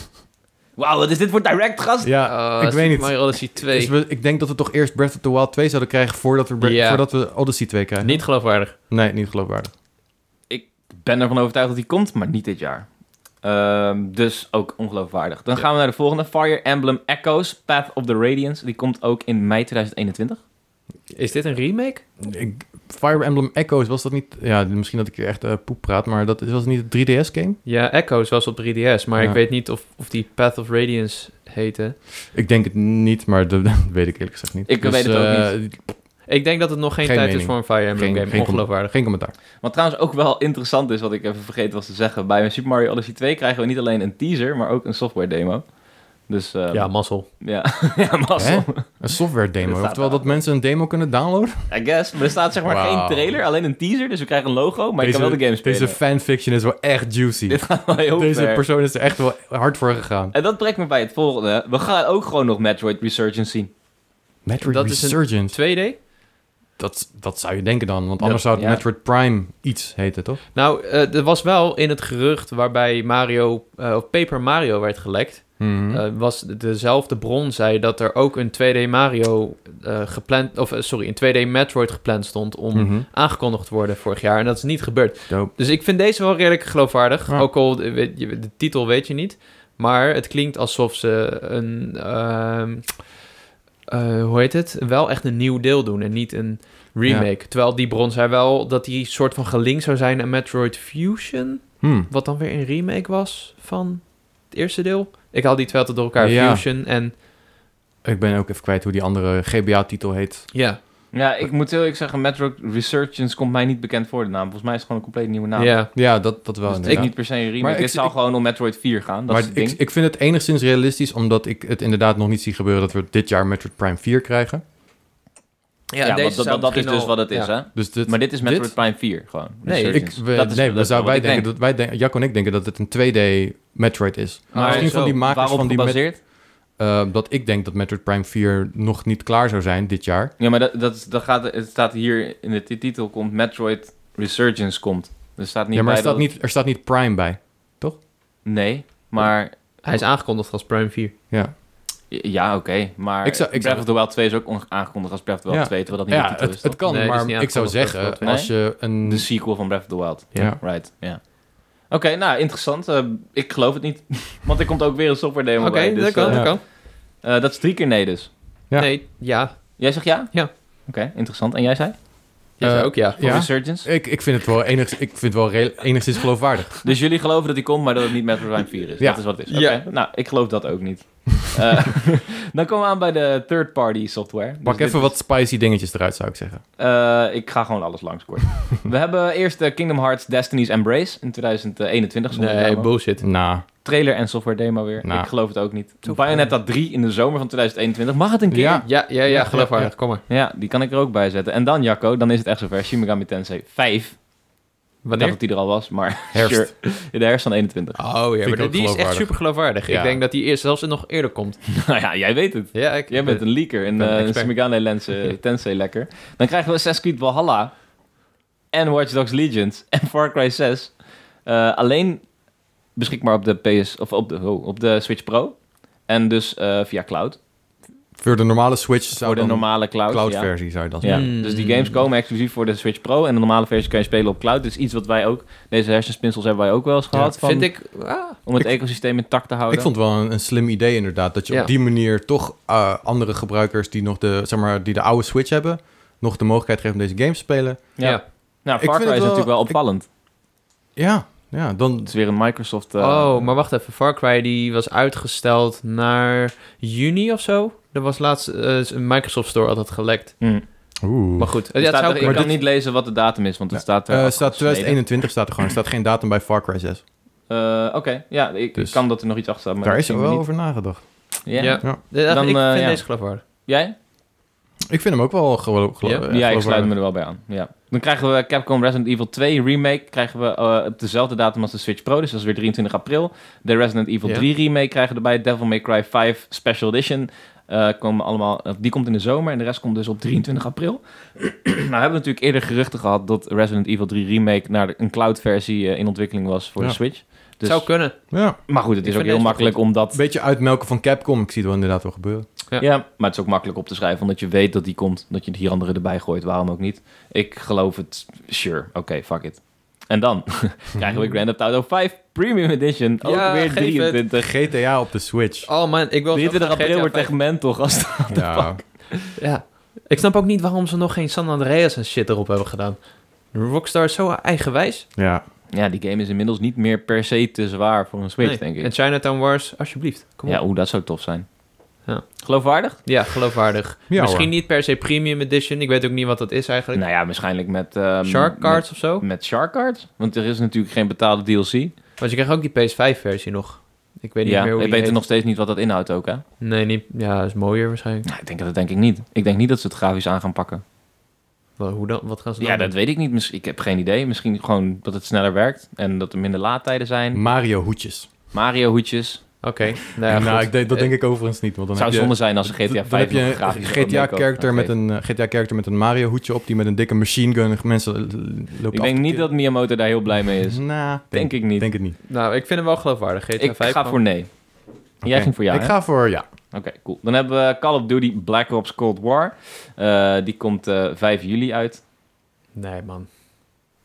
Wauw, wat is dit voor direct, gast?
ja,
Oh,
ik
Super
weet niet.
Mario Odyssey 2.
Dus we- ik denk dat we toch eerst Breath of the Wild 2 zouden krijgen voordat we, Bre-
Ja.
voordat we Odyssey 2 krijgen.
Niet geloofwaardig.
Nee, niet geloofwaardig.
Ik ben ervan overtuigd dat die komt, maar niet dit jaar. Ehm, dus ook ongeloofwaardig. Dan
Ja.
gaan we naar de volgende, Fire Emblem Echoes, Path of the Radiance. Die komt ook in mei 2021.
Is dit een remake?
Ik- Fire Emblem Echoes, was dat niet... Ja, misschien dat ik hier echt eh, poep praat, maar dat is- was het niet een 3DS-game?
Ja, Echoes was op 3DS, maar
Ja.
ik weet niet of, of die Path of Radiance heette.
Ik denk het niet, maar dat dat weet ik eerlijk gezegd niet.
Ik weet het ook
eh,
Ik denk dat het nog geen,
Geen
tijd is
mening.
voor een Fire Emblem
Geen-
game.
geen
Ongeloofwaardig.
Geen commentaar.
Wat trouwens ook wel interessant is, wat ik even vergeten was te zeggen. Bij Super Mario Odyssey 2 krijgen we niet alleen een teaser, maar ook een software demo. Dus ehm,
Ja, mazzel.
Ja, ja mazzel.
Hè? Een software demo.
Dat staat
Oftewel
wel.
dat mensen een demo kunnen downloaden.
I guess. Maar er staat zeg maar
Wauw.
geen trailer, alleen een teaser. Dus we krijgen een logo, maar je kan wel de game spelen.
Deze fanfiction is wel echt juicy.
Dit gaat wel heel
Deze
ver.
persoon is er echt wel hard voor gegaan.
En dat brengt me bij het volgende. We gaan ook gewoon nog Metroid Resurgence zien.
Metroid
Dat is een-
Resurgence.
2D?
Dat, dat zou je denken dan, want
Ja,
anders zou het
ja.
Metroid Prime iets heten, toch?
Nou, eh, er was wel in het gerucht waarbij Mario, eh, of Paper Mario werd gelekt.
Mm-hmm.
eh, was dezelfde bron zei dat er ook een 2D Mario eh, gepland, of eh, sorry, een 2D Metroid gepland stond om
Mhm.
aangekondigd te worden vorig jaar. En dat is niet gebeurd.
Dope.
Dus ik vind deze wel redelijk geloofwaardig.
Ja.
Ook al eh, weet je- de titel weet je niet. Maar het klinkt alsof ze een. ehm, eh, hoe heet het? Wel echt een nieuw deel doen en niet een remake. Terwijl die bron zei wel dat die soort van gelinkt zou zijn aan Metroid Fusion.
Hmm.
Wat dan weer een remake was van het eerste deel. Ik haal die twee altijd door elkaar.
Ja.
Fusion en...
Ik ben ook even kwijt hoe die andere GBA-titel heet.
Ja.
Ja, ik moet heel eerlijk zeggen, Metroid Resurgence komt mij niet bekend voor de naam. Volgens mij is het gewoon een compleet nieuwe naam.
ja.
Ja, dat, dat wel.
Dus ik
inderdaad.
niet per se een remake.
Maar ik-
Dit zou
ik-
gewoon om Metroid 4 gaan. Dat
maar
is het
ik,
ding.
ik vind het enigszins realistisch, omdat ik het inderdaad nog niet zie gebeuren dat we dit jaar Metroid Prime 4 krijgen.
ja, want dat, dat, dat is dus wat het is, hè?
Dus dit,
Maar dit is Metroid
dit-
Prime 4 gewoon.
Nee, ik-
Ik,
Resurgence.
we,
Dat is-
nee,
dat
we
is
zouden
wat
wij
ik
denken
denk.
dat wij denken, Jack en ik denken dat het een 2D Metroid is.
Maar
Misschien van
zo,
die makers
waarop
van die Met-
gebaseerd?
eh, dat ik denk dat Metroid Prime 4 nog niet klaar zou zijn dit jaar.
Ja, maar dat, dat, is- dat gaat, het staat hier in de ti- titel komt Metroid Resurgence komt. Er staat niet
ja, maar
bij
er staat
dat-
niet, er staat niet Prime bij.
Nee, maar...
Hij is aangekondigd als Prime 4.
Ja,
Ja, oké. maar
Ik zou- ik
Breath
zou-
of the Wild 2 is ook on- aangekondigd als Breath of the Wild
Ja.
2, terwijl dat niet
ja
de titel
het,
is.
het kan,
Nee, het is
maar
niet
ik zou
aangekondigd, dat
zeggen,
klopt.
als je een...
toch? De sequel van Breath of the Wild.
ja.
Right, ja. Oké, nou, interessant. Eh, ik geloof het niet, want er komt ook weer een software demo
Oké,
bij. dus,
dat kan,
eh,
dat kan.
Eh, dat is drie keer nee dus.
Ja.
Nee, ja.
Jij zegt ja?
Ja.
Oké, interessant. En jij zei?
Jij zei
Eh,
ook ja.
Voor
Ja.
Resurgence.
Ik, ik vind het wel, enig, ik vind het wel re- enigszins geloofwaardig.
Dus jullie geloven dat die komt, maar dat het niet Metroid Prime 4 is.
Ja.
Dat is wat het is. Oké,
Ja.
nou, ik geloof dat ook niet. Eh, dan komen we aan bij de third-party software. Dus
Pak
dit
even wat spicy dingetjes eruit, zou ik zeggen.
Eh, ik ga gewoon alles langs kort. we hebben eerst eh, Kingdom Hearts Destiny's Embrace in 2021. zonder
Nee,
demo.
bullshit.
Nou,
Trailer en software demo weer.
Nou.
Ik geloof het ook niet.
Zo
Bayonetta 3 in de zomer van 2021. Mag het een keer?
Ja.
Ja.
Ja, ja,
Ja,
ja, geloofwaardig. Kom maar.
die kan ik er ook bij zetten. En dan, Jacco, dan is het echt zover. Shin Megami Tensei 5. Ik dacht
Wanneer?
dat die er al was, maar...
herfst.
sure. In de herfst van 21.
Oh ja,
ik
maar
ook
die is echt
geloofwaardig.
super geloofwaardig.
Ja.
Ik denk dat die eerst zelfs nog eerder komt.
nou ja, jij weet het.
Ja, ik,
Jij bent een leaker in
ben een
eh
expert.
Shin Megami Lens, eh, Tensei lekker. Dan krijgen we Assassin's Creed Valhalla en Watch Dogs Legions en Far Cry 6. Eh, alleen beschikbaar op de PS of op de, oh, op de Switch Pro en dus eh, via cloud.
Voor de normale Switch zou
Voor de
dan
normale cloud. ja.
cloud-versie zou je dat
Ja,
zeggen.
Mm.
dus die games komen exclusief voor de Switch Pro en de normale versie kan je spelen op cloud. Dus iets wat wij ook, deze hersenspinsels hebben wij ook wel eens gehad van,
Vind ik... ah,
om het
ik-
ecosysteem intact te houden.
Ik vond het wel een, een slim idee inderdaad. Dat je
Ja.
op die manier toch eh, andere gebruikers die nog de, zeg maar, die de oude Switch hebben, nog de mogelijkheid geeft om deze game te spelen.
ja.
ja.
Nou,
Ik
Far
vind
Cry
het
is
wel-
natuurlijk wel
ik-
opvallend.
Ja, ja dan
Het is weer een Microsoft... eh,
Oh, maar wacht even. Far Cry die was uitgesteld naar juni of zo. Er was laatst eh, een Microsoft Store altijd gelekt.
hm.
Oeh.
Maar goed,
Er
eh, ja, het
staat
zou
er-
kunnen.
ik kan
dit-
niet lezen wat de datum is, want het
Ja.
staat er.
Eh, staat
afgesneden.
2021 staat er gewoon. Er staat geen datum bij Far Cry 6.
Eh, Oké, ja, ik, ik
Dus-
kan dat er nog iets achter staat. Maar
Daar
dat
is er
zien we
wel
niet.
over nagedacht.
Ja.
Ja.
Ja.
Ja,
Dan,
ik
eh,
vind
ja.
deze geloofwaardig.
Jij?
Ik vind hem ook wel gelo- gelo-
Ja?
eh,
Ja, ik sluit
geloofwaardig.
me er wel bij aan. Ja. Dan krijgen we Capcom Resident Evil 2 Remake. Krijgen we eh, op dezelfde datum als de Switch Pro, dus dat is weer 23 april. De Resident Evil
Ja.
3 Remake krijgen we erbij. Devil May Cry 5 Special Edition. eh, komen allemaal, eh, die komt in de zomer en de rest komt dus op 23 april. nou hebben we natuurlijk eerder geruchten gehad dat Resident Evil 3 Remake naar de- een cloud versie eh, in ontwikkeling was voor
Ja.
de Switch. Dus,
Zou kunnen.
Ja,
maar goed, het
Ik
is ook
vind
heel
deze
makkelijk om dat
een beetje uitmelken van Capcom. Ik zie het wel inderdaad wel gebeuren.
Ja. maar het is ook makkelijk op te schrijven, omdat je weet dat die komt, dat je hier andere erbij gooit, waarom ook niet. Ik geloof het, sure, oké, fuck it. En dan krijgen we Grand Theft Auto 5 Premium Edition, ook
Ja,
weer
geef het.
23.
GTA op de Switch.
Oh man, ik wil...
23
zo graag
april
GTA
wordt echt mental, gast.
ja.
vijf- Ja. Ik snap ook niet waarom ze nog geen San Andreas en shit erop hebben gedaan. Rockstar is zo eigenwijs.
ja.
Ja, die game is inmiddels niet meer per se te zwaar voor een Switch,
Nee.
denk
En
ik.
Chinatown Wars, alsjeblieft. Kom op.
Ja, oeh, dat zou tof zijn.
Ja.
Geloofwaardig?
Ja, geloofwaardig.
Ja,
Misschien
hoor.
niet per se Premium Edition. Ik weet ook niet wat dat is eigenlijk.
Nou ja, waarschijnlijk met... ehm,
Shark Cards of zo?
Met, met Shark Cards? Want er is natuurlijk geen betaalde DLC.
Want je krijgt ook die PS5-versie nog. Ik weet niet
ja,
meer hoe
ik
die
weet
heet.
nog steeds niet wat dat inhoudt ook, hè?
Nee, niet... ja, is mooier waarschijnlijk.
Nou, ik denk dat dat denk ik niet. Ik denk niet dat ze het grafisch aan gaan pakken.
Wel, hoe dan? Wat gaan ze dan
Ja,
doen?
dat weet ik niet. Miss- Ik heb geen idee. Misschien gewoon dat het sneller werkt en dat er minder laadtijden zijn.
Mario hoedjes.
Mario hoedjes.
Oké. Nou, ja,
nou,
goed.
ik denk- dat denk ik overigens niet. Want dan
Het Eh,
heb
zou
je-
zonde zijn als een GTA 5
Dan heb je
nog
een
grafisch erop
GTA
meekomt.
character met
Oké.
een eh, GTA character met een Mario hoedje op die met een dikke machine gun mensen l- l- loopt.
Ik denk niet dat Miyamoto daar heel blij mee is.
Nou,
Denk ik niet.
Denk het niet.
Nou, ik vind hem wel geloofwaardig. GTA
Ik
5
ga
gewoon.
voor nee. Jij
Oké.
ging voor ja.
Ik
hè?
ga voor ja.
Oké, cool. Dan hebben we Call of Duty Black Ops Cold War. Eh, die komt eh, 5 juli uit.
Nee, man.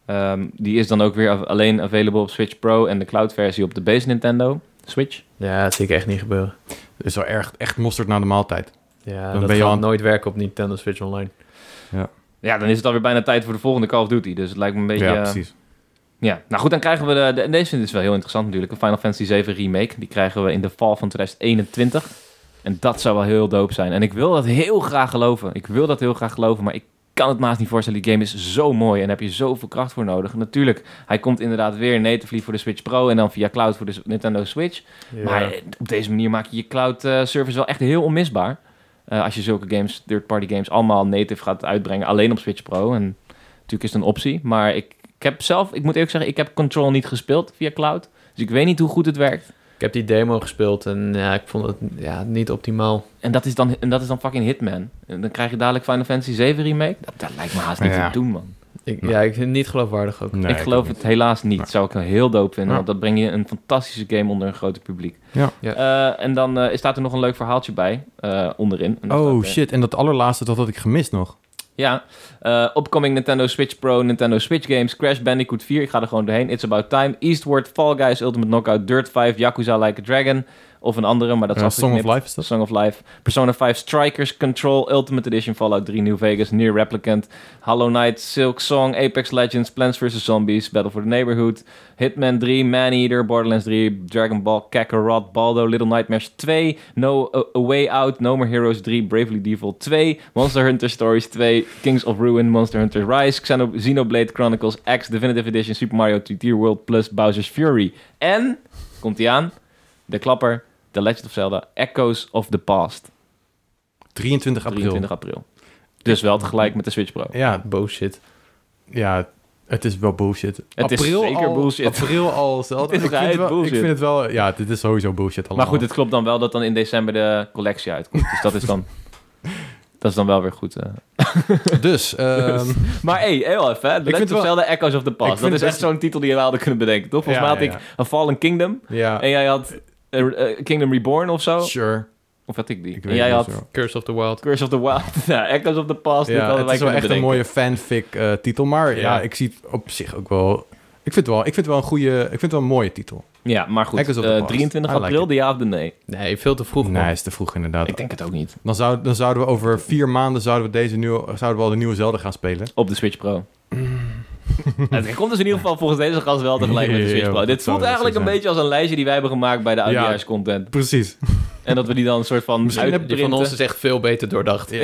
Ehm, die is dan ook weer af- alleen available op Switch Pro en de cloud versie op de base Nintendo Switch.
Ja, dat zie ik echt niet gebeuren.
Dat is wel erg, echt mosterd na de maaltijd.
Ja,
Dan
dat
ben je
gaat
aan-
nooit werken op Nintendo Switch Online.
Ja, dan is het alweer bijna tijd voor de volgende Call of Duty. Dus het lijkt me een beetje...
ja,
eh,
precies.
Ja, nou goed, dan krijgen we de, de- en deze is wel heel interessant natuurlijk, een Final Fantasy 7 remake. Die krijgen we in de val van 2021. En dat zou wel heel dope zijn. En ik wil dat heel graag geloven. Ik wil dat heel graag geloven, maar ik kan het maast niet voorstellen. Die game is zo mooi en daar heb je zoveel kracht voor nodig. Natuurlijk, hij komt inderdaad weer natively voor de Switch Pro en dan via cloud voor de S- Nintendo Switch. Maar eh, op deze manier maak je je cloud eh, service wel echt heel onmisbaar. Eh, als je zulke games, third-party games, allemaal native gaat uitbrengen, alleen op Switch Pro. En natuurlijk is het een optie. Maar ik, ik heb zelf, ik moet eerlijk zeggen, ik heb Control niet gespeeld via cloud. Dus ik weet niet hoe goed het werkt.
Ik heb die demo gespeeld en ja, ik vond het ja, niet optimaal.
En dat is dan, en dat is dan fucking Hitman. En dan krijg je dadelijk Final Fantasy 7 remake. Dat, dat lijkt me haast niet
Ja.
te doen, man.
Ik,
Nee.
Ja, ik vind het niet geloofwaardig ook.
Nee,
ik geloof
ook
het
niet.
helaas niet. Zou ik wel heel dope vinden.
Ja.
Want dat breng je een fantastische game onder een grote publiek.
Ja.
Ja.
Eh, en dan eh, staat er nog een leuk verhaaltje bij eh, onderin. En daar
Oh
staat, eh,
shit, en dat allerlaatste dat had ik gemist nog.
Ja, eh, upcoming Nintendo Switch Pro, Nintendo Switch games, Crash Bandicoot 4, ik ga er gewoon doorheen, It's About Time, Eastward, Fall Guys, Ultimate Knockout, Dirt 5, Yakuza Like a Dragon, Of een andere, maar dat is
Eh, Song of
afgeknipt.
Life is dat?
Song of Life, Persona 5 Strikers, Control, Ultimate Edition, Fallout 3, New Vegas, Near Replicant, Hollow Knight, Silk Song, Apex Legends, Plants vs. Zombies, Battle for the Neighborhood, Hitman 3, Maneater, Borderlands 3, Dragon Ball, Kakarot, Baldo, Little Nightmares 2, No A, A Way Out, No More Heroes 3, Bravely Default 2, Monster Hunter Stories 2, Kings of Ruin, Monster Hunter Rise, Xeno- Xenoblade Chronicles X, Definitive Edition, Super Mario 3D World plus Bowser's Fury. En, komt ie aan, de klapper, The Legend of Zelda Echoes of the Past.
23 april.
23 april. Dus wel tegelijk met de Switch Pro.
Ja,
Bullshit.
ja, het is wel bullshit.
Het is zeker
al,
bullshit.
April al zelden.
Het is
ik, vind
geheid
wel-
bullshit.
ik vind het wel... Ja, dit is sowieso bullshit allemaal.
Maar goed, het klopt dan wel dat dan in december de collectie uitkomt. Dus dat is dan, dat is dan wel weer goed. eh.
Dus, ehm,
Maar hey, heel even. hè. The
vind
Legend of
wel-
Zelda Echoes of the
Ik
Past.
vind
Dat is
het
echt
best-
zo'n titel die we hadden kunnen bedenken, toch? Volgens
Ja,
mij
ja,
had ik een Fallen Kingdom.
ja,
En jij had eh, eh, Kingdom Reborn of zo.
sure.
Of had ik die?
Ik
en jij
het
had
niet zo.
Curse of the Wild.
Curse of the Wild. nou, Echoes of the Past. dit
Ja,
hadden
het
wij
is wel
kunnen
echt een
bedenken.
mooie fanfic eh, titel. Maar ja.
Ja.
ik zie het op zich ook wel... Ik vind het wel, ik vind het wel een goede... Ik vind het wel een mooie titel.
Ja, maar goed.
Echoes of the
eh,
Past.
23
I like
april,
it.
de ja of de nee?
Nee, veel te vroeg. man.
Nee, is te vroeg inderdaad.
Ik denk het ook niet.
Dan, zou, dan zouden we over vier maanden zouden we deze nieuwe, zouden we al de nieuwe Zelda gaan spelen.
Op de Switch Pro. het komt dus in ieder geval volgens deze gast wel tegelijk met de Switch
Ja,
Pro.
dat
Dit
zou
voelt
wel
eigenlijk
zo
een
zijn.
beetje als een lijstje die wij hebben gemaakt bij de
Ja.
oudejaarscontent.
Precies.
En dat we die dan een soort van
Misschien
Die van
uitprinten.
ons is echt veel beter doordacht.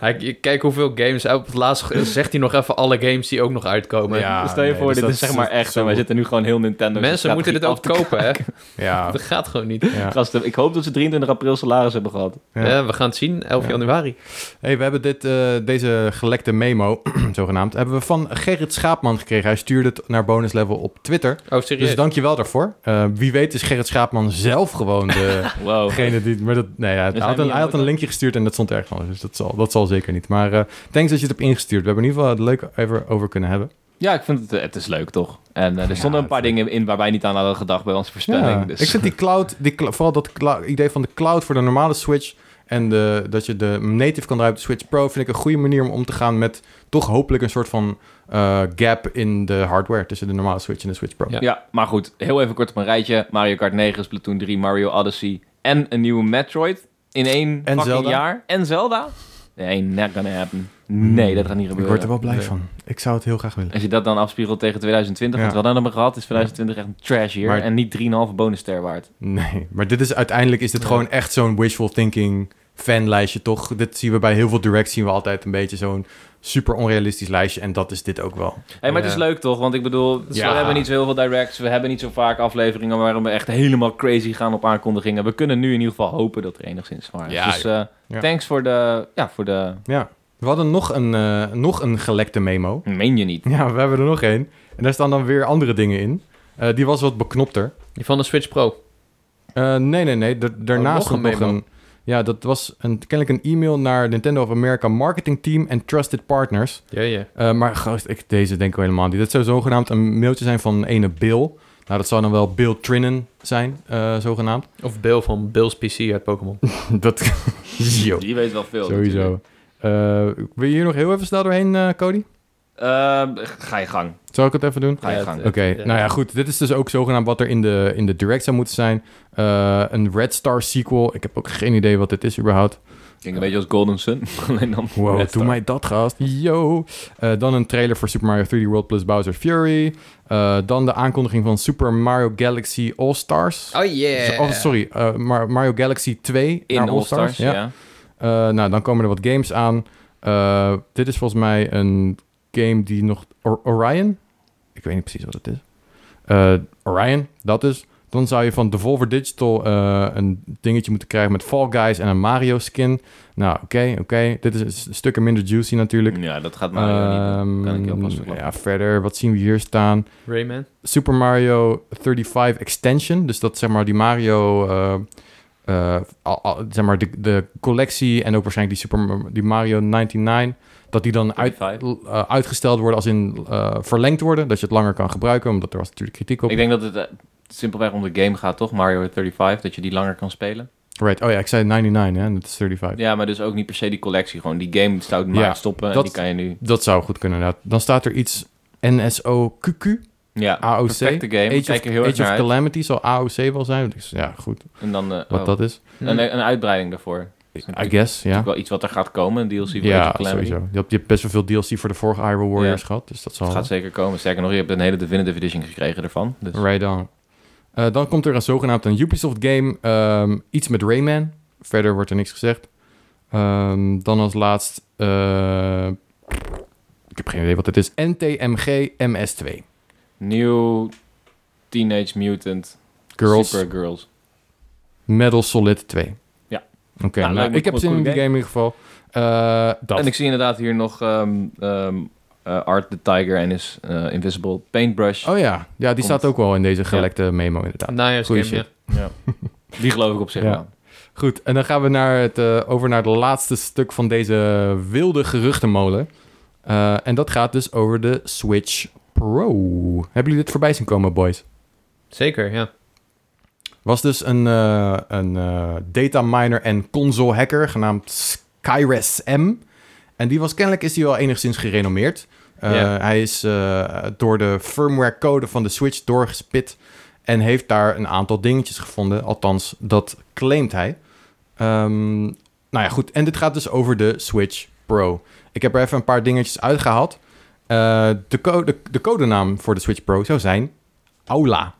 Hij- je- Kijk hoeveel games. Op het laatst zegt hij nog even alle games die ook nog uitkomen.
Ja,
Oh,
Dus
Stel je
nee,
voor,
dus
dit
dat
is zeg maar echt.
zo-
en wij zitten nu gewoon heel Nintendo.
Mensen moeten dit ook kopen, hè?
Ja.
Dat gaat gewoon niet.
ja.
Gasten, ik hoop dat ze 23 april salaris hebben gehad.
Ja.
Ja, we gaan het zien, 11
Ja.
januari.
Hey, we hebben dit, eh, deze gelekte memo, zogenaamd, hebben we van Gerrit Schaapman gekregen. Hij stuurde het naar bonus level op Twitter.
Oh, serieus?
Dus dankjewel daarvoor. Eh, wie weet is Gerrit Schaapman zelf gewoon de,
Wow.
degene die... Maar dat, nee, ja, hij,
hij
had een,
niet
hij had een
ook?
linkje gestuurd en dat stond ergens anders. Dus dat zal, dat zal zeker niet. Maar eh thanks dat je het hebt ingestuurd. We hebben in ieder geval het leuk even over kunnen hebben.
Ja, ik vind het, eh, het is leuk toch? En eh, er stonden
Ja,
een paar
het-
dingen in waar wij niet aan hadden gedacht bij onze voorspelling.
Ja,
dus.
Ik vind die cloud, die, cl- vooral dat clou- idee van de cloud voor de normale Switch en de, dat je de native kan draaien op de Switch Pro, vind ik een goede manier om om te gaan met toch hopelijk een soort van eh, gap in de hardware tussen de normale Switch en de Switch Pro.
Ja.
Ja, maar goed, heel even kort op een rijtje. Mario Kart 9, Splatoon 3, Mario Odyssey en een nieuwe Metroid in één fucking
Zelda.
jaar. En Zelda? Nee, not gonna happen. Nee, dat gaat niet
Ik
gebeuren.
word er wel blij
Nee.
van. Ik zou het heel graag willen.
Als je dat dan afspiegelt tegen 2020,
Ja.
wat we dan hebben gehad, is 2020 echt een trash year
Maar-
en niet 3,5 bonusster waard.
Nee, maar dit is uiteindelijk is dit
Ja.
gewoon echt zo'n wishful thinking fanlijstje, toch? Dit zien we bij heel veel direct zien we altijd een beetje zo'n super onrealistisch lijstje en dat is dit ook wel.
Hey, maar het is
Ja.
leuk toch? Want ik bedoel,
Ja.
we hebben niet zo heel veel directs, we hebben niet zo vaak afleveringen waarin we echt helemaal crazy gaan op aankondigingen. We kunnen nu in ieder geval hopen dat er enigszins waar is.
Ja,
dus eh,
Ja.
thanks voor de, ja, voor de,
Ja. We hadden nog een, eh, nog een gelekte memo.
meen je niet.
Ja, we hebben er nog één. En daar staan dan weer andere dingen in. Eh, die was wat beknopter.
Die van de Switch Pro.
Eh, nee, nee, nee. da- daarnaast
nog een
stond Oh, nog
memo.
een... Ja, dat was een, kennelijk een e-mail naar Nintendo of America Marketing Team en Trusted Partners.
Ja, ja.
Eh, maar gast, ik, deze denk ik wel helemaal niet. Dat zou zogenaamd een mailtje zijn van ene Bill. Nou, dat zou dan wel Bill Trinnen zijn, eh, zogenaamd.
Of Bill van Bill's PC uit Pokémon.
dat... Yo,
Die weet wel veel. natuurlijk.
sowieso. Eh, wil je hier nog heel even snel doorheen, eh, Cody?
Eh, ga je gang.
Zal ik het even doen?
Ga je
Ja,
gang.
Oké,
het- eh,
okay,
Ja.
nou ja, goed. Dit is dus ook zogenaamd wat er in de, in de direct zou moeten zijn. Eh, een Red Star sequel. Ik heb ook geen idee wat dit is überhaupt.
Klinkt een beetje als Golden Sun. Alleen dan
Wow,
Red
doe
Star.
mij dat, gast. Yo. Eh, dan een trailer voor Super Mario 3D World plus Bowser Fury. Eh, dan de aankondiging van Super Mario Galaxy All-Stars.
Oh yeah.
Oh, sorry. eh, Mar- Mario Galaxy 2
In
naar
All-Stars, ja.
Eh, nou, dan komen er wat games aan. Eh, dit is volgens mij een game die nog... Or- Orion? Ik weet niet precies wat het is. Eh, Orion, dat is. Dan zou je van Devolver Digital eh, een dingetje moeten krijgen met Fall Guys en een Mario skin. Nou, oké, oké. Dit is een s- stukken minder juicy natuurlijk.
Ja, dat gaat Mario niet. doen. Kan ik heel vast
Ehm,
verklappen.
Ja, verder. Wat zien we hier staan?
Rayman.
Super Mario 35 extension. Dus dat zeg maar die Mario, eh, eh, al- al- zeg maar de, de collectie en ook waarschijnlijk die, Super, die Mario 99, dat die dan uit,
35.
eh, uitgesteld worden als in eh, verlengd worden. Dat je het langer kan gebruiken, omdat er was natuurlijk kritiek op.
Ik denk dat het eh, simpelweg om de game gaat, toch? Mario 35, dat je die langer kan spelen.
Right, oh ja, ik zei 99 hè, en dat is 35.
Ja, maar dus ook niet per se die collectie. Gewoon die game zou het maar
Ja,
stoppen en
dat-
die kan je nu...
Dat zou goed kunnen inderdaad. Dan staat er iets NSOQQ.
Ja,
AOC.
perfecte game.
Age
Kijk
of,
er heel erg
Age of
naar uit.
Calamity zal AOC wel zijn. Dus ja, goed.
En dan eh,
Wat
oh,
dat is.
een, een uitbreiding daarvoor. Dat is
I
natuurlijk
guess, ja.
wel iets wat er gaat komen, een DLC voor Age
Ja,
of Calamity.
sowieso. Je hebt, je hebt best wel veel DLC voor de vorige Iron Warriors gehad. Dus dat zal...
Het gaat zeker komen. Sterker nog, je hebt een hele Definitive Edition gekregen ervan. Dus.
Right on. Eh, dan komt er een zogenaamd een Ubisoft game. ehm, iets met Rayman. Verder wordt er niks gezegd. Ehm, dan als laatst... eh, ik heb geen idee wat het is. NTMG MS2.
Nieuw Teenage Mutant
Girls
Super Girls.
Metal Solid 2.
Ja.
Oké, nou,
Nou, lijkt me
ik heb
een
zin in
coole
die game in ieder geval. Eh, dat.
En ik zie inderdaad hier nog ehm, ehm, eh, Art the Tiger en is eh, Invisible Paintbrush.
Oh ja, ja die
Komt.
staat ook wel in deze gelekte memo inderdaad.
Najaarsgame,
Goeie
ja.
Die geloof ik op zich
Ja.
wel.
Goed, en dan gaan we naar het, eh, over naar het laatste stuk van deze wilde geruchtenmolen. Eh, en dat gaat dus over de Switch Pro. Hebben jullie dit voorbij zien komen, boys?
Zeker, ja.
Was dus een, eh een eh dataminer en console hacker genaamd Skyres M. En die was kennelijk is die wel enigszins gerenommeerd. Eh,
Ja.
Hij is eh, door de firmware code van de Switch doorgespit en heeft daar een aantal dingetjes gevonden. Althans, dat claimt hij. Ehm, nou ja, goed. En dit gaat dus over de Switch Pro. Ik heb er even een paar dingetjes uitgehaald. Eh, de, code, de codenaam voor de Switch Pro zou zijn Aula.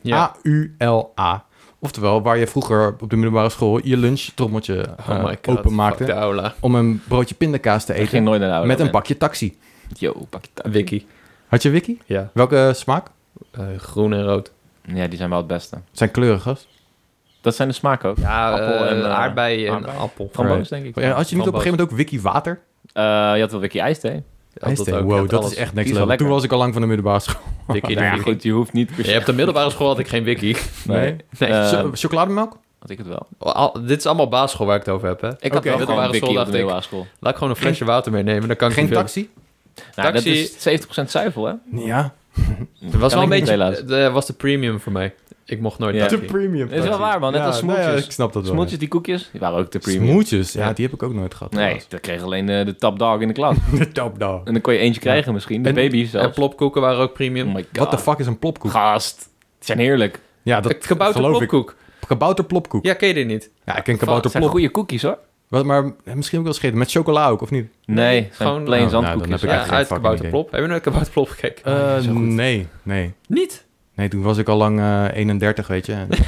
ja.
A-U-L-A. Oftewel, waar je vroeger op de middelbare school je lunchtrommeltje
oh my
open
god, fuck de
Ah, eh, openmaakte
aula.
om een broodje pindakaas te
Ik ging
eten
nooit naar de oude
met een
band.
bakje taxi.
Yo, bakje taart.
Wiki,
Had je wiki?
ja.
Welke smaak?
Eh, groen en rood.
Ja, die zijn wel het beste.
Zijn kleurig, gast.
Dat zijn de smaak ook.
Ja,
Appel en,
en,
eh,
aardbei en
aardbei.
appel.
Framboos, denk ik.
Ja, Had je niet op een gegeven moment ook wiki water?
Eh, je had wel Wiki IJsthee.
Ja,
Hij zei,
ook,
wow,
ja,
dat
alles.
is echt
Die
niks
is wel
leuk.
lekker.
Toen was ik al lang van de middelbare school.
Wiki,
Nou ja,
wiki.
goed, je hoeft niet per
Je
se-
hebt de middelbare school had ik geen wiki.
Nee.
Nee,
Eh,
Cho- chocolademelk?
had ik het wel.
Al- dit is allemaal basisschool waar ik het over heb, hè.
Ik
Oké,
had wel
middelbare
gewoon
school
Wiki op
dacht
de
ik.
middelbare school.
Laat ik gewoon een flesje water meenemen, dan kan ik
Geen
niet veel-
taxi?
Nou, dat
Taxi-
is 70% zuivel, hè?
Ja.
Dat
Het was wel een beetje...
Helaas.
Dat was de premium voor mij. Ik mocht nooit
Ja.
taxi.
De premium.
Is wel
taxi.
waar, man. Net
Ja,
als smoeltjes.
nou ja, ik snap dat wel.
Smoeltjes, die koekjes, die waren ook de premium.
Smoeltjes? Ja,
Ja.
die heb ik ook nooit gehad.
Nee, dat kreeg alleen eh, de top dog in de klas.
De top dog.
en dan kon je eentje krijgen misschien. De
En-
baby zelfs.
En plopkoeken waren ook premium.
Mm,
Oh my god.
What the fuck is een plopkoek?
Gast. Het zijn heerlijk.
Ja, dat
Het gebouwde
geloof ik.
plopkoek.
Kabouter plopkoek.
Ja, ken je dit niet?
Ja, ik ken
Het
kabouter
zijn
plop.
goede koekjes hoor.
Wat, maar eh, misschien ook wel scheten. Met chocola ook, of niet?
Nee, het zijn
gewoon-
plain
Oh, nou,
zandkoekjes.
dan heb ik echt
Ja,
geen
uit
fucking
kabouter
idee.
plop. Heb je nooit kabouter plop gekeken?
Eh, nee, nee.
Niet?
Nee, toen was ik al lang eh, 31, weet je. En toen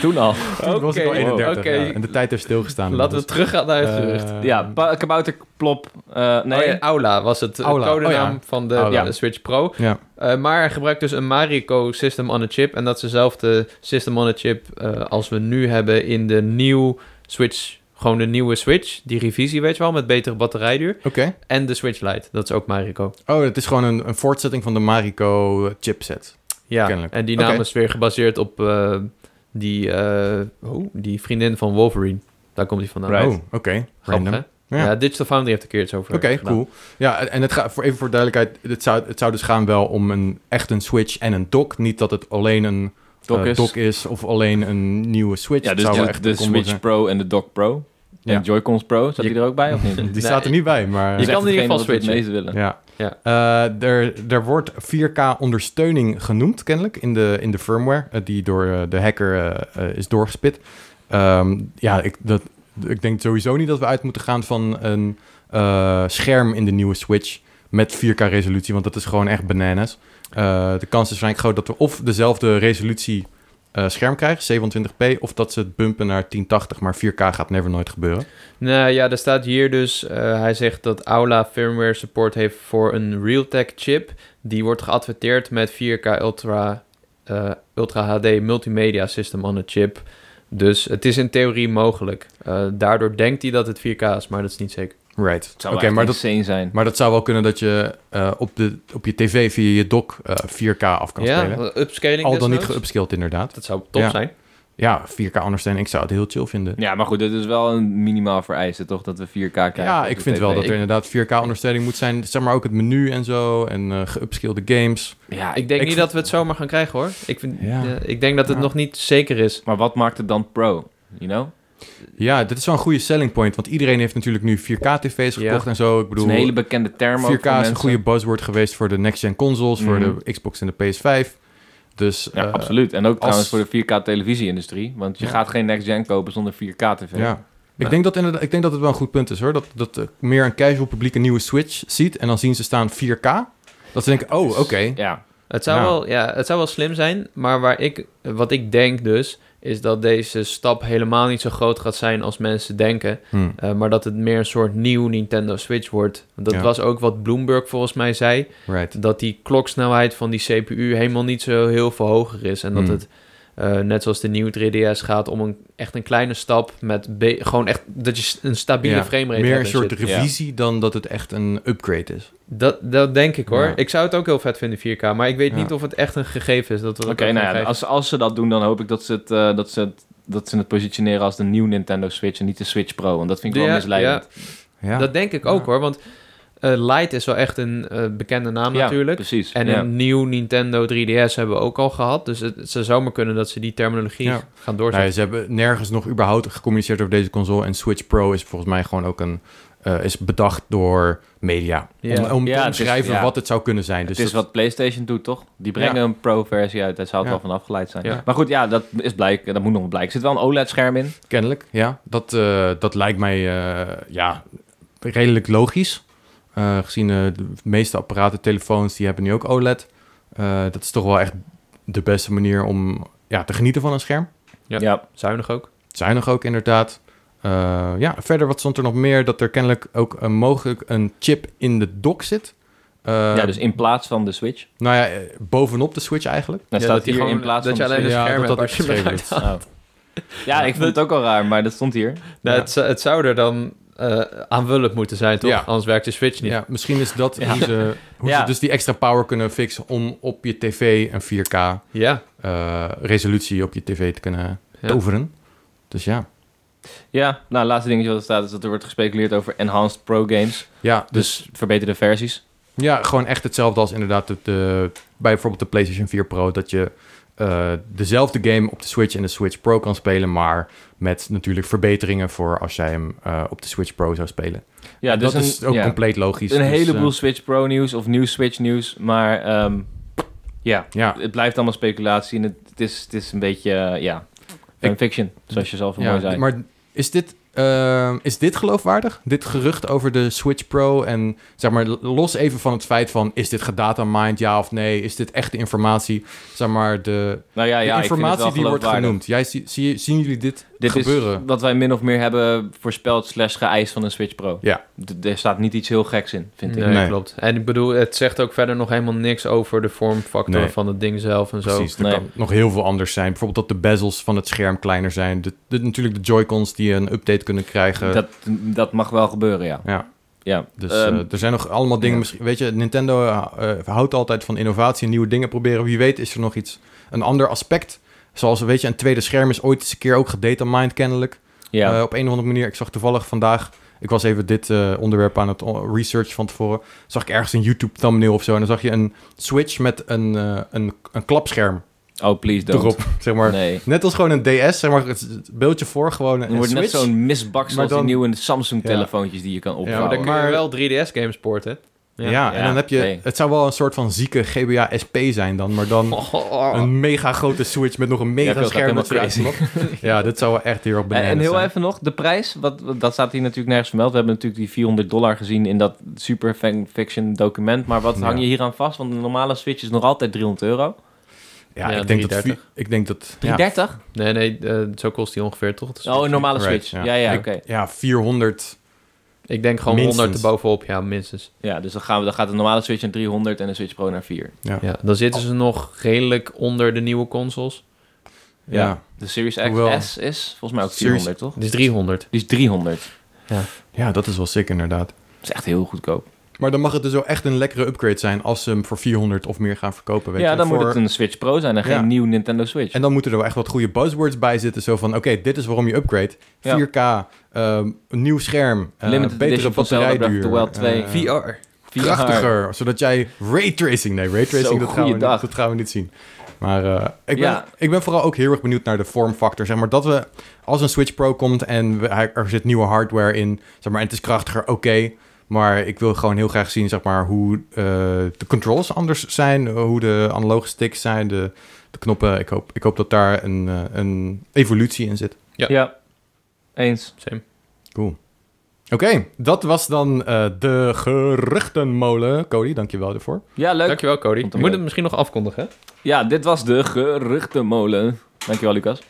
Toen al.
was ik al
Oké,
31.
oké.
ja. En de tijd heeft stilgestaan. dus,
Laten we teruggaan naar het
Eh,
gerucht.
Ja, pa- kabouter, plop. eh,
Nee,
nee,
Aula was het eh,
Aula,
codenaam
oh ja.
van de
Aula.
eh, Switch Pro.
Ja.
Eh, maar hij gebruikt dus een Marico System on a Chip. En dat is dezelfde System on a Chip eh, als we nu hebben in de nieuwe Switch. Gewoon de nieuwe Switch. Die revisie, weet je wel, met betere batterijduur.
Oké.
En de Switch Lite, dat is ook Marico.
Oh, het is gewoon een, een voortzetting van de Marico eh, chipset.
Ja,
Kennelijk.
en die naam
Oké.
is weer gebaseerd op eh, die, eh, oh, die vriendin van Wolverine. Daar komt hij vandaan.
Right.
Oh, oké.
Grappig,
Random.
hè?
Ja.
Ja. Digital Foundry heeft er een keer iets over
Oké,
gedaan.
cool. Ja, en het gaat, voor, even voor duidelijkheid, het zou, het zou dus gaan wel om een, echt een Switch en een dock. Niet dat het alleen een
doc
eh,
is.
dock is of alleen een nieuwe Switch.
Ja,
Het
dus
zou wel
de,
echt
de
een combo
Switch
zijn.
Pro en de Doc Pro. En
Ja.
de Joy-Cons Pro, zat
Je-
die er ook bij of niet?
Die
Dat
Nee,
staat er niet bij, maar...
is
Je kan
echt
in ieder geval
hetgeen wat we het
switchen.
meeste willen.
Ja.
Ja.
Eh, er, er wordt 4K ondersteuning genoemd, kennelijk, in de, in de firmware, eh, die door eh, de hacker eh, eh, is doorgespit. Ehm, ja, ik, dat, ik denk sowieso niet dat we uit moeten gaan van een eh, scherm in de nieuwe Switch met 4K resolutie, want dat is gewoon echt bananas. Eh, de kans is waarschijnlijk groot dat we of dezelfde resolutie eh, scherm krijgen, 720p, of dat ze het bumpen naar 1080, maar 4K gaat never nooit gebeuren.
Nou ja, er staat hier dus, eh, hij zegt dat Aula firmware support heeft voor een Realtek chip. Die wordt geadverteerd met 4K Ultra, eh, Ultra HD multimedia system on a chip. Dus het is in theorie mogelijk. Eh, daardoor denkt hij dat het 4K is, maar dat is niet zeker.
Right.
Het
Oké,
zou wel echt
maar dat,
insane zijn.
Maar dat zou wel kunnen dat je eh, op, de, op je tv via je dock eh, 4K af kan
ja,
spelen.
upscaling
Al dan niet
desnoods.
geupskilled inderdaad.
Dat zou top
Ja.
zijn.
Ja, 4K ondersteuning. Ik zou het heel chill vinden.
Ja, maar goed, dit is wel een minimaal vereiste, toch? Dat we 4K krijgen.
Ja,
op
ik
de
vind
TV.
wel dat er
Ik-
inderdaad 4K ondersteuning moet zijn. Zeg maar ook het menu en zo. En eh geupskillde games.
Ja,
Ik denk
Ik
niet
vind-
dat we het zomaar gaan krijgen hoor. Ik, vind,
Ja.
eh, ik denk dat het
Ja.
nog niet zeker is.
Maar wat maakt het dan pro? You know?
Ja, dit is wel een goede selling point. Want iedereen heeft natuurlijk nu 4K-tv's
Ja.
gekocht en zo. Ik
Het is
bedoel,
een hele bekende term ook
4K
voor
is
mensen.
een goede buzzword geweest voor de next-gen consoles,
Mhm.
voor de Xbox en de PS5. Dus
Ja,
eh,
absoluut. En ook trouwens
als-
voor de 4K televisie-industrie. Want je
Ja.
gaat geen next-gen kopen zonder 4K-tv.
Ja. Ik, denk dat inderdaad, ik denk dat het wel een goed punt is hoor. Dat, dat eh, meer een casual publiek een nieuwe Switch ziet en dan zien ze staan 4K. Dat ze denken, oh, oké.
Dus ja.
Het zou,
Ja.
Wel, ja, het zou wel slim zijn, maar waar ik, wat ik denk dus, is dat deze stap helemaal niet zo groot gaat zijn als mensen denken.
Hm.
eh, maar dat het meer een soort nieuw Nintendo Switch wordt. Want Dat
Ja.
was ook wat Bloomberg volgens mij zei.
Right.
Dat die kloksnelheid van die CPU helemaal niet zo heel veel hoger is. En dat
Hmm.
het, eh, net zoals de nieuwe 3DS, gaat om een, echt een kleine stap met be- gewoon echt dat je s- een stabiele
Ja,
framerate hebt.
Meer een
en
soort
shit.
zitten.
revisie dan dat het echt een upgrade is.
Dat, dat denk ik hoor.
Ja.
Ik zou het ook heel vet vinden, 4K. Maar ik weet
Ja.
niet of het echt een gegeven is. dat we
Oké,
dat ook gaan
nou ja,
krijgen.
als, als ze dat doen, dan hoop ik dat ze, het, eh, dat, ze het, dat ze het positioneren als de nieuwe Nintendo Switch en niet de Switch Pro. Want dat vind ik wel
Ja,
misleidend.
Ja.
Dat denk ik ook
Ja.
hoor, want eh Lite is wel echt een eh, bekende naam
Ja,
natuurlijk.
precies.
En
ja.
een nieuw Nintendo 3DS hebben we ook al gehad. Dus het, het zou zomaar kunnen dat ze die terminologie
Ja.
gaan
Nou
doorzetten.
ja, ze hebben nergens nog überhaupt gecommuniceerd over deze console. En Switch Pro is volgens mij gewoon ook een... eh, is bedacht door media.
Ja.
Om, om
Ja,
te
het is-
omschrijven
ja.
wat het zou kunnen zijn. Dus
het is
dat-
wat PlayStation doet, toch? Die brengen
Ja.
een pro-versie uit. Daar zou het
Ja.
wel van afgeleid zijn.
Ja.
Maar goed, ja, dat is blijk. Dat moet nog wel blijken. Er zit wel een OLED-scherm in.
Kennelijk, ja. Dat, eh, dat lijkt mij eh, ja, redelijk logisch. Eh, gezien eh, de meeste apparaten, telefoons, die hebben nu ook OLED. Eh, dat is toch wel echt de beste manier om ja, te genieten van een scherm.
Ja.
Ja.
Zuinig ook.
Het zijn nog ook inderdaad. Eh, ja, verder wat stond er nog meer? Dat er kennelijk ook een, mogelijk een chip in de dock zit. Eh,
ja, dus in plaats van de Switch.
Nou ja, eh, bovenop de Switch eigenlijk.
Dan
Ja,
staat
dat die
hier
gewoon-
in plaats
dat
van
je
de
alleen
Switch.
een
Ja,
scherm
dat
hebt
had
als
ik
je hem
geschreven.
eruit haalt.
Oh. Ja, ik vond het ook al raar, maar dat stond hier.
Nou,
Ja.
het, zou- het zou er dan eh, aanvullend moeten zijn, toch?
Ja.
Anders werkt de Switch niet.
Ja, misschien is dat
Ja.
hoe, ze, hoe
Ja.
ze dus die extra power kunnen fixen om op je tv een 4K
Ja.
eh, resolutie op je tv te kunnen
Ja.
toveren. Dus ja.
Ja, nou, laatste dingetje wat er staat is dat er wordt gespeculeerd over enhanced pro games.
Ja, dus
Dus verbeterde versies.
ja, gewoon echt hetzelfde als inderdaad de, de- bij bijvoorbeeld de PlayStation 4 Pro. Dat je eh, dezelfde game op de Switch en de Switch Pro kan spelen. Maar met natuurlijk verbeteringen voor als jij hem eh, op de Switch Pro zou spelen.
Ja, dus
dat
een,
is ook
ja,
compleet logisch.
een
Dus,
heleboel
eh,
Switch Pro nieuws of nieuw Switch nieuws. Maar ehm, ja,
ja,
het blijft allemaal speculatie en het, het is, het is een beetje, eh, ja, fan
Ik-
fiction, zoals je zelf al mooi
ja
zei.
maar is dit, eh, is dit geloofwaardig? Dit gerucht over de Switch Pro en zeg maar los even van het feit van... is dit gedatamined, ja of nee? Is dit echte informatie? Zeg maar de,
nou ja, ja
de
ik vind het wel
informatie die wordt
geloofwaardig.
genoemd. Jij, zie, zie- zien jullie dit,
Dit
gebeuren?
is wat wij min of meer hebben voorspeld slash geëist van een Switch Pro.
Ja.
D- er staat niet iets heel geks in, vind ik.
Nee,
Nee.
klopt. En ik bedoel, het zegt ook verder nog helemaal niks over de vormfactor
Nee.
van het ding zelf en zo.
Precies, er
Nee.
kan nog heel veel anders zijn. Bijvoorbeeld dat de bezels van het scherm kleiner zijn. De, de- natuurlijk de Joy-Cons die een update kunnen krijgen.
Dat, dat mag wel gebeuren, ja.
Ja.
ja.
dus
ehm,
eh, er zijn nog allemaal dingen.
ja.
Misschien, weet je, Nintendo eh, eh, houdt altijd van innovatie en nieuwe dingen proberen. Wie weet is er nog iets, een ander aspect. Zoals, weet je, een tweede scherm is ooit eens een keer ook gedatamined kennelijk.
ja.
Eh, op een of andere manier. Ik zag toevallig vandaag. Ik was even dit eh, onderwerp aan het o- research van tevoren. Zag ik ergens een YouTube thumbnail of zo. En dan zag je een Switch met een, eh, een, een klapscherm
oh, please don't.
erop. Zeg maar.
Nee.
Net als gewoon een DS. Zeg maar het het beeldje voor gewoon
Het
een,
wordt net
Switch.
zo'n misbak
Maar
zoals
dan-
die nieuwe Samsung-telefoontjes die je kan
Ja, Oh,
Maar
opvouwen.
daar
dat-
kun
Maar-
je wel 3DS-games porten.
ja, en dan heb je...
nee.
Het zou wel een soort van zieke GBA SP zijn dan. Maar dan een mega grote Switch met nog een
Oh. Ja, ik
mega
wil dat
scherm.
helemaal
dat eruit knopt. ja, dit zou wel echt heel erg
En,
bananas
en heel
zijn.
even nog, de prijs, wat, wat- dat staat hier natuurlijk nergens vermeld. We hebben natuurlijk die 400 dollar gezien in dat super fanfiction document. Maar wat
Ja.
hang je hier aan vast? Want een normale Switch is nog altijd 300 euro.
Ja,
Ja,
ik, denk dat,
330.
vi- ik denk dat... ja,
330?
Nee, nee, eh, zo kost die ongeveer toch? Dus
oh, een normale
right,
Switch. Ja, ja,
Ik-
oké.
Ja, 400...
Ik denk gewoon
Minstens.
100 erbovenop, ja, minstens.
Ja, dus dan, gaan we, dan gaat de normale Switch naar 300 en de Switch Pro naar 4.
Ja, dan zitten ze nog redelijk onder de nieuwe consoles.
Ja.
ja.
De Series
Hoewel-
XS is volgens mij ook
Series-
400, toch?
Het is 300.
Die is 300.
Ja, dat is wel sick inderdaad.
Dat is echt heel goedkoop.
Maar dan mag het dus wel echt een lekkere upgrade zijn als ze hem voor 400 of meer gaan verkopen. Weet
ja,
je,
dan moet
voor-
het een Switch Pro zijn en
Ja.
geen nieuw Nintendo Switch.
En dan moeten er wel echt wat goede buzzwords bij zitten. Zo van, oké, dit is waarom je upgrade.
Ja.
4K, ehm, een nieuw scherm, eh,
Limited
betere
edition van Zelda Breath of the
batterijduur.
Wild 2.
eh,
VR.
VR.
krachtiger, zodat jij raytracing... Nee, raytracing, dat, gaan
Zo,
we niet,
goeiedag.
dat gaan we niet zien. Maar eh, ik, ben,
Ja.
ik ben vooral ook heel erg benieuwd naar de vormfactor. Zeg maar dat we, als een Switch Pro komt en we- hij- er zit nieuwe hardware in, zeg maar, en het is krachtiger, oké. maar ik wil gewoon heel graag zien, zeg maar, hoe eh, de controls anders zijn, eh, hoe de analoge sticks zijn, de, de knoppen. Ik hoop, ik hoop dat daar een, eh, een evolutie in zit.
Ja.
Ja.
Eens.
Same.
Oké, dat was dan eh, de geruchtenmolen. Cody, dankjewel daarvoor.
Ja, leuk.
Dankjewel,
Komt
Cody. Je
ook
moet
wel.
het misschien nog afkondigen. hè?
Ja, dit was de geruchtenmolen. Dankjewel, Lucas.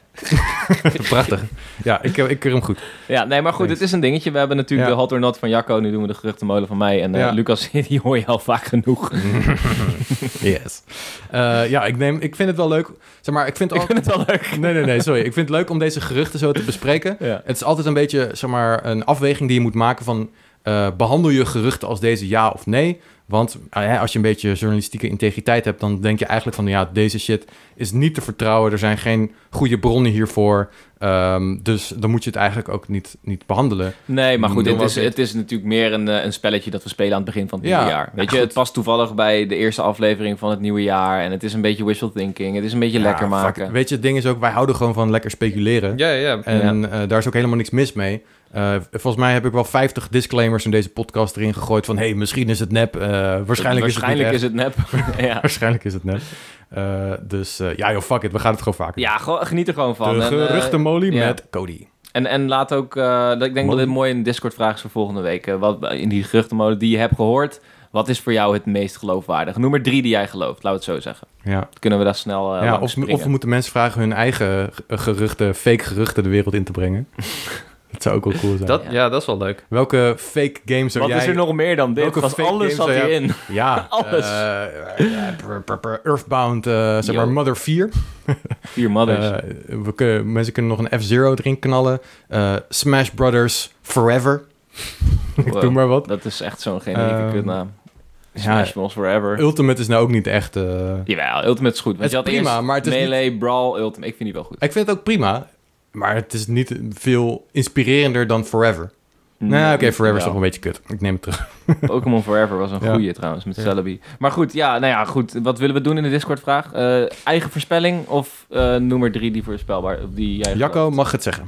Prachtig. Ja, ik, ik keur hem goed.
Ja, nee, maar goed,
Thanks.
dit is een dingetje. We hebben natuurlijk
Ja.
de hot or not van Jacco. Nu doen we de geruchtenmolen van mij. En eh,
Ja.
Lucas, die hoor je al vaak genoeg.
Yes. Eh, ja, ik, neem, ik vind het wel leuk. Zeg maar, ik vind,
Ik
al...
vind het wel leuk.
Nee, nee, nee, sorry. Ik vind het leuk om deze geruchten zo te bespreken.
Ja.
Het is altijd een beetje, zeg maar, een afweging die je moet maken van... eh, behandel je geruchten als deze ja of nee? Want ah ja, als je een beetje journalistieke integriteit hebt... dan denk je eigenlijk van, ja, deze shit is niet te vertrouwen. Er zijn geen goede bronnen hiervoor. Ehm, dus dan moet je het eigenlijk ook niet, niet behandelen.
Nee, maar goed,
Doen
het
we
is,
ook niet.
het is natuurlijk meer een, eh, een spelletje dat we spelen aan het begin van het
Ja,
nieuwe jaar. Weet je,
goed.
het past toevallig bij de eerste aflevering van het nieuwe jaar. En het is een beetje wishful thinking. Het is een beetje
Ja,
lekker
fuck.
maken.
Weet je, het ding is ook, wij houden gewoon van lekker speculeren.
Ja, ja, ja.
En eh, daar is ook helemaal niks mis mee. Eh, volgens mij heb ik wel 50 disclaimers in deze podcast erin gegooid van... hey, misschien is het nep, eh, waarschijnlijk,
Waarschijnlijk
is
is
het
het nep. ja.
nep. Waarschijnlijk is het nep. Eh, dus eh, ja, joh, fuck it, we gaan het gewoon vaker
ja, gewoon- geniet er gewoon
doen.
van.
De
En, eh,
geruchtenmolie
ja.
met Cody.
En, en laat ook, eh, dat- ik denk dat dit mooi een Discord-vraag is voor volgende week. Eh, wat, in die geruchtenmolen die je hebt gehoord, wat is voor jou het meest geloofwaardig? Noem er drie die jij gelooft, laten we het zo zeggen.
Ja.
Dan kunnen we daar snel eh
Ja,
langs
of,
springen.
of we moeten mensen vragen hun eigen eh, geruchten, fake geruchten de wereld in te brengen. dat zou ook wel cool zijn.
Dat,
Ja.
ja. dat is wel leuk.
Welke fake games zou
Wat
jij...
is er nog meer dan dit?
Welke
Gast,
fake
alles zat
games zou jij-
hierin.
Ja,
Alles.
eh, eh, pr- pr- pr- Earthbound, eh, zeg maar
Yo.
Mother 4.
Vier mothers.
Eh, we kunnen, mensen kunnen nog een F-Zero erin knallen. Eh, Smash Brothers Forever. Ik
Wow.
doe maar wat.
Dat is echt zo'n generieke
Ehm,
kutnaam.
ja.
Smash Bros. Forever.
Ultimate is nou ook niet echt... eh,
Jawel, Ultimate is goed.
Het
Want
is
je had
prima,
eerst
maar het is niet-
Melee, Brawl, Ultimate. Ik vind die wel goed.
Ik vind het ook prima, maar het is niet veel inspirerender dan Forever.
Mm.
nou, oké, Forever is toch een beetje
Jawel.
kut. Ik neem het terug.
Pokémon Forever was een
Ja.
goeie trouwens, met
Ja.
Celebi. Maar goed, ja, nou ja, goed. Wat willen we doen in de Discord-vraag? Eh, eigen voorspelling of eh noem er drie die voorspelbaar... of Die jij
Jacco
gelooft?
mag het zeggen.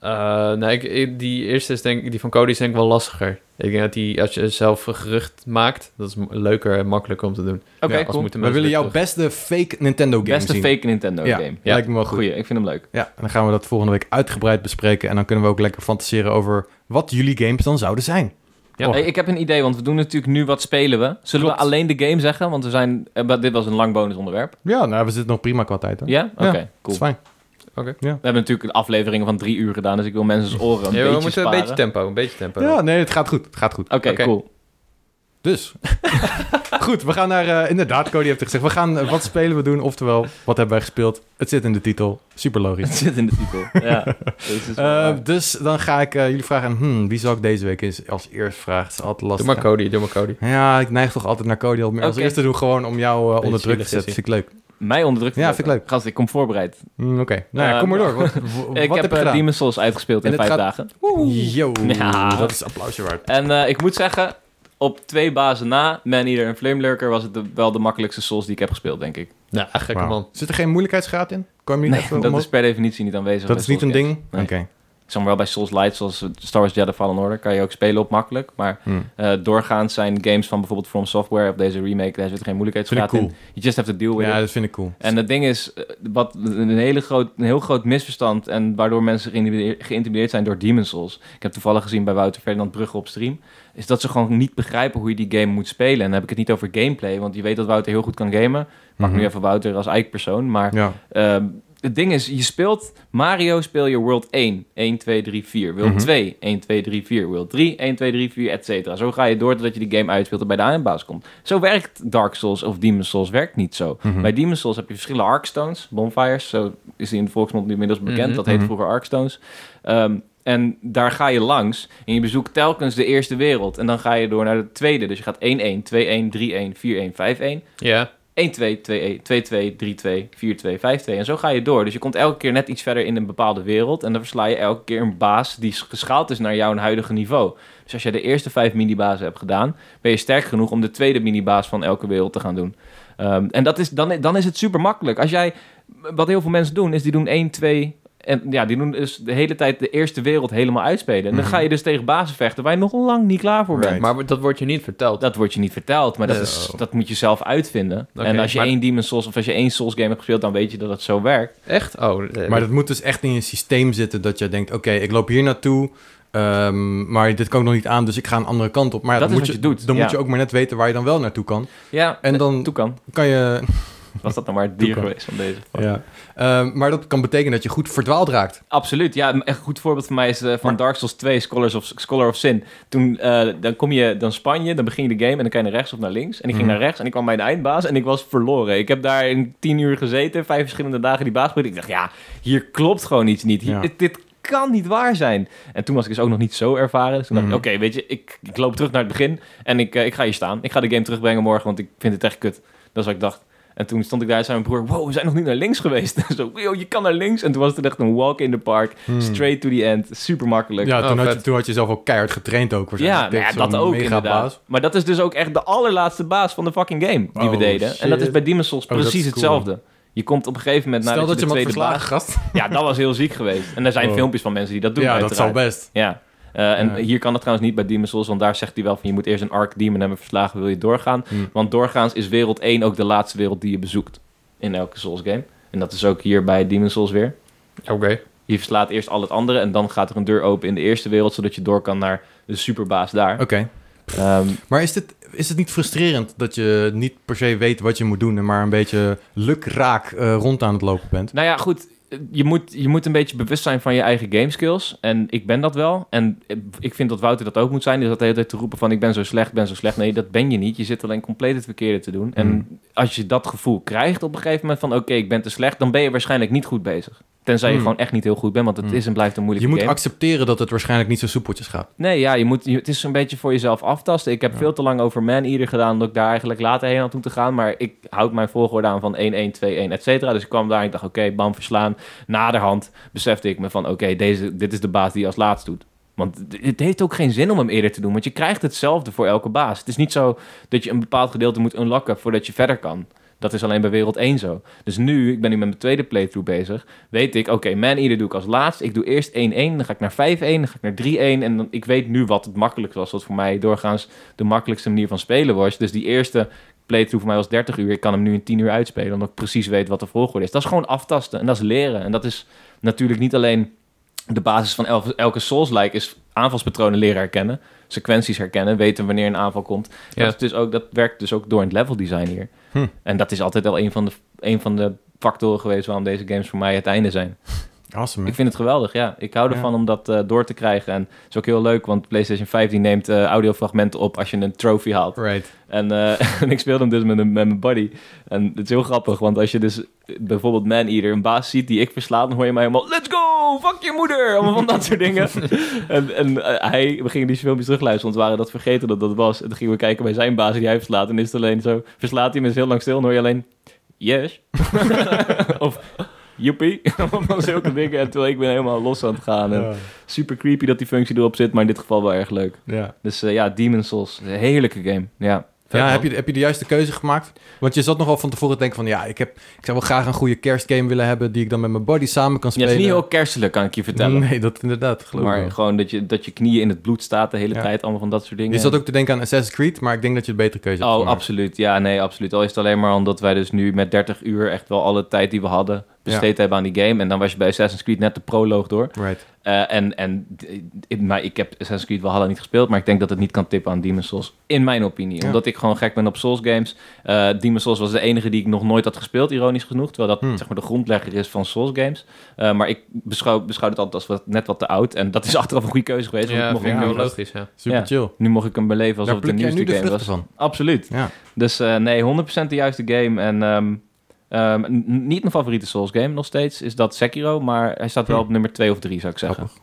Eh, nee, ik- ik, die eerste is denk ik, die van Cody is denk ik wel lastiger. Ik denk dat die, als je zelf een gerucht maakt, dat is m- leuker en makkelijker om te doen.
Oké,
Ja, als
cool.
moeten
We willen
mensen
jouw
weer
beste fake Nintendo game
Beste
zien.
fake Nintendo
Ja.
game.
Ja.
Lijkt me wel goed.
Goeie, ik vind hem leuk.
Ja, en dan gaan we dat volgende week uitgebreid bespreken. En dan kunnen we ook lekker fantaseren over wat jullie games dan zouden zijn.
Ja.
Oh,
Hey, Eh, ik heb een idee, want we doen natuurlijk nu wat spelen we. Zullen
Klopt.
we alleen de game zeggen? Want we zijn, eh, maar dit was een lang bonusonderwerp.
ja, nou, we zitten nog prima qua tijd. Hè?
Ja? Oké,
Ja, Dat
cool.
is fijn.
We hebben natuurlijk afleveringen van drie uur gedaan, dus ik wil mensen oren een
terug. Ja,
beetje
we moeten
sparen.
een beetje tempo, een beetje tempo.
Ja, nee, het gaat goed. Het gaat goed.
Oké,
Oké.
cool.
Dus. Goed, we gaan naar... eh, inderdaad, Cody heeft het gezegd. We gaan eh, wat spelen we doen, oftewel, wat hebben wij gespeeld? Het zit in de titel. Super logisch.
Het zit in de titel. ja. Deze is wel
Eh,
waar.
dus dan ga ik eh, jullie vragen, hmm, wie zal ik deze week eens als eerst vragen? Het is altijd
Doe
lastig.
maar Cody, doe maar Cody.
Ja, ik neig toch altijd naar Cody om meer als
Oké.
eerste te doen, gewoon om jou eh, onder
Beetje
druk te zetten.
zielig
Vind ik leuk.
Mij onderdrukt.
Ja, vind ik leuk.
Gast, ik kom voorbereid.
Hmm, Oké, nou ja,
Eh,
kom maar door. Wat, w-
ik
wat
heb,
heb je
eh,
gedaan?
Demon Souls uitgespeeld
En
in
het
vijf
gaat-
dagen.
Yo,
Ja.
dat is applausje waard.
En eh, ik moet zeggen, op twee bazen na, Man Eater en Flame Lurker, was het de- wel de makkelijkste Souls die ik heb gespeeld, denk ik.
Nou, gekke
Wauw.
man.
Zit er geen moeilijkheidsgraad in? Kwam je niet
Nee,
even
dat
omhoog?
is per definitie niet aanwezig.
dat
bij
is niet een
Souls games.
ding?
Nee.
Oké.
Ik zeg maar wel bij Souls Light, zoals eh, Star Wars Jedi Fallen Order, kan je ook spelen op makkelijk. Maar
Hmm.
eh, doorgaans zijn games van bijvoorbeeld From Software of deze remake, daar zit geen
Vind ik
moeilijkheidsgraad
cool.
in. You just have to deal with
Ja,
it.
dat vind ik cool.
En het ding is, eh, wat een, hele groot, een heel groot misverstand en waardoor mensen geïntimideer- geïntimideerd zijn door Demon Souls. Ik heb toevallig gezien bij Wouter Ferdinand Brugge op stream, is dat ze gewoon niet begrijpen hoe je die game moet spelen. En dan heb ik het niet over gameplay, want je weet dat Wouter heel goed kan gamen. Ik pak
Mhm.
nu even Wouter als eikpersoon, maar
Ja.
Ehm, het ding is, je speelt Mario, speel je World 1, 1, 2, 3, 4. World
Mhm.
2, 1, 2, 3, 4. World 3, 1, 2, 3, 4, et cetera. Zo ga je door totdat je die game uitspeelt en bij de eindbaas komt. Zo werkt Dark Souls of Demon Souls werkt niet zo.
Mhm.
Bij Demon Souls heb je verschillende Arkstones, bonfires. Zo is die in de volksmond nu inmiddels bekend.
Mhm.
Dat heette
Mhm.
vroeger Arkstones. Ehm, en daar ga je langs en je bezoekt telkens de eerste wereld. En dan ga je door naar de tweede. Dus je gaat 1-1, 2-1, 3-1, 4-1, 5-1.
Ja,
1-2, 2-1, 2-2, 3-2, 4-2, 5-2. En zo ga je door. Dus je komt elke keer net iets verder in een bepaalde wereld. En dan versla je elke keer een baas die geschaald is naar jouw huidige niveau. Dus als je de eerste vijf minibazen hebt gedaan, ben je sterk genoeg om de tweede minibaas van elke wereld te gaan doen. Ehm, en dat is, dan, dan is het super makkelijk. Als jij, wat heel veel mensen doen, is die doen 1, 2. En ja, die doen dus de hele tijd de eerste wereld helemaal uitspelen. En dan
Mhm.
ga je dus tegen bazen vechten waar je nog lang niet klaar voor bent.
Right.
Maar dat wordt je niet verteld.
Dat wordt je niet verteld, maar dat,
Nee.
is, dat moet je zelf uitvinden.
Oké,
en als je
maar-
één Demon Souls of als je één Souls game hebt gespeeld, dan weet je dat het zo werkt.
Echt? Oh, eh,
Maar dat moet dus echt in een systeem zitten dat je denkt, oké, ik loop hier naartoe, ehm, maar dit kan ik nog niet aan, dus ik ga een andere kant op. Maar ja,
Dat
dan
is
moet
wat je doet,
Dan
ja.
moet je ook maar net weten waar je dan wel naartoe kan.
Ja,
En
en
dan
Toekan.
kan je...
Was dat nou maar het dier
Toucan.
geweest van deze?
Ja. Ehm, maar dat kan betekenen dat je goed verdwaald raakt.
Absoluut, ja. Een echt goed voorbeeld van mij is eh, van
Maar-
Dark Souls 2, Scholars of, Scholar of Sin. Toen, eh, dan kom je, dan span je, dan begin je de game en dan kan je naar rechts of naar links. En ik ging
Mhm.
naar rechts en ik kwam bij de eindbaas en ik was verloren. Ik heb daar in tien uur gezeten, vijf verschillende dagen die baas geprobeerd. Ik dacht, ja, hier klopt gewoon iets niet. Hier-
Ja.
dit, dit kan niet waar zijn. En toen was ik dus ook nog niet zo ervaren. Dus toen dacht
Mhm.
ik, oké, weet je, ik, ik loop terug naar het begin en ik, eh, ik ga hier staan. Ik ga de game terugbrengen morgen, want ik vind het echt kut. Dat is wat ik dacht. En toen stond ik daar en zei mijn broer... Wow, we zijn nog niet naar links geweest. Zo, yo, je kan naar links. En toen was het echt een walk in the park.
Hmm.
Straight to the end. Super makkelijk.
Ja,
Oh,
toen, had je,
vet.
toen had je zelf ook keihard getraind ook
Ja,
waarschijnlijk.
nou ja,
Tegen
dat
zo'n
ook
mega
inderdaad.
baas.
Maar dat is dus ook echt de allerlaatste baas van de fucking game die we
Oh,
deden. En dat
shit.
is bij Demon's Souls
Oh, dat is
precies
cool.
hetzelfde. Je komt op een gegeven moment
Stel
nadat
dat je
de
hem had
tweede
verslagen,
baas...
gast.
Ja, dat was heel ziek geweest. En er zijn
Oh.
filmpjes van mensen die dat doen
ja, dat
uiteraard.
zal best.
Ja. Eh, en
Ja.
hier kan dat trouwens niet bij Demon's Souls, want daar zegt hij wel van je moet eerst een Arc Demon hebben verslagen, wil je doorgaan.
Hmm.
Want doorgaans is wereld 1 ook de laatste wereld die je bezoekt in elke Souls game. En dat is ook hier bij Demon's Souls weer.
Oké.
Je verslaat eerst al het andere en dan gaat er een deur open in de eerste wereld, zodat je door kan naar de superbaas daar.
Oké.
Ehm,
Maar is, dit, is het niet frustrerend dat je niet per se weet wat je moet doen... en maar een beetje lukraak eh, rond aan het lopen bent?
nou ja, goed. Je moet, je moet een beetje bewust zijn van je eigen gameskills. En ik ben dat wel. En ik vind dat Wouter dat ook moet zijn. Dus dat de hele tijd te roepen van ik ben zo slecht, ben zo slecht. Nee, dat ben je niet. Je zit alleen compleet het verkeerde te doen. En
Hmm.
als je dat gevoel krijgt op een gegeven moment van oké, ik ben te slecht. Dan ben je waarschijnlijk niet goed bezig. Tenzij je
Hmm.
gewoon echt niet heel goed bent. Want het
Hmm.
is en blijft een
Je
moeilijke
moet
game.
accepteren dat het waarschijnlijk niet zo soepeltjes gaat.
Nee, ja, je moet, je- het is een beetje voor jezelf aftasten. Ik heb
Ja.
veel te lang over Man-Eater gedaan... dat ik daar eigenlijk later heen had moeten gaan. Maar ik houd mijn volgorde aan van 1-1, 2-1, et cetera. Dus ik kwam daar en ik dacht, oké, bam, verslaan. Naderhand besefte ik me van, oké, deze, dit is de baas die je als laatst doet. Want d- het heeft ook geen zin om hem eerder te doen... want je krijgt hetzelfde voor elke baas. Het is niet zo dat je een bepaald gedeelte moet unlocken... voordat je verder kan. Dat is alleen bij wereld 1 zo. Dus nu, ik ben nu met mijn tweede playthrough bezig weet ik, oké, man-eater doe ik als laatst. Ik doe eerst 1-1, dan ga ik naar 5-1, dan ga ik naar 3-1. En dan, ik weet nu wat het makkelijk was, wat voor mij doorgaans de makkelijkste manier van spelen was. Dus die eerste playthrough voor mij was 30 uur. Ik kan hem nu in 10 uur uitspelen, omdat ik precies weet wat de volgorde is. Dat is gewoon aftasten en dat is leren. En dat is natuurlijk niet alleen de basis van elke, elke Souls-like, is aanvalspatronen leren herkennen, sequenties herkennen, weten wanneer een aanval komt.
Ja.
Dat, is dus ook, dat werkt dus ook door in het level design hier.
Hm.
En dat is altijd al een van de, een van de factoren geweest waarom deze games voor mij het einde zijn.
Awesome.
Ik vind het geweldig, ja. Ik hou
Ja.
ervan om dat eh, door te krijgen. En het is ook heel leuk, want PlayStation 5 die neemt eh, audiofragmenten op als je een trophy haalt.
Right.
En, eh, en ik speelde hem dus met, een- met mijn buddy. En het is heel grappig, want als je dus bijvoorbeeld Man-Eater, een baas ziet die ik versla, dan hoor je mij helemaal... Let's go! Fuck je moeder! Allemaal van dat soort dingen. en en eh, hij, we gingen die filmpjes terugluisteren, want we waren dat vergeten dat dat was. En toen gingen we kijken bij zijn baas die hij verslaat. En is het alleen zo, verslaat hij hem is heel lang stil en hoor je alleen... Yes. of... Joepie, allemaal zulke dingen. En terwijl ik ben helemaal los aan het gaan. En super creepy dat die functie erop zit, maar in dit geval wel erg leuk.
ja.
Dus eh, ja, Demon Souls, een heerlijke game. Ja.
Ja,
man.
heb je, heb je de juiste keuze gemaakt? Want je zat nogal van tevoren te denken van... ja, ik, heb, ik zou wel graag een goede kerstgame willen hebben... die ik dan met mijn body samen kan
Ja,
spelen.
het is niet heel kerstelijk, kan ik je vertellen.
Nee, dat inderdaad, geloof ik
maar
wel.
gewoon dat je, dat je knieën in het bloed staat de hele
Ja.
tijd, allemaal van dat soort dingen.
Je zat ook te denken aan Assassin's Creed... maar ik denk dat je een betere keuze hebt
Oh,
gemaakt.
absoluut. Ja, nee, absoluut. Al is het alleen maar omdat wij dus nu met 30 uur echt wel alle tijd die we hadden besteed hebben aan die game. En dan was je bij Assassin's Creed net de proloog door.
Right.
Eh, en en d- ik- maar ik heb Assassin's Creed Valhalla niet gespeeld, maar ik denk dat het niet kan tippen aan Demon's Souls. In mijn opinie.
Ja.
Omdat ik gewoon gek ben op Souls games. Eh Demon's Souls was de enige die ik nog nooit had gespeeld, ironisch genoeg. Terwijl dat
Hmm.
zeg maar, de grondlegger is van Souls games. Eh, maar ik beschouw, beschouw het altijd als wat, net wat te oud. En dat is achteraf een goede keuze geweest. want ik
Ja,
mocht
vind ik
hem
ja,
wel
nu-
logisch, ja.
Super
Ja.
chill.
nu mocht ik hem beleven alsof
Daar
het de
pluk jij
nieuwste
nu de
game
vruchten
was.
van.
Absoluut.
Ja.
Dus eh, nee, 100% de juiste game. En ehm, ehm, n- niet mijn favoriete Souls game nog steeds is dat Sekiro. Maar hij staat wel
Hmm.
op nummer 2 of 3, zou ik zeggen.
Grappig.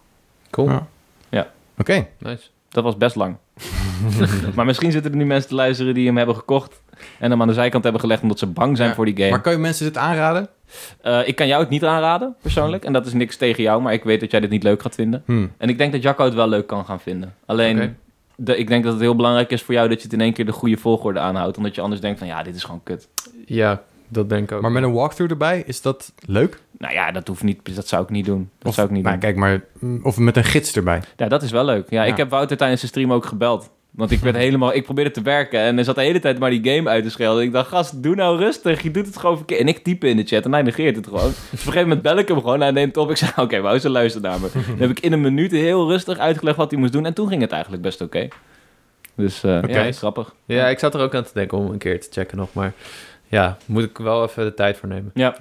Cool.
Ja.
Ja.
Oké.
Nice.
Dat was best lang. maar misschien zitten er nu mensen te luisteren die hem hebben gekocht en hem aan de zijkant hebben gelegd omdat ze bang zijn
Ja,
voor die game.
Maar kan je mensen dit aanraden?
Eh, ik kan jou het niet aanraden, persoonlijk. En dat is niks tegen jou, maar ik weet dat jij dit niet leuk gaat vinden.
Hm.
En ik denk dat Jacco het wel leuk kan gaan vinden. Alleen,
Oké.
de, ik denk dat het heel belangrijk is voor jou dat je het in één keer de goede volgorde aanhoudt. Omdat je anders denkt van, ja, dit is gewoon kut.
Ja, dat denk ik ook.
Maar met een walkthrough erbij, is dat leuk?
Nou ja, dat hoeft niet. Dat zou ik niet doen. Dat
Of-
zou ik niet
nou,
doen.
kijk maar, mm, of met een gids erbij.
Ja, dat is wel leuk. Ja,
Ja.
ik heb Wouter tijdens de stream ook gebeld. Want ik werd helemaal... Ik probeerde te werken en hij zat de hele tijd maar die game uit te schelden. Ik dacht, gast, doe nou rustig. Je doet het gewoon verkeerd. En ik type in de chat en hij negeert het gewoon. dus op een gegeven moment bel ik hem gewoon. Hij neemt op. Ik zei, oké, Wouter, luister naar me. Dan heb ik in een minuut heel rustig uitgelegd wat hij moest doen. En toen ging het eigenlijk best oké. Dus eh ja, is grappig.
Ja, ik zat er ook aan te denken om een keer te checken nog, maar ja, moet ik wel even de tijd voor nemen.
Ja.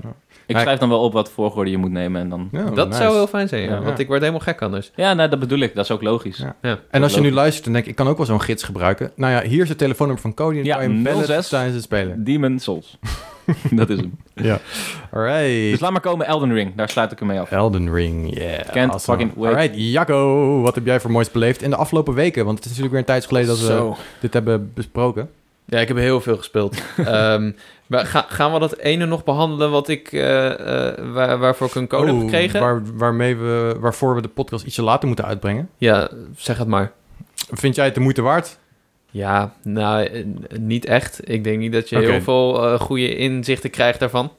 Ik
Maar-
schrijf dan wel op wat volgorde je moet nemen en dan...
Ja,
dat
nice.
zou heel fijn zijn, Oh, ja,
Ja.
want ik word helemaal gek anders.
Ja, nou, dat bedoel ik. Dat is ook logisch.
Ja.
Ja.
En als je nu
Logisch.
luistert en denkt, ik kan ook wel zo'n gids gebruiken. Nou ja, hier is het telefoonnummer van Cody en
Ja,
kan je hem bellen
06.
tijdens het spelen.
Demon Souls. dat is hem.
Ja.
Dus
Alright.
laat maar komen Elden Ring. Daar sluit ik hem mee af.
Elden Ring, yeah.
Can't fucking wait.
Alright, Jacco, wat heb jij voor moois beleefd in de afgelopen weken? Want het is natuurlijk weer een tijd geleden dat we
Zo.
dit hebben besproken.
Ja, ik heb heel veel gespeeld. Ehm, maar ga- gaan we dat ene nog behandelen wat ik, eh, eh, waar- waarvoor ik een code heb
Oh,
gekregen?
Waar, waarmee we, waarvoor we de podcast ietsje later moeten uitbrengen.
Ja, zeg het maar.
Vind jij het de moeite waard?
Ja, nou, eh, niet echt. Ik denk niet dat je
Oké.
heel veel eh, goede inzichten krijgt daarvan.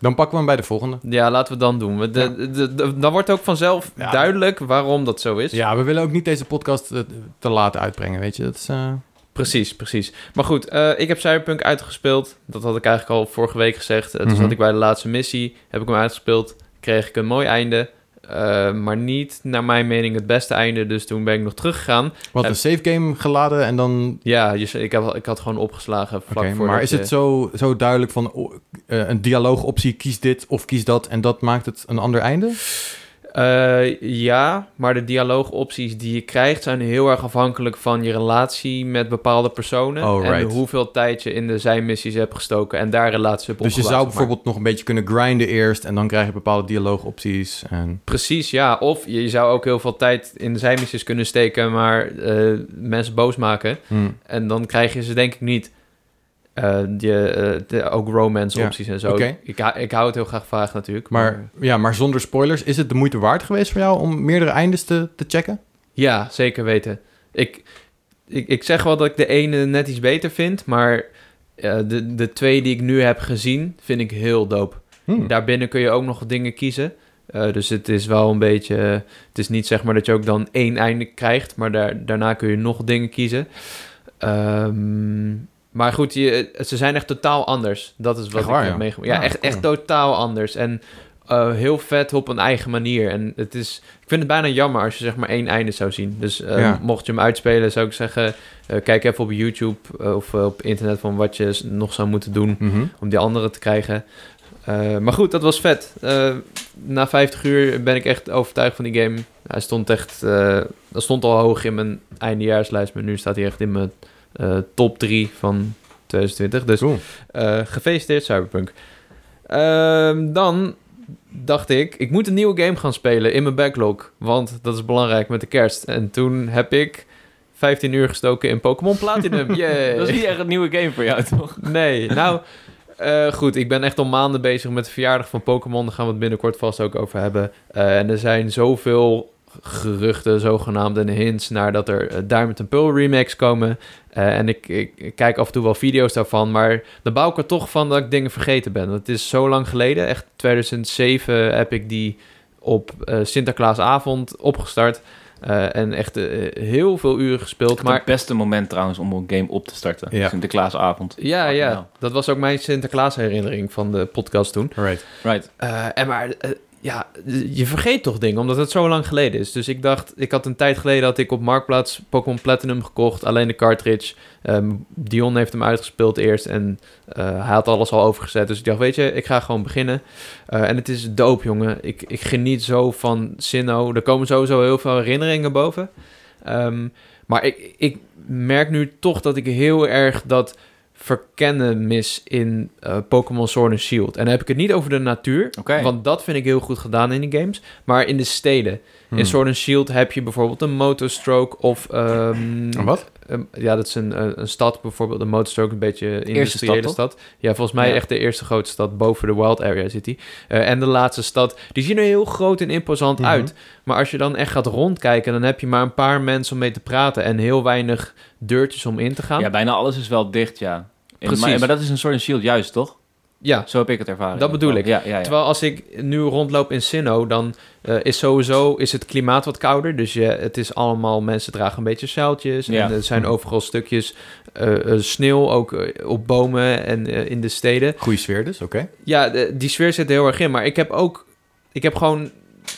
Dan pakken we hem bij de volgende.
Ja, laten we het dan doen. We- De, de- de- dan wordt ook vanzelf
Ja.
duidelijk waarom dat zo is.
Ja, we willen ook niet deze podcast eh, te laat uitbrengen, weet je. Dat is, eh,
Precies, precies. Maar goed, eh, ik heb Cyberpunk uitgespeeld. Dat had ik eigenlijk al vorige week gezegd. Eh, Toen
Mhm.
zat ik bij de laatste missie, heb ik hem uitgespeeld. Kreeg ik een mooi einde. eh, maar niet, naar mijn mening, het beste einde. Dus toen ben ik nog teruggegaan.
Wat,
En-
een save game geladen en dan...
Ja, je, ik, heb, ik had gewoon opgeslagen vlak
Oké,
voor.
maar is het zo, zo duidelijk van oh, eh, een dialoogoptie, kies dit of kies dat... en dat maakt het een ander einde?
Eh, ja, maar de dialoogopties die je krijgt zijn heel erg afhankelijk van je relatie met bepaalde personen.
Oh,
En
right.
hoeveel tijd je in de zijmissies hebt gestoken en daar relaties hebt
Dus je zou
opgebouwd, zeg maar.
bijvoorbeeld nog een beetje kunnen grinden eerst... en dan krijg je bepaalde dialoogopties en...
Precies, ja. Of je zou ook heel veel tijd in de zijmissies kunnen steken, maar eh, mensen boos maken.
Hm.
En dan krijg je ze denk ik niet. Eh, je, eh, de- ook romance
Ja,
opties en zo.
oké.
Ik, hou- ik hou het heel graag vaag natuurlijk.
Maar, ja, maar zonder spoilers, is het de moeite waard geweest voor jou... om meerdere eindes te, te checken?
Ja, zeker weten. Ik, ik, ik zeg wel dat ik de ene net iets beter vind, maar eh, de, de twee die ik nu heb gezien, vind ik heel dope.
Hm.
Daarbinnen kun je ook nog dingen kiezen. Eh, dus het is wel een beetje... Het is niet zeg maar dat je ook dan één einde krijgt... maar daar, daarna kun je nog dingen kiezen. Ehm, maar goed, je, ze zijn echt totaal anders. Dat is wat
Echt waar,
ik
ja?
heb meegemaakt. Ja,
Ja,
echt,
cool.
echt totaal anders. En eh, heel vet op een eigen manier. En het is... Ik vind het bijna jammer als je zeg maar één einde zou zien. Dus eh,
Ja.
mocht je hem uitspelen, zou ik zeggen... eh, kijk even op YouTube eh, of eh, op internet van wat je s- nog zou moeten doen
Mhm.
om die andere te krijgen. Eh, maar goed, dat was vet. Eh, na 50 uur ben ik echt overtuigd van die game. Hij stond echt, eh, dat stond al hoog in mijn eindejaarslijst, maar nu staat hij echt in mijn eh, top 3 van 2020. Dus
Cool.
eh, gefeliciteerd Cyberpunk. Ehm, dan dacht ik, ik moet een nieuwe game gaan spelen in mijn backlog, want dat is belangrijk met de kerst. En toen heb ik 15 uur gestoken in Pokémon Platinum.
Eh,
Yay!
Dat is niet echt een nieuwe game voor jou, toch?
Nee, nou... eh, goed, ik ben echt al maanden bezig met de verjaardag van Pokémon. Daar gaan we het binnenkort vast ook over hebben. Eh, en er zijn zoveel geruchten, zogenaamd, en hints... naar dat er eh, Diamond and Pearl remakes komen. Eh, en ik, ik, ik kijk af en toe wel video's daarvan. Maar dan bouw ik er toch van dat ik dingen vergeten ben. Want het is zo lang geleden. Echt 2007 heb ik die op eh, Sinterklaasavond opgestart. Eh, en echt eh, heel veel uren gespeeld. Maar
Het beste moment trouwens om een game op te starten.
Ja.
Sinterklaasavond.
ja,
Fucking
ja.
hell.
Dat was ook mijn Sinterklaas herinnering van de podcast toen.
Alright.
Right.
Eh, en maar, eh, ja, je vergeet toch dingen, omdat het zo lang geleden is. Dus ik dacht, ik had een tijd geleden dat ik op Marktplaats Pokémon Platinum gekocht. Alleen de cartridge. Ehm, Dion heeft hem uitgespeeld eerst en eh, hij had alles al overgezet. Dus ik dacht, weet je, ik ga gewoon beginnen. Eh, en het is doop, jongen. Ik, ik geniet zo van Sinnoh. Er komen sowieso heel veel herinneringen boven. Ehm, maar ik, ik merk nu toch dat ik heel erg dat verkennen mis in eh, Pokémon Sword and Shield. En dan heb ik het niet over de natuur,
Oké.
want dat vind ik heel goed gedaan in die games. Maar in de steden.
Hm.
In Sword and Shield heb je bijvoorbeeld een motostroke of... ehm,
Een Wat?
ehm, ja, dat is een, eh, een stad bijvoorbeeld. Een motor ook een beetje een industriële
stad,
stad, Ja, volgens mij
Ja.
echt de eerste grote stad boven de Wild Area zit die. Eh, en de laatste stad, die zien er heel groot en imposant
Mhm.
uit. Maar als je dan echt gaat rondkijken, dan heb je maar een paar mensen om mee te praten en heel weinig deurtjes om in te gaan.
Ja, bijna alles is wel dicht, ja. In-
Precies.
Maar, maar dat is een soort shield, juist, toch?
ja
Zo heb ik het ervaren.
Dat bedoel ik.
Ja, ja, ja.
Terwijl als ik nu rondloop in Sinnoh, dan eh, is sowieso is het klimaat wat kouder. Dus je, het is allemaal, mensen dragen een beetje zeiltjes.
Ja.
En er zijn overal stukjes eh, eh, sneeuw, ook eh, op bomen en eh, in de steden.
Goede sfeer dus, oké.
Ja, de- die sfeer zit er heel erg in. Maar ik heb ook, ik heb gewoon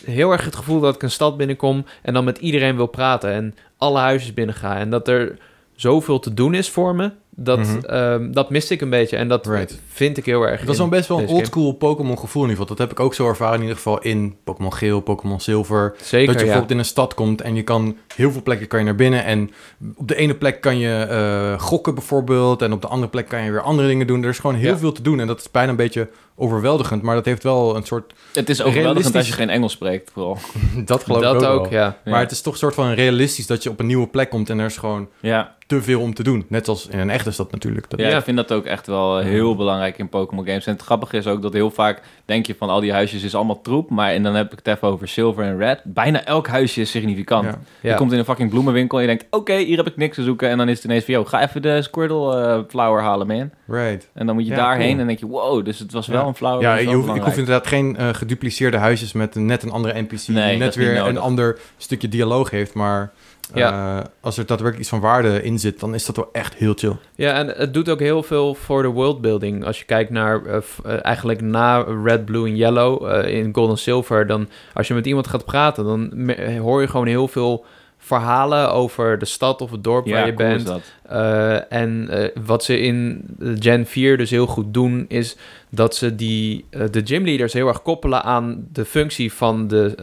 heel erg het gevoel dat ik een stad binnenkom en dan met iedereen wil praten en alle huisjes binnen ga. En dat er zoveel te doen is voor me. Dat,
Mhm.
ehm, dat miste ik een beetje en dat
Right.
vind ik heel erg.
Dat is
in
dan best wel een
deze game.
oldschool Pokémon gevoel in ieder geval. Dat heb ik ook zo ervaren in ieder geval in Pokémon Geel, Pokémon Zilver.
Zeker,
dat je
ja.
bijvoorbeeld in een stad komt en je kan heel veel plekken kan je naar binnen. En op de ene plek kan je eh, gokken bijvoorbeeld. En op de andere plek kan je weer andere dingen doen. Er is gewoon heel
Ja.
veel te doen. En dat is bijna een beetje overweldigend. Maar dat heeft wel een soort.
Het is overweldigend als je
Realistisch.
geen Engels spreekt, vooral.
dat geloof
dat
ik ook.
ook,
wel.
ja.
Ja.
Maar het is toch een soort van realistisch dat je op een nieuwe plek komt en er is gewoon
Ja.
te veel om te doen. Net als in een echte stad natuurlijk. Dat-
Ja,
Ja.
ik vind dat ook echt wel eh, heel belangrijk in Pokémon games. En het grappige is ook dat heel vaak denk je van al die huisjes is allemaal troep. Maar en dan heb ik het even over zilver en red. Bijna elk huisje is significant.
Ja.
ja.
Je komt in een fucking bloemenwinkel en je denkt, oké, hier heb ik niks te zoeken. En dan is het ineens van, yo, ga even de Squirtle eh, flower halen, man.
Right.
En dan moet je
Ja,
daarheen
cool.
en dan denk je, wow, dus het was wel
Ja.
een flower.
ja,
dat is
je
wel
hoeft- ik hoef
belangrijk.
inderdaad geen eh, gedupliceerde huisjes met een- net een andere NPC.
Nee,
die
dat
net
is niet
weer een
nodig.
ander stukje dialoog heeft. Maar eh, als er daadwerkelijk iets van waarde in zit, dan is dat wel echt heel chill.
Ja, en het doet ook heel veel voor de worldbuilding. Als je kijkt naar eh, f- eh, eigenlijk na Red, Blue en Yellow eh, in Gold en Silver, dan als je met iemand gaat praten, dan me- eh, hoor je gewoon heel veel verhalen over de stad of het dorp waar je
cool is
bent.
dat.
Eh, en eh, wat ze in eh, Gen 4 dus heel goed doen, is dat ze die, eh, de gymleaders heel erg koppelen aan de functie van, de,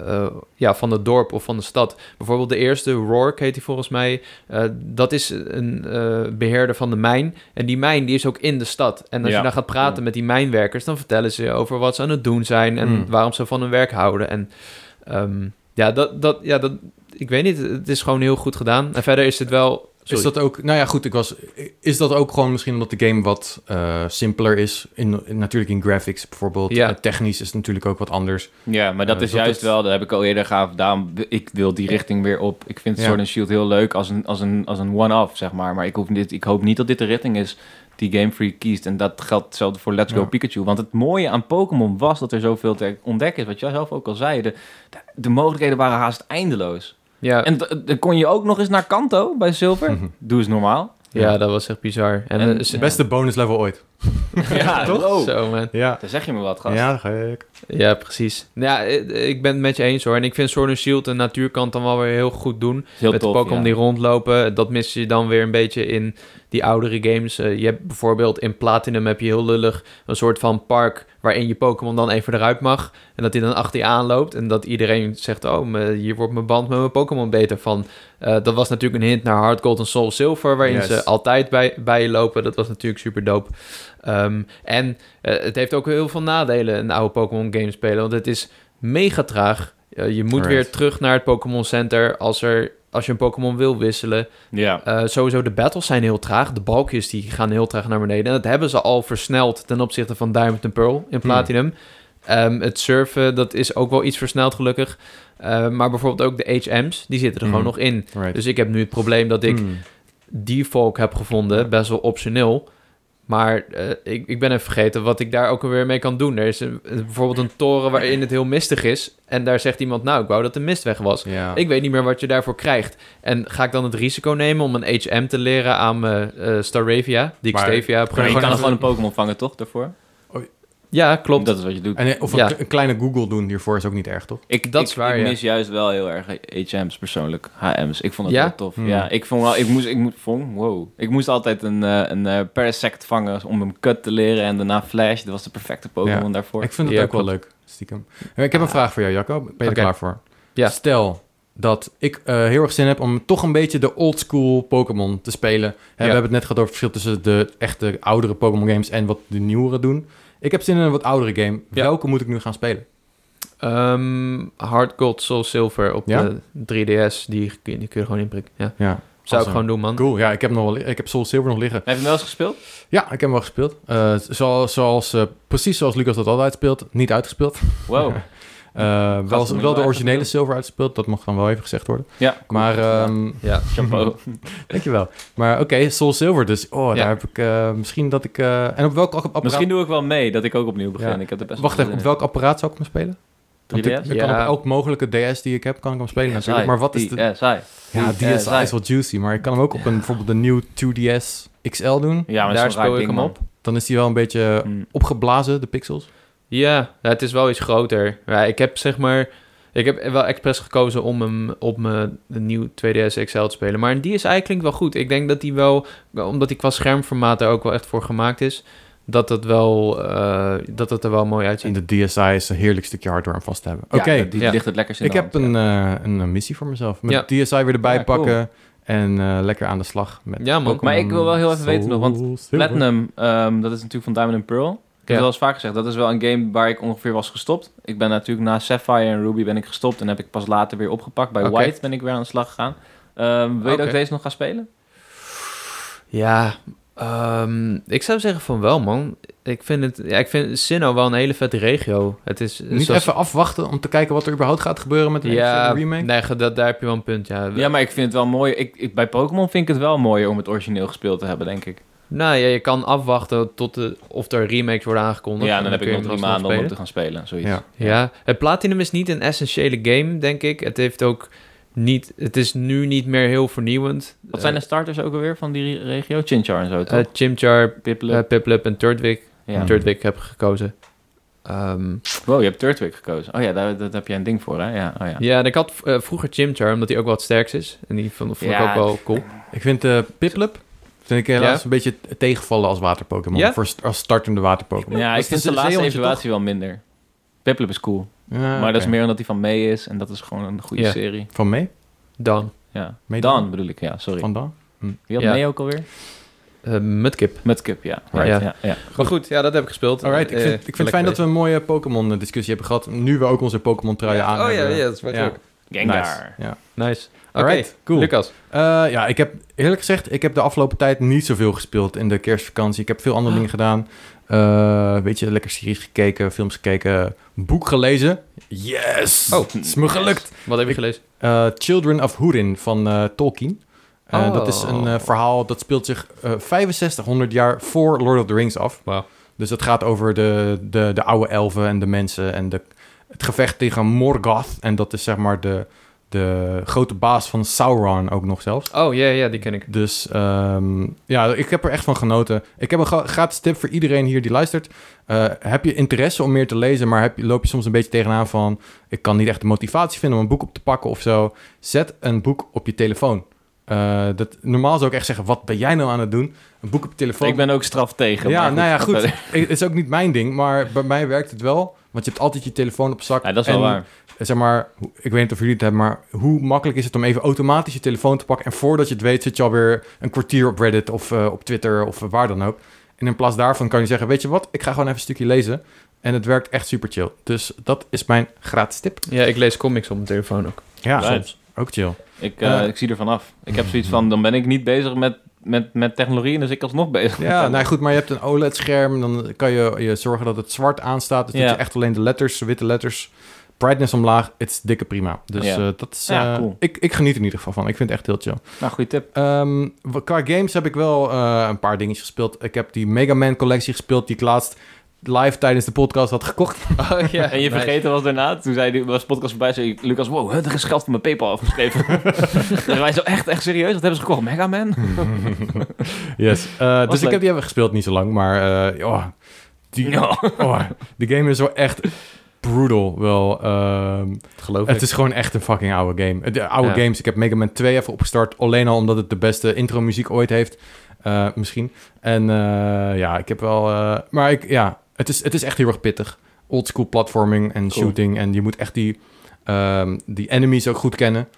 eh, eh, ja, van het dorp of van de stad. Bijvoorbeeld de eerste, Rourke heet hij volgens mij, eh, dat is een eh, beheerder van de mijn. En die mijn die is ook in de stad. En als
Ja.
je dan gaat praten
Ja.
met die mijnwerkers, dan vertellen ze je over wat ze aan het doen zijn en
Mm.
waarom ze van hun werk houden. En ehm, ja, dat, dat, ja, dat, ik weet niet, het is gewoon heel goed gedaan. En verder is het wel... Sorry.
Is dat ook, nou ja, goed, ik was. Is dat ook gewoon misschien omdat de game wat eh, simpeler is? In, in- natuurlijk in graphics bijvoorbeeld.
Ja.
Eh, Technisch is het natuurlijk ook wat anders.
Ja, maar dat
Eh,
is
dat
juist
het-
wel, dat heb ik al eerder gehad. Daarom, ik wil die richting weer op. Ik vind
Ja.
Sword and Shield heel leuk als een, als een, als een one-off, zeg maar. Maar ik, hoef niet, ik hoop niet dat dit de richting is die Game Freak kiest. En dat geldt hetzelfde voor Let's Go
Ja.
Pikachu. Want het mooie aan Pokémon was dat er zoveel te ontdekken is. Wat jij zelf ook al zei, de, de, de mogelijkheden waren haast eindeloos.
Ja,
En d- dan kon je ook nog eens naar Kanto bij Silver.
Eh, Mhm.
Doe eens normaal.
ja, dat was echt bizar. En,
En- Oh!
eh, ze-
Ja.
Beste bonus level ooit.
Ja,
Toch?
wow.
Zo, man.
Ja.
Dan zeg je me wat, gast.
Ja, gek.
Ja, precies. Nou Ja, eh, ik ben het met je eens hoor. En ik vind Sword and Shield de natuurkant dan wel weer heel goed doen.
Is heel
met
tof,
de Pokémon
ja.
die rondlopen. Dat mis je dan weer een beetje in die oudere games. Eh, je hebt bijvoorbeeld in Platinum heb je heel lullig een soort van park waarin je Pokémon dan even eruit mag. En dat hij dan achter je aanloopt. En dat iedereen zegt, oh, me- hier wordt mijn band met mijn Pokémon beter van. Eh, dat was natuurlijk een hint naar Hard Gold en Soul Silver, waarin
Yes.
ze altijd bij, bij je lopen. Dat was natuurlijk super dope. Ehm, en eh, het heeft ook heel veel nadelen, een oude Pokémon game spelen. Want het is mega traag. Eh, je moet
Alright.
weer terug naar het Pokémon Center als, er, als je een Pokémon wil wisselen.
Ja.
Eh, sowieso, de battles zijn heel traag. De balkjes die gaan heel traag naar beneden. En dat hebben ze al versneld ten opzichte van Diamond and Pearl
Hmm.
in Platinum. Ehm, het surfen, dat is ook wel iets versneld gelukkig. Eh, maar bijvoorbeeld ook de HM's, die zitten er
Mm.
gewoon nog in.
Right.
Dus ik heb nu het probleem dat ik
Hmm.
die folk heb gevonden, best wel optioneel. Maar eh, ik, ik ben even vergeten wat ik daar ook weer mee kan doen. Er is een- bijvoorbeeld een toren waarin het heel mistig is. En daar zegt iemand, nou, ik wou dat de mist weg was.
Ja.
Ik weet niet meer wat je daarvoor krijgt. En ga ik dan het risico nemen om een HM te leren aan mijn eh, Staravia, die ik
Maar-
Stavia heb
Maar
Maar je
genoemd?
kan
even-
er gewoon een Pokémon vangen, toch, daarvoor?
Ja, klopt.
Dat is wat je doet.
En, eh, of een,
Ja.
k- een kleine Google doen hiervoor is ook niet erg, toch?
Ik,
Dat
ik,
is waar,
ik
ja.
mis juist wel heel erg HM's persoonlijk. HM's. Ik vond het
Ja?
heel tof.
Hmm.
Ja, ik vond wel... Ik moest, ik moest, vond, wow. ik moest altijd een, eh, een eh Parasect vangen om hem cut te leren. En daarna Flash. Dat was de perfecte Pokémon
Ja.
daarvoor.
Ik vind het
Ja, Ah.
ook wel leuk, stiekem. Eh, Ik heb een vraag voor jou, Jacco. Ben je er
Oké.
klaar voor?
Ja.
Stel dat ik eh, heel erg zin heb om toch een beetje de old school Pokémon te spelen. Hè, We hebben het net gehad over het verschil tussen de echte oudere Pokémon games en wat de nieuwere doen. Ik heb zin in een wat oudere game.
Ja.
Welke moet ik nu gaan spelen?
Ehm, Hard Gold Soul Silver op
Ja?
de 3DS, die, kun je- die kun je er gewoon inprikken. Ja.
Ja.
Zou
Awesome.
ik gewoon doen, man.
Cool, ja, ik heb, nog wel, li- ik heb Soul Silver nog liggen.
Heb je hem wel eens gespeeld?
Ja, ik heb hem wel gespeeld. Eh, zoals, zoals, eh, precies zoals Lucas dat altijd speelt, niet uitgespeeld.
Wow.
Eh,
hem
wel, wel
nu
de
wel
originele
uitgespeeld?
Silver uitgespeeld, dat mag dan wel even gezegd worden.
ja,
Maar, ehm
Ja.
chapeau.
dankjewel. Maar oké, Soul Silver dus. Oh,
Ja.
daar heb ik eh, misschien dat ik... eh, en op welk apparaat...
Misschien doe ik wel mee dat ik ook opnieuw begin.
Ja.
Ik heb er best
Wacht
wel
even, op
zin in.
welk apparaat zou ik hem spelen? Want ik,
3DS?
ik kan
Ja.
op elk mogelijke DS die ik heb, kan ik hem spelen natuurlijk.
DSi.
Maar wat is de...
DSi.
Ja,
DSi.
DSi is wel juicy, maar ik kan hem ook op een, bijvoorbeeld een nieuw 2DS XL doen.
Ja, maar
Daar
daar
speel
speel
ik
ik
hem
hem
op.
op.
Dan is hij wel een beetje
Hm.
opgeblazen, de pixels.
Ja, nou, het is wel iets groter. Ja, ik heb zeg maar... Ik heb wel expres gekozen om hem op mijn de nieuwe 2DS XL te spelen. Maar een DSi klinkt wel goed. Ik denk dat die wel... Omdat die qua schermformaat er ook wel echt voor gemaakt is... Dat dat, wel, eh, dat dat er wel mooi
En
uitziet.
de DSi is een heerlijk stukje hardware om vast te hebben. Oké,
die
Ja.
ligt het lekkerst in
ik
de
heb
hand, ja.
een, eh, een, eh, missie voor mezelf. Met
Ja.
DSi weer erbij
Ja, cool.
pakken en eh, lekker aan de slag. Met
Ja, man.
Pokémon
Maar ik wil wel heel even
Soul
weten nog, want
Silver.
Platinum, ehm, dat is natuurlijk van Diamond and Pearl. Ik heb
Ja.
het wel eens vaker gezegd, dat is wel een game waar ik ongeveer was gestopt. Ik ben natuurlijk na Sapphire en Ruby ben ik gestopt en heb ik pas later weer opgepakt. Bij
Oké.
White ben ik weer aan de slag gegaan. Ehm, wil je dat
Oké.
ik deze nog gaan spelen?
Ja, ehm, ik zou zeggen van wel, man. Ik vind, het, ja, ik vind Sinnoh wel een hele vette regio. Het is
Niet
zoals-
even afwachten om te kijken wat er überhaupt gaat gebeuren met de
ja,
remake?
Nee, ge- dat, daar heb je wel een punt, ja.
Ja, maar ik vind het wel mooi. Ik, ik- bij Pokémon vind ik het wel mooier om het origineel gespeeld te hebben, denk ik.
Nou ja, je kan afwachten tot de, of er remakes worden aangekondigd.
Ja,
En
dan heb ik
kun je
nog drie
hem alsnog
maanden om het
spelen.
te gaan spelen, zoiets.
Ja.
Ja, het Platinum is niet een essentiële game, denk ik. Het heeft ook niet... Het is nu niet meer heel vernieuwend.
Wat zijn de starters ook alweer van die regio? Chinchar en zo, toch?
Eh, eh, Chimchar,
Piplup.
eh, Piplup en Turtwig.
ja.
Turtwig heb ik gekozen. Ehm,
Wow, je hebt Turtwig gekozen. Oh ja, daar, daar heb jij een ding voor, hè? Ja, oh ja.
Ja, en ik had eh, vroeger Chimchar, omdat hij ook wel wat sterks is. En die vond, vond ik
Ja.
ook wel cool.
Ik vind eh Piplup vind ik helaas
Ja?
een beetje tegenvallen als water-Pokémon.
Ja?
Voor st- als startende water-Pokémon. Dat
Ja, ik
is
vind de
een
laatste
zeehondje,
evaluatie wel minder. Piplup is cool.
toch? Ja,
Maar dat is
oké.
meer omdat hij van mee is. En dat is gewoon een goede
Ja.
serie.
Van mee?
Dan.
Ja.
May
Dan,
Dan?
bedoel ik, ja, sorry.
Van Dan?
Wie had
Ja.
mee ook alweer?
eh Mudkip.
Met Cup, ja.
Right.
Ja. Ja, ja.
Maar goed, ja, dat heb ik gespeeld.
Alright, ik
Eh,
vind, ik vind het fijn
lekker
dat we een mooie Pokémon-discussie hebben gehad. Nu we ook onze Pokémon-truien aan
Oh ja,
hebben.
ja, dat is wel
Ja.
leuk.
Gengar.
Nice. Ja.
Nice. Oké,
Alright, cool.
Lucas.
Eh, ja, ik heb eerlijk gezegd, ik heb de afgelopen tijd niet zoveel gespeeld in de kerstvakantie. Ik heb veel
Ah.
andere dingen gedaan. Eh, weet je, lekker series gekeken, films gekeken, boek gelezen. Yes!
Oh.
het is me gelukt.
Wat heb je
Ik-
gelezen?
Eh, Children of Hurin van eh, Tolkien. Eh,
Oh.
Dat is een eh, verhaal dat speelt zich eh 6500 jaar voor Lord of the Rings af.
Wauw.
Dus dat gaat over de, de, de oude elfen en de mensen en de, het gevecht tegen Morgoth. En dat is zeg maar de, de grote baas van Sauron ook nog zelfs.
Oh, ja, ja, die ken ik.
Dus ehm, ja, ik heb er echt van genoten. Ik heb een gra- gratis tip voor iedereen hier die luistert. Eh, heb je interesse om meer te lezen, maar heb je, loop je soms een beetje tegenaan van... ik kan niet echt de motivatie vinden om een boek op te pakken of zo. Zet een boek op je telefoon. Eh, dat, normaal zou ik echt zeggen, wat ben jij nou aan het doen? Een boek op je telefoon.
Ik ben ook straf tegen.
Ja,
maar
nou ja, goed.
Ja,
Ik- Het is ook niet mijn ding, maar bij mij werkt het wel. Want je hebt altijd je telefoon op zak.
dat is wel
En,
waar.
eh, Zeg maar, hoe- ik weet niet of jullie het hebben, maar hoe makkelijk is het om even automatisch je telefoon te pakken? En voordat je het weet zit je alweer een kwartier op Reddit of eh, op Twitter of eh, waar dan ook. En in plaats daarvan kan je zeggen, weet je wat, ik ga gewoon even een stukje lezen. En het werkt echt super chill. Dus dat is mijn gratis tip.
Ja, ik lees comics op mijn telefoon ook.
Ja,
Right.
soms. Ook chill.
Ik, eh,
Eh.
ik zie er vanaf. Ik heb zoiets van, dan ben ik niet bezig met, met, met technologie. En dus ik alsnog bezig. met
Ja, nou
technologie.
goed, maar je hebt een OLED-scherm. Dan kan je, je zorgen dat het zwart aanstaat. Dus
Ja.
dat je echt alleen de letters, witte letters... Brightness omlaag, het is dikke prima. Dus
Ja.
eh, dat is...
Ja,
eh,
cool.
ik, ik geniet er in ieder geval van. Ik vind het echt heel chill.
Nou, goede tip.
Ehm, wa- qua games heb ik wel eh, een paar dingetjes gespeeld. Ik heb die Mega Man collectie gespeeld die ik laatst live tijdens de podcast had gekocht.
Oh, ja,
en je
nice.
vergeten was daarna, toen zei die, was de podcast voorbij, zei Lucas, wow, hè, er is geld van mijn Paypal afgeschreven. en wij zo, echt, echt serieus? Wat hebben ze gekocht? Mega Man?
Yes. dus ik
leuk.
heb die even gespeeld, niet zo lang, maar eh oh, die,
Ja.
oh, die game is wel echt brutal. Wel, ehm,
Geloof
het
ik.
is gewoon echt een fucking oude game. De oude
Ja.
games, ik heb Mega Man 2 even opgestart, alleen al omdat het de beste intro muziek ooit heeft, eh, misschien. En eh, ja, ik heb wel, eh, maar ik, ja, het is, het is echt heel erg pittig. Oldschool platforming en shooting en je moet echt die, ehm, die enemies ook goed kennen.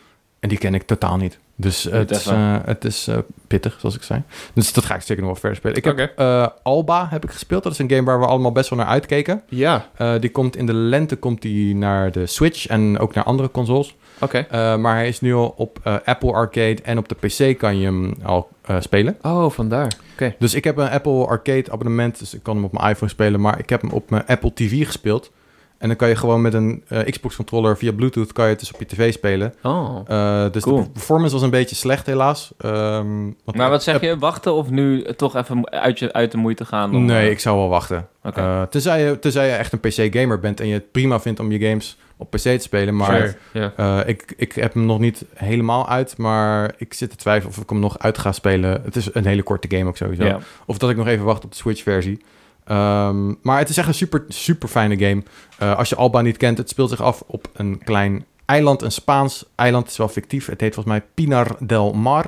En die ken ik totaal niet. Dus het, is, eh,
Bethesda.
het is eh, pittig, zoals ik zei. Dus dat ga ik zeker nog wel verder spelen. Ik heb
Oké.
eh, Alba heb ik gespeeld. Dat is een game waar we allemaal best wel naar uitkeken.
Ja,
Eh, die komt in de lente komt die naar de Switch en ook naar andere consoles.
oké.
Eh, maar hij is nu al op eh, Apple Arcade en op de PC kan je hem al eh, spelen.
Oh, vandaar.
Dus ik heb een Apple Arcade abonnement, dus ik kan hem op mijn iPhone spelen, maar ik heb hem op mijn Apple TV gespeeld. En dan kan je gewoon met een eh, Xbox controller via Bluetooth kan je het dus op je tv spelen.
Oh.
Eh, dus
Cool.
de performance was een beetje slecht helaas. Ehm, want-
Maar wat zeg je? Wachten of nu toch even uit, je, uit de moeite gaan? eh? om-
Nee, ik zou wel wachten.
Oké.
Eh, tenzij, je, tenzij je echt een PC-gamer bent en je het prima vindt om je games op PC te spelen. Maar
Sure. Ja.
eh, ik, ik heb hem nog niet helemaal uit, maar ik zit te twijfelen of ik hem nog uit ga spelen. Het is een hele korte game ook sowieso.
Ja.
Of dat ik nog even wacht op de Switch-versie. Ehm, maar het is echt een super, super fijne game. Eh, als je Alba niet kent, het speelt zich af op een klein eiland, een Spaans eiland. is wel fictief. Het heet volgens mij Pinar del Mar.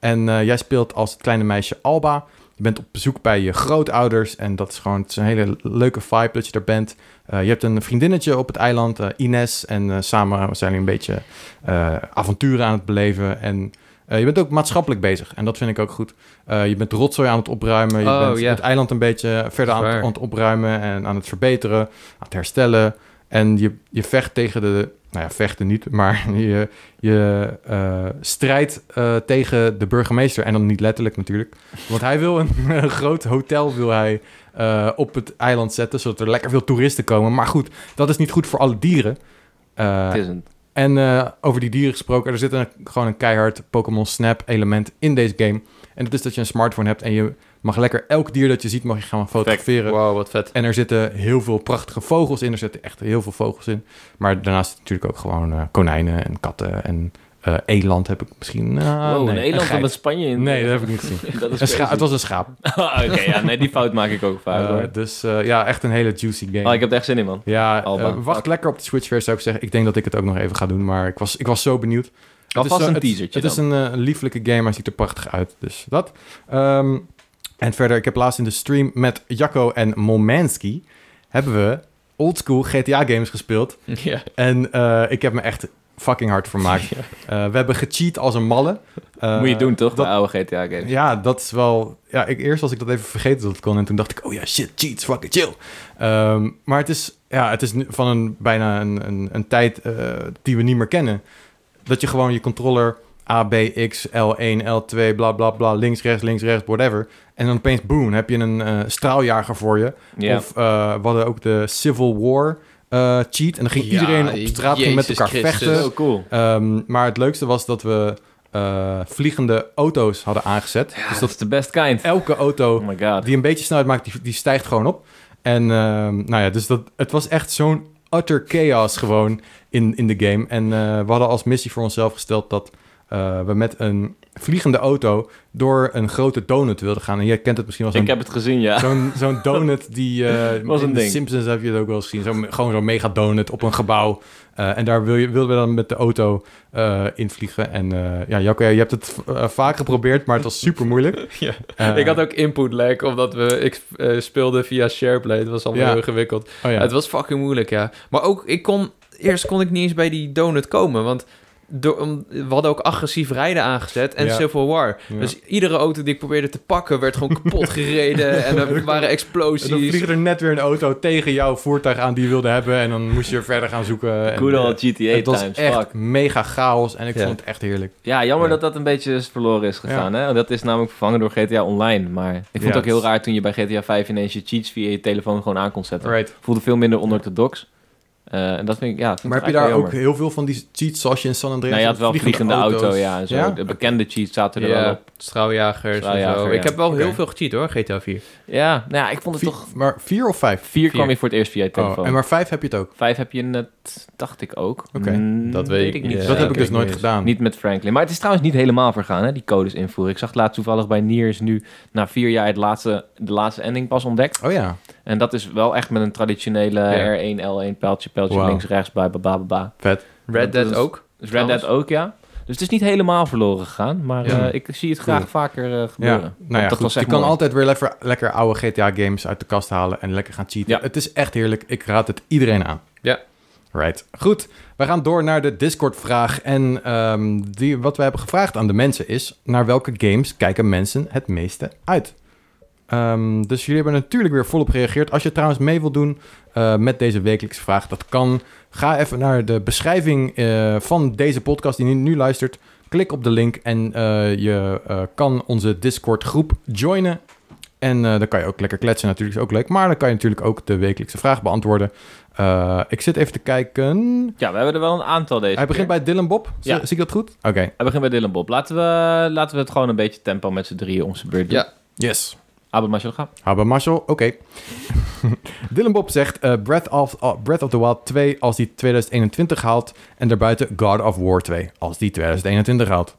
en eh, jij speelt als het kleine meisje Alba. Je bent op bezoek bij je grootouders. En dat is gewoon het is een hele leuke vibe dat je er bent. Eh, je hebt een vriendinnetje op het eiland, eh, Ines. En eh, samen zijn jullie een beetje eh, avonturen aan het beleven. En eh, je bent ook maatschappelijk bezig. En dat vind ik ook goed. Eh, je bent rotzooi aan het opruimen. Je
Oh,
bent
ja.
het eiland een beetje verder aan, het-
Waar.
aan het opruimen. En aan het verbeteren, aan het herstellen. En je, je vecht tegen de... Nou ja, vechten niet, maar je, je eh, strijdt eh, tegen de burgemeester. En dan niet letterlijk natuurlijk. Want hij wil een, een groot hotel wil hij, eh, op het eiland zetten, zodat er lekker veel toeristen komen. Maar goed, dat is niet goed voor alle dieren. Eh,
Het is een...
en eh, over die dieren gesproken, er zit een, gewoon een keihard Pokémon Snap element in deze game. En dat is dat je een smartphone hebt en je mag lekker elk dier dat je ziet, mag je gaan fotograferen.
Wow, wat vet.
En er zitten heel veel prachtige vogels in. Er zitten echt heel veel vogels in. Maar daarnaast natuurlijk ook gewoon eh, konijnen en katten en eh, eland heb ik misschien... eh,
Wow,
nee,
een eland
geit.
van Ah, met Spanje in. eh,
Nee, dat heb ik niet gezien.
Dat is
Een scha-
crazy. Ah,
het was een schaap.
Oké, ja, nee, die fout maak ik ook vaak.
Eh,
hoor.
dus eh, ja, echt een hele juicy game.
Oh, ik heb er echt zin in, man.
Ja,
Alba.
eh, wacht lekker op de Switch versie zou ik zeggen. Ik denk dat ik het ook nog even ga doen, maar ik was, ik was zo benieuwd. Het is
Alvast
zo-
een
het-
teasertje
Het, is een eh, lieflijke game, hij ziet er prachtig uit. Dus dat. Ehm, en verder, ik heb laatst in de stream met Jacco en Momansky... hebben we oldschool GTA games gespeeld.
Ja.
En eh, ik heb me echt fucking hard vermaakt. Eh, we hebben gecheat als een malle. Eh,
Moet je doen, toch?
dat-
de oude GTA-games.
ja, dat is wel... Ja, ik, eerst was ik dat even vergeten dat het kon. En toen dacht ik, oh ja, shit, cheats, fucking chill. Ehm, maar het is, ja, het is nu van een, bijna een, een, een tijd eh, die we niet meer kennen. Dat je gewoon je controller A, B, X, L1, L2, bla, bla, bla, links, rechts, links, rechts, whatever. En dan opeens, boom, heb je een eh, straaljager voor je.
Ja.
Of eh we hadden ook de Civil War eh, cheat. En dan ging
Ja,
iedereen op straat ging met
Jezus
elkaar
Christus.
vechten.
Oh, cool.
Ehm, maar het leukste was dat we eh, vliegende auto's hadden aangezet.
Dus dat is de best kind.
Elke auto
Oh my god.
die een beetje snelheid maakt, die, die stijgt gewoon op. En ehm, nou ja, dus dat, het was echt zo'n utter chaos gewoon in, in de game. En eh, we hadden als missie voor onszelf gesteld dat eh, we met een vliegende auto door een grote donut wilden gaan. En jij kent het misschien wel zo'n
Ik heb het gezien, ja.
Zo'n zo'n donut die... eh
Was een
in de
ding.
Simpsons heb je het ook wel eens gezien. Zo'n- gewoon zo'n mega donut op een gebouw. Eh, en daar wil je, wilden we dan met de auto eh in vliegen. En eh, ja, Jacco, ja, je hebt het eh, vaak geprobeerd, maar het was super moeilijk.
Ja.
Eh,
ik had ook input lag, omdat we, ik eh, speelde via SharePlay. Het was allemaal
Ja.
heel ingewikkeld.
oh ja.
Het was fucking moeilijk, ja. Maar ook, ik kon... Eerst kon ik niet eens bij die donut komen, want... Door, om- we hadden ook agressief rijden aangezet en
Ja.
Civil War.
Ja.
Dus iedere auto die ik probeerde te pakken werd gewoon kapot gereden. en er waren
En dan
explosies.
vliegt er net weer een auto tegen jouw voertuig aan die je wilde hebben. En dan moest je verder gaan zoeken. En,
Good
eh,
old GTA
Het was
times.
echt
Fuck.
mega chaos. En ik
Ja.
vond het echt heerlijk.
Ja, jammer
Ja.
dat dat een beetje is verloren is gegaan. Hè? Dat is namelijk vervangen door GTA Online. Maar ik vond
Ja,
het ook heel
het is-
raar toen je bij GTA 5 ineens je cheats via je telefoon gewoon aan kon zetten.
Right.
Voelde veel minder onorthodox. Eh, en dat vind ik, ja, vind ik
Maar heb je daar
eigenlijk wel
ook heel
jammer.
veel van die cheats zoals je in San Andreas
Nou, je had wel vliegende auto,
auto's?
ja. En zo.
Ja?
De bekende cheats zaten er wel
Ja,
op.
straaljagers en
Straaljager,
zo.
ja.
Ik heb wel
Oké.
heel veel gecheat hoor, GTA 4.
Ja, nou ja, ik vond het
Vier-
toch...
Maar vier of vijf?
Vier kwam je voor het eerst via je
Oh,
telefoon.
en maar vijf heb je het ook.
Vijf heb je net, dacht ik ook.
Oké,
Mm,
dat weet ik niet. Ja,
dat heb ik
zeker.
dus
ik weet
nooit
het.
gedaan.
Oh. Niet met Franklin. Maar het is trouwens niet helemaal vergaan, hè, die codes invoeren. Ik zag laatst toevallig bij Nier is nu na vier jaar het laatste, de laatste ending pas ontdekt.
Oh ja,
En dat is wel echt met een traditionele
Ja.
R1, L1, pijltje, pijltje,
Wauw.
links, rechts, ba, ba, ba, ba, ba.
red.
Red
Dat
Dead
was-
ook.
Dus Red
Trouwens.
Dead ook, ja. Dus het is niet helemaal verloren gegaan, maar
Ja.
eh, ik zie het
Cool.
graag vaker eh,
Ja,
gebeuren.
nou
Want
ja,
dat
goed.
was
Je
echt
kan
mooi.
altijd weer lekker, lekker oude GTA-games uit de kast halen en lekker gaan cheaten.
Ja.
Het is echt heerlijk. Ik raad het iedereen aan.
Ja.
Right. Goed, we gaan door naar de Discord-vraag. En ehm, die, wat we hebben gevraagd aan de mensen is... naar welke games kijken mensen het meeste uit? Ehm, dus jullie hebben natuurlijk weer volop gereageerd. Als je trouwens mee wilt doen eh, met deze wekelijkse vraag, dat kan. Ga even naar de beschrijving eh, van deze podcast die je nu luistert. Klik op de link en eh, je eh, kan onze Discord-groep joinen. En eh, dan kan je ook lekker kletsen, natuurlijk is ook leuk. Maar dan kan je natuurlijk ook de wekelijkse vraag beantwoorden. Eh, ik zit even te kijken.
Ja, we hebben er wel een aantal deze
Hij
keer.
begint bij Dylan Bob. Zie,
Ja.
zie ik dat goed? Oké.
Hij begint bij Dylan Bob. Laten we, laten we het gewoon een beetje tempo met z'n drieën om zijn beurt doen.
Ja.
Yes.
Abel Marshall, ga.
Haber Marshall, oké. Dylan Bob zegt eh, Breath, of, oh, Breath of the Wild 2 als die 2021 haalt. En daarbuiten God of War 2 als die 2021 haalt.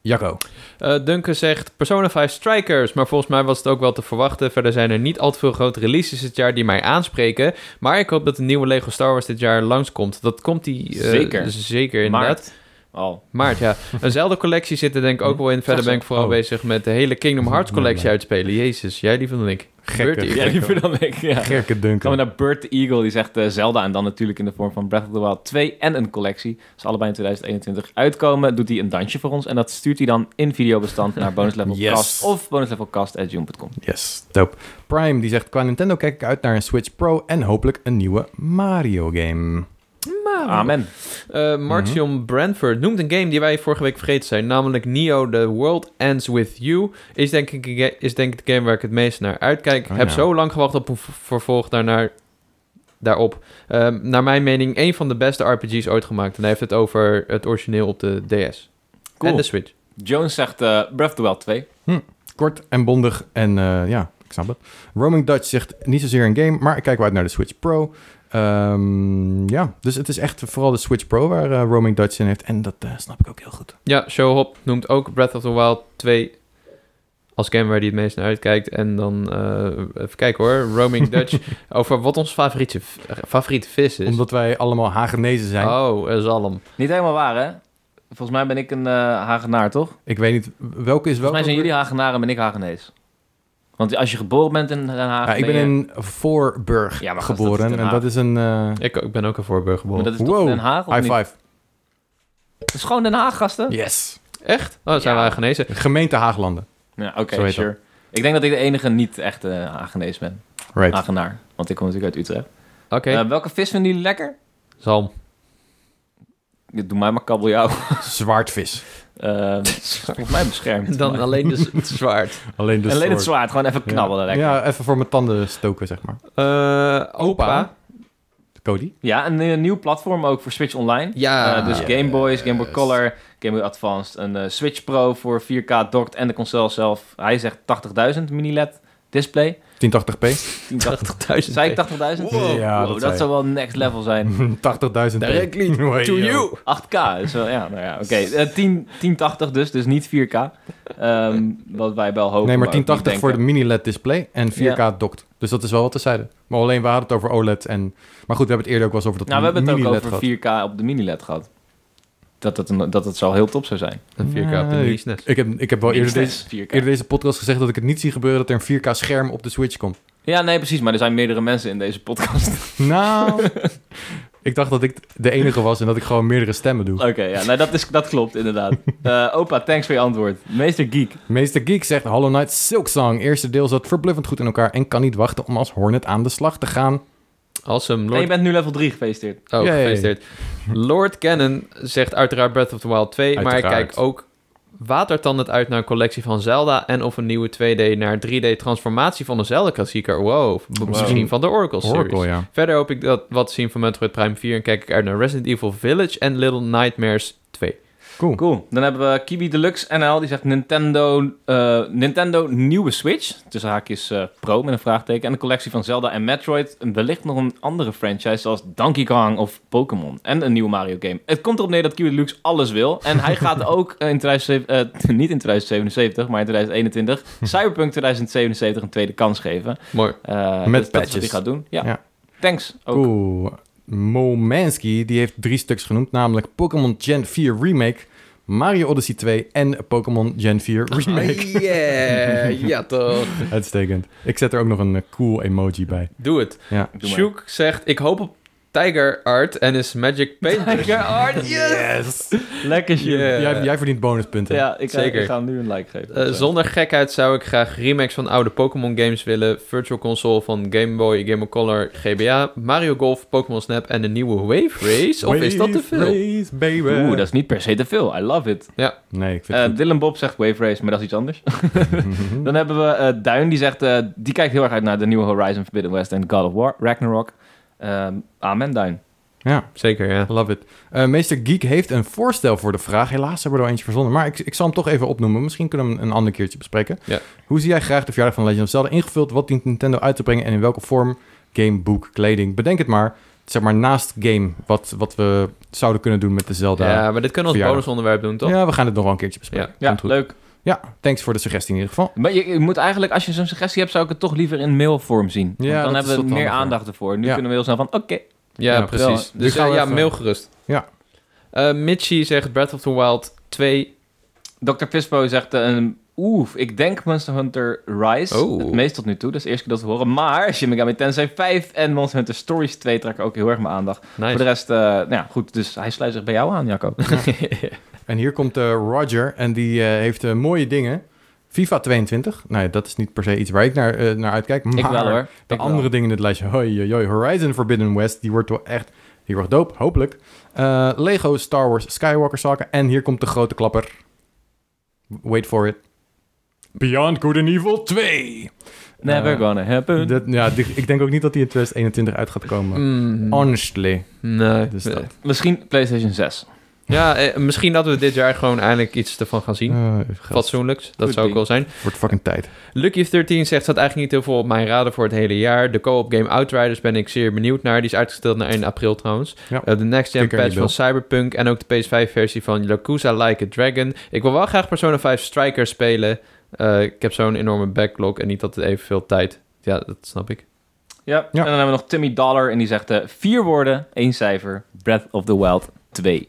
Jacco.
Eh, Duncan zegt Persona 5 Strikers, maar volgens mij was het ook wel te verwachten. Verder zijn er niet al te veel grote releases dit jaar die mij aanspreken. Maar ik hoop dat de nieuwe Lego Star Wars dit jaar langskomt. Dat komt die eh,
Zeker.
zeker inderdaad. Maart,
Maart. Al.
ja. Een zelden collectie zit er denk ik ook wel in. Verder ben ik vooral
Oh.
bezig met de hele Kingdom Hearts collectie
Nee.
uitspelen. Jezus, jij liever dan ik. Gebeurt
Gekke,
hier.
Ja,
gekke,
liever dan ik. Ja.
gekke
Dan gaan
Duncan.
we naar Bert the Eagle, die zegt eh, Zelda en dan natuurlijk in de vorm van Breath of the Wild 2 en een collectie. Dus allebei in 2021 uitkomen, doet hij een dansje voor ons en dat stuurt hij dan in videobestand naar bonuslevelcast
Yes.
of bonuslevelcast.june.com.
Yes, dope. Prime die zegt qua Nintendo kijk ik uit naar een Switch Pro en hopelijk een nieuwe Mario game.
Oh.
Amen.
Eh Martion
Mhm.
Brandford noemt een game die wij vorige week vergeten zijn, namelijk Neo The World Ends With You. Is denk ik, een ga- is denk ik de game waar ik het meest naar uitkijk.
Oh,
Heb
ja.
zo lang gewacht op een v- vervolg daarnaar, daarop. Ehm, naar mijn mening een van de beste RPG's ooit gemaakt. En hij heeft het over het origineel op de DS.
Cool.
En dus- de Switch.
Jones zegt eh, Breath of the Wild 2.
Kort en bondig en eh, ja, ik snap het. Roaming Dutch zegt niet zozeer een game, maar ik kijk wel uit naar de Switch Pro. Ehm, ja, dus het is echt vooral de Switch Pro waar eh, Roaming Dutch in heeft. En dat eh, snap ik ook heel goed.
Ja, Showhop noemt ook Breath of the Wild 2 als game waar hij het meest naar uitkijkt. En dan, eh, even kijken hoor, Roaming Dutch over wat ons favoriete, v- favoriete vis
Dus-
is.
Omdat wij allemaal Hagenezen zijn.
Oh, eh, zalm.
Niet helemaal waar, hè? Volgens mij ben ik een eh, Hagenaar, toch?
Ik weet niet, welke is welke?
Volgens mij zijn jullie Hagenaren en ik Hagenees. Want als je geboren bent in Den Haag,
Ja, ik ben
je-
in Voorburg
Ja, maar gast, dat is
geboren.
Den
en
Haag.
dat is een... eh,
Ik, ik ben ook een voorburg
Maar
geboren.
dat is toch
Wow.
Den Haag, of
high
niet?
five.
Dat is gewoon Den Haag, gasten?
Yes.
Echt? Oh, dat zijn
Ja.
wij genezen.
Gemeente Haaglanden.
Ja, oké,
Zo heet
sure. Ik denk dat ik de enige niet echt eh Hagenees ben.
Right.
Hagenaar. Want ik kom natuurlijk uit Utrecht.
Oké,
Eh, welke vis vinden jullie lekker?
zalm.
Doe mij maar kabeljauw.
Ah. Zwaardvis.
Eh, volgens mij beschermd.
Dan
Maar-
alleen dus het zwaard.
Alleen de
Alleen het
soort.
zwaard. Gewoon even knabbelen
ja.
lekker. Ja,
Ja, even voor mijn tanden stoken, zeg maar.
Eh, opa.
Cody?
en een nieuw platform ook voor Switch Online.
Ah, Ja.
Eh, dus
yes.
Game Boys, Game Boy Color, Game Boy Advanced. Een eh, Switch Pro voor 4K docked en de console zelf. Hij zegt 80.000 mini-LED E display.
1080p?
10.000.
80.000.
Zei ik 80.000?
Wow. Ja, dat zei
dat
je.
zou wel next level zijn.
80.000
Directly To you.
8K is wel, ja, nou ja, oké. Eh, 10 1080 dus, dus niet 4K. Ehm, wat wij wel hopen.
Nee, maar
ook niet
1080 voor de
denken.
mini-LED display en 4K
Ja.
docked. Dus dat is wel wat te zeiden. Maar alleen, we hadden het over OLED en... Maar goed, we hebben het eerder ook wel eens over dat
Nou, we hebben het ook
mini-LED
over
gehad.
4K op de mini-LED gehad. Dat het, een- dat het zo heel top zou zijn.
Een 4K op de
Nee.
Niesnes.
Ik heb, ik heb wel eerder deze,
4K.
eerder deze podcast gezegd dat ik het niet zie gebeuren dat er een 4K scherm op de Switch komt.
Ja, nee, precies. Maar er zijn meerdere mensen in deze podcast.
Nou, ik dacht dat ik de enige was en dat ik gewoon meerdere stemmen doe.
Oké, ja, nou, dat, is, dat klopt inderdaad. Eh, opa, thanks voor je antwoord. Meester Geek.
Meester Geek zegt Hollow Knight Silksong. Eerste deel zat verbluffend goed in elkaar en kan niet wachten om als Hornet aan de slag te gaan.
Awesome.
En je
Lord...
bent nu level 3 gefeliciteerd.
Oh,
Yay.
gefeliciteerd. Lord Cannon zegt uiteraard Breath of the Wild 2. Maar ik
Uiteraard.
kijk ook watertandend uit naar een collectie van Zelda... en of een nieuwe 2D naar 3D transformatie van een Zelda-klassieker. Wow. B-
Wow.
Misschien van de Oracle-series.
Oracle, ja.
Verder hoop ik dat wat te zien van Metroid Prime 4... en kijk ik uit naar Resident Evil Village en Little Nightmares 2.
Cool.
Cool. Dan hebben we Kiwi Deluxe NL. Die zegt Nintendo, eh, Nintendo nieuwe Switch. Tussen haakjes eh, Pro met een vraagteken. En een collectie van Zelda en Metroid. En wellicht nog een andere franchise zoals Donkey Kong of Pokémon. En een nieuwe Mario game. Het komt erop neer dat Kiwi Deluxe alles wil. En hij gaat ook eh, in 2007, eh, niet in 2077, maar in 2021... Cyberpunk 2077 een tweede kans geven.
Mooi.
Eh,
Met
dus dat is wat hij
patches.
gaat doen. Ja.
Ja.
Thanks. Ook.
Cool. Momenski, die heeft drie stuks genoemd, namelijk Pokémon Gen 4 Remake, Mario Odyssey 2 en Pokémon Gen 4 Remake.
Ah, Yeah, ja toch.
Uitstekend. Ik zet er ook nog een eh, cool emoji bij.
Doe het.
Ja.
Doe maar.
Sjoek zegt, ik hoop op Tiger Art en is Magic Painters.
Tiger Art,
Yes!
Lekker shit.
Yeah.
Jij, jij verdient bonuspunten.
Ja, ik,
Zeker.
ik ga hem nu een like geven.
Eh, zonder gekheid zou ik graag remakes van oude Pokémon games willen. Virtual Console van Game Boy, Game Boy Color, GBA, Mario Golf, Pokémon Snap en de nieuwe Wave Race. Of is dat te
Wave
veel?
race, baby.
Oeh, dat is niet per se te veel. I love it.
Nee, ik Eh, vind
Eh,
het
Dylan Bob zegt Wave Race, maar dat is iets anders. Ehm,
goed.
Dan hebben we eh, Duin, die zegt... eh, die kijkt heel erg uit naar de nieuwe Horizon Forbidden West en God of War, Ragnarok. Ehm, amen, Duin.
ja,
Zeker, ja.
love it. Eh, Meester Geek heeft een voorstel voor de vraag. Helaas hebben we er wel eentje verzonnen. Maar ik, ik zal hem toch even opnoemen. Misschien kunnen we hem een ander keertje bespreken.
Ja.
Hoe zie jij graag de verjaardag van Legend of Zelda ingevuld? Wat dient Nintendo uit te brengen? En in welke vorm? Game, boek, kleding. Bedenk het maar. Zeg maar naast game. Wat, wat we zouden kunnen doen met de Zelda.
Ja, maar dit kunnen we als
Verjaardag.
bonusonderwerp doen, toch?
Ja, we gaan het nog wel een keertje bespreken.
Ja,
Komt goed.
leuk.
Ja, thanks voor de suggestie in ieder geval.
Maar je, je moet eigenlijk, als je zo'n suggestie hebt, zou ik het toch liever in mailvorm zien. Want
Ja, dat
dan
is
hebben we
wat
meer
handiger.
aandacht ervoor. Nu
Ja.
kunnen we heel snel van, oké.
Ja,
Ja,
precies.
wel.
Dus
Die gaan
eh,
we
ja,
even-
mail gerust.
Ja.
Eh, Mitchie zegt Breath of the Wild 2.
Dr. Pispo zegt eh, een... Oeh, ik denk Monster Hunter Rise.
Oh.
Het meest tot nu toe, dat is de eerste keer dat we horen. Maar Shin Megami Tensei 5 en Monster Hunter Stories 2 trekken ook heel erg mijn aandacht. Voor
Nice.
de rest, eh, nou ja, goed. Dus hij sluit zich bij jou aan, Jacco.
En hier komt eh, Roger en die eh, heeft eh, mooie dingen. FIFA 22. Nou ja, dat is niet per se iets waar ik naar, eh, naar uitkijk. Maar
ik wel hoor.
de
Ik wel.
andere dingen in het lijstje. Hoi, hoi, hoi. Horizon Forbidden West. Die wordt wel echt heel erg dope, hopelijk. Eh, Lego Star Wars Skywalker zaken. En hier komt de grote klapper. Wait for it. Beyond Good and Evil 2.
Never
Eh,
gonna happen.
Dat, ja, die- ik denk ook niet dat die in 2021 uit gaat komen.
Mm,
Oh,
Honestly.
nee.
Dus dat.
Misschien PlayStation 6.
Ja, eh, misschien dat we dit jaar gewoon eindelijk iets ervan gaan zien.
Eh, geld.
Fatsoenlijks, dat
Goed
zou
ding.
ook wel zijn.
Wordt fucking tijd.
Lucky13 zegt, staat eigenlijk niet heel veel op mijn radar voor het hele jaar. De co-op game Outriders ben ik zeer benieuwd naar. Die is uitgesteld naar 1 april trouwens.
Ja.
Eh, de Next Gen
Kikker in
patch
je bil.
van Cyberpunk en ook de PS5-versie van Yakuza Like a Dragon. Ik wil wel graag Persona 5 Striker spelen. Eh, ik heb zo'n enorme backlog en niet altijd evenveel tijd. Ja, dat snap ik.
Ja. en dan hebben we nog Timmy Dollar en die zegt eh, vier woorden, één cijfer, Breath of the Wild 2.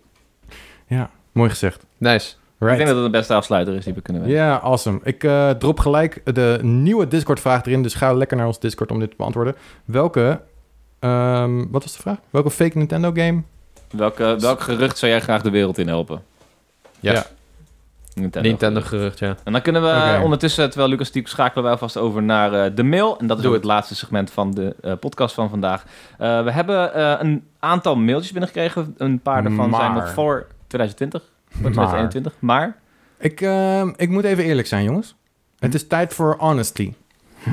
Ja, mooi gezegd.
Nice.
Ik
Right.
denk dat het de beste afsluiter is die we kunnen
Ja,
weten.
awesome. Ik eh, drop gelijk de nieuwe Discord-vraag erin. Dus ga lekker naar ons Discord om dit te beantwoorden. Welke... ehm, wat was de vraag? Welke fake Nintendo-game?
Welke, welk gerucht zou jij graag de wereld in helpen?
Ja,
Ja.
Nintendo.
Nintendo-gerucht, ja.
En dan kunnen we
Oké.
ondertussen, terwijl Lucas typt, schakelen we alvast over naar eh, de mail. En dat is
Doe
ook
het.
het laatste segment van de eh, podcast van vandaag. Eh, we hebben eh, een aantal mailtjes binnengekregen. Een paar daarvan zijn nog
Maar.
voor 2020, voor
Maar.
2021. Maar,
Ik, ehm, ik moet even eerlijk zijn, jongens. Het is tijd voor honesty.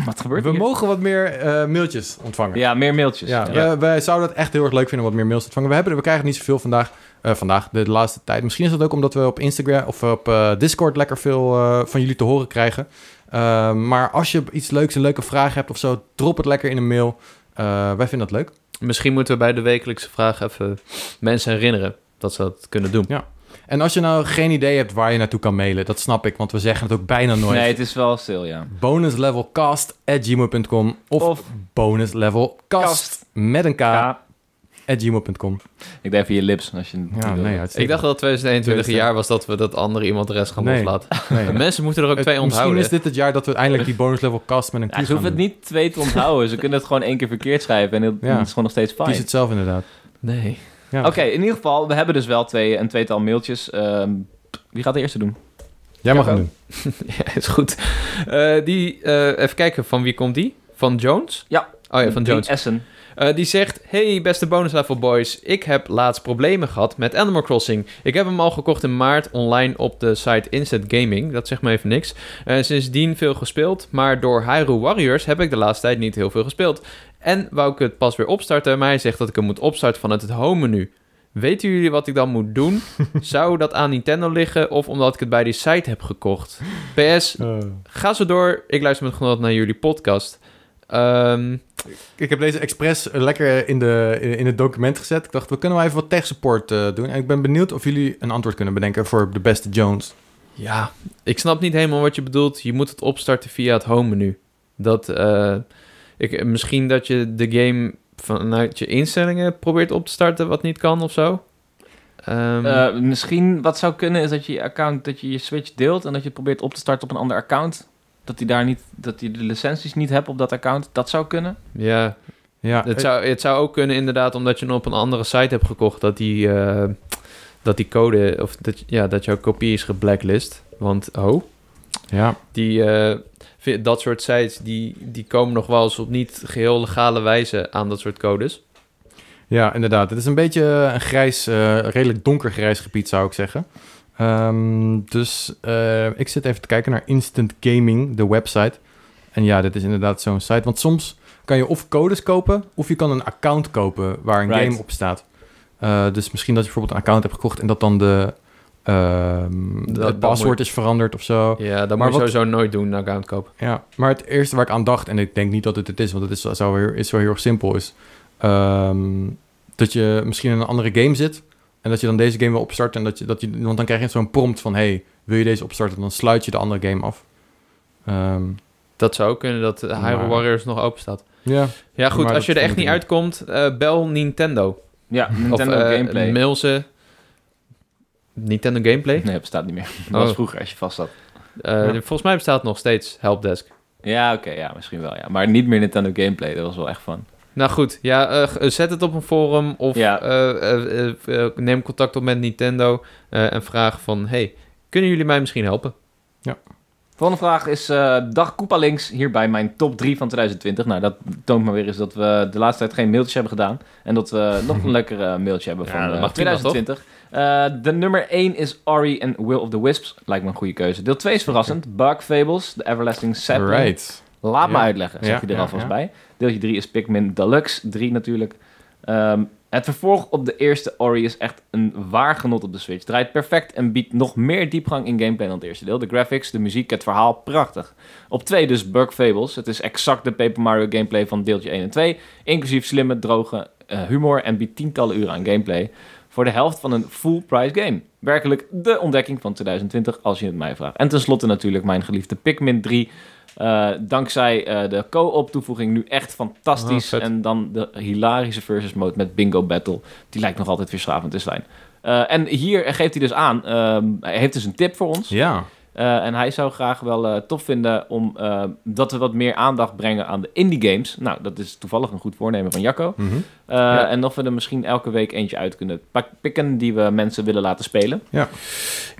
wat
We
gebeurt er hier?
mogen wat meer eh, mailtjes ontvangen.
Ja, meer mailtjes.
Ja, we- wij zouden het echt heel erg leuk vinden om wat meer mails te ontvangen. We, hebben, we krijgen niet zoveel vandaag, eh, vandaag de, laatste tijd. Misschien is dat ook omdat we op Instagram of op eh, Discord lekker veel eh, van jullie te horen krijgen. Eh, maar als je iets leuks, een leuke vraag hebt of zo, drop het lekker in een mail. Eh, wij vinden dat leuk.
Misschien moeten we bij de wekelijkse vraag even mensen herinneren dat ze dat kunnen doen.
En als je nou geen idee hebt waar je naartoe kan mailen, dat snap ik, want we zeggen het ook bijna nooit.
Nee, het is wel stil, ja.
bonuslevelcast.gmail.com of,
Of-
bonuslevelcast
Kast.
met een k
Ja.
at gmail.com.
Ik deed even je lips als je.
Ja, nee, uitstekend.
Ik dacht dat 2021 een jaar was dat we dat andere iemand de rest gaan
Nee.
loslaten.
Nee.
Mensen moeten er ook
Het-
twee onthouden.
Misschien is dit het jaar dat we eindelijk die bonuslevelcast met een
Ja,
kies
ze hoeven het niet twee te onthouden. ze kunnen het gewoon één keer verkeerd schrijven en het
Ja.
het is gewoon nog steeds fijn.
Kies het zelf inderdaad.
Nee.
Ja.
Oké, in ieder geval, we hebben dus wel twee, een tweetal mailtjes. Ehm, wie gaat de eerste doen?
Jij mag
Ja,
hem doen.
ja, is goed. Eh, die, eh, even kijken, van wie komt die? Van Jones?
Ja.
Oh ja, van Jones.
Essen.
Eh, die zegt, hey beste bonus level boys, ik heb laatst problemen gehad met Animal Crossing. Ik heb hem al gekocht in maart online op de site Instant Gaming, dat zegt me even niks. Eh, sindsdien veel gespeeld, maar door Hyrule Warriors heb ik de laatste tijd niet heel veel gespeeld. En wou ik het pas weer opstarten, maar hij zegt dat ik hem moet opstarten vanuit het home menu. Weten jullie wat ik dan moet doen? Zou dat aan Nintendo liggen of omdat ik het bij die site heb gekocht? PS,
Eh,
ga zo door. Ik luister met genot naar jullie podcast. Ehm,
ik heb deze expres eh, lekker in, de, in het document gezet. Ik dacht, we kunnen wel even wat tech support eh, doen. En ik ben benieuwd of jullie een antwoord kunnen bedenken voor de beste Jones.
ja, ik snap niet helemaal wat je bedoelt. Je moet het opstarten via het home menu. Dat, eh, ik, misschien dat je de game vanuit je instellingen probeert op te starten, wat niet kan of zo. Ehm,
Eh, misschien wat zou kunnen is dat je je account, dat je je Switch deelt en dat je het probeert op te starten op een ander account. Dat hij daar niet, dat hij de licenties niet hebt op dat account. Dat zou kunnen.
ja,
Ja,
Het zou, het zou ook kunnen inderdaad omdat je hem op een andere site hebt gekocht dat die, eh, dat die code of dat, ja, dat jouw kopie is geblacklist. Want oh,
ja.
die, eh, vi- dat soort sites die, die komen nog wel eens op niet geheel legale wijze aan dat soort codes.
ja, inderdaad. Het is een beetje een grijs, eh, redelijk donkergrijs gebied, zou ik zeggen. Ehm, dus eh, ik zit even te kijken naar Instant Gaming, de website. En ja, dit is inderdaad zo'n site. Want soms kan je of codes kopen, of je kan een account kopen waar een
Right.
game op staat. Eh, dus misschien dat je bijvoorbeeld een account hebt gekocht en dat dan de, ehm
Dat-
het
dat
paswoord
moet-
is veranderd of zo.
Ja, dat
Oh. Maar
moet je
wat-
sowieso nooit doen, een account kopen.
Ja, maar het eerste waar ik aan dacht, en ik denk niet dat het het is, want het is, zo, heel, is zo heel erg simpel, is ehm, dat je misschien in een andere game zit en dat je dan deze game wil opstarten. En dat je, dat je, want dan krijg je zo'n prompt van, hey, wil je deze opstarten? Dan sluit je de andere game af. Ehm,
Dat zou ook kunnen dat Hyrule
Maar-
Warriors nog open staat.
ja,
Ja, goed,
Maar
als je
dat
er
moet
echt niet
je
uitkomt, eh, bel Nintendo.
Ja, Nintendo
of, eh,
Gameplay.
Mail ze. Nintendo Gameplay?
Nee, bestaat niet meer. Dat was
Oh.
vroeger als je vast zat.
Eh,
Ja.
Volgens mij bestaat nog steeds Helpdesk.
Ja, oké, ja, misschien wel. Ja. Maar niet meer Nintendo Gameplay, dat was wel echt van.
Nou goed, ja, eh, g- zet het op een forum of
Ja.
eh, eh, eh, eh, neem contact op met Nintendo eh, en vraag van... Hey, kunnen jullie mij misschien helpen?
Volgende vraag is eh, Dag Koepa Links, hierbij mijn top 3 van 2020. Nou, dat toont maar weer eens dat we de laatste tijd geen mailtjes hebben gedaan. En dat we nog een lekker eh, mailtje hebben
Ja,
van
dat
eh,
mag prima,
2020. Eh, de nummer 1 is Ori en Will of the Wisps. Lijkt me een goede keuze. Deel 2 is verrassend. Bug Fables, The Everlasting Sapling.
right.
Laat me
Ja.
uitleggen, zeg
Ja,
je er
ja,
alvast
ja.
bij. Deeltje 3 is Pikmin Deluxe 3 natuurlijk. Ehm, het vervolg op de eerste Ori is echt een waar genot op de Switch. Draait perfect en biedt nog meer diepgang in gameplay dan het eerste deel. De graphics, de muziek, het verhaal, prachtig. Op 2 dus Bug Fables. Het is exact de Paper Mario gameplay van deeltje 1 en 2. Inclusief slimme, droge eh, humor en biedt tientallen uren aan gameplay. Voor de helft van een full price game. Werkelijk de ontdekking van 2020 als je het mij vraagt. En tenslotte natuurlijk mijn geliefde Pikmin 3 eh, dankzij eh, de co-op toevoeging nu echt fantastisch.
Ah, vet.
en dan de hilarische versus mode met Bingo Battle. Die lijkt nog altijd verschavend te zijn. Eh, en hier geeft hij dus aan, ehm, hij heeft dus een tip voor ons.
Ja,
Eh, en hij zou graag wel eh, tof vinden om, eh, dat we wat meer aandacht brengen aan de indie games. Nou, dat is toevallig een goed voornemen van Jacco.
mhm.
Eh,
Ja.
En of we er misschien elke week eentje uit kunnen pak- pikken die we mensen willen laten spelen.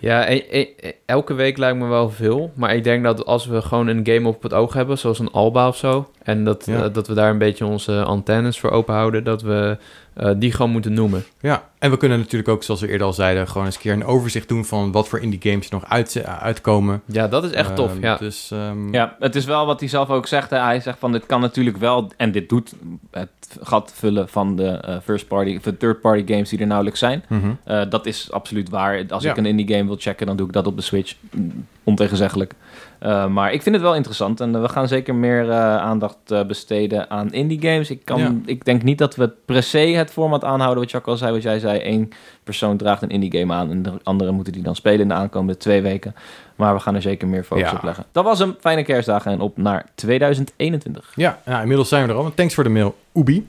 Ja, e- e- e- elke week lijkt me wel veel. Maar ik denk dat als we gewoon een game op het oog hebben, zoals een Alba of zo... en dat,
Ja.
eh, dat we daar een beetje onze antennes voor open houden... dat we eh, die gewoon moeten noemen.
ja. En we kunnen natuurlijk ook, zoals we eerder al zeiden, gewoon eens een keer een overzicht doen van wat voor indie games er nog uit, uitkomen.
Ja, dat is echt tof,
Ehm,
ja.
Dus, ehm,
Ja, het is wel wat hij zelf ook zegt. Hè. Hij zegt van dit kan natuurlijk wel en dit doet het gat vullen van de eh, first party, of de third party games die er nauwelijks zijn.
mhm.
Eh, dat is absoluut waar. Als
Ja.
ik een indie game wil checken, dan doe ik dat op de Switch. Mm, Ontegenzeggelijk. Eh, maar ik vind het wel interessant en eh, we gaan zeker meer eh, aandacht eh, besteden aan indie games. Ik, kan,
Ja.
ik denk niet dat we per se het format aanhouden wat Jacques al zei, wat jij zei. Eén persoon draagt een indie game aan en de anderen moeten die dan spelen in de aankomende twee weken. Maar we gaan er zeker meer focus
Ja.
op leggen. Dat was hem. Fijne kerstdagen en op naar 2021.
Ja, nou, inmiddels zijn we er al. Thanks voor de mail, Ubi.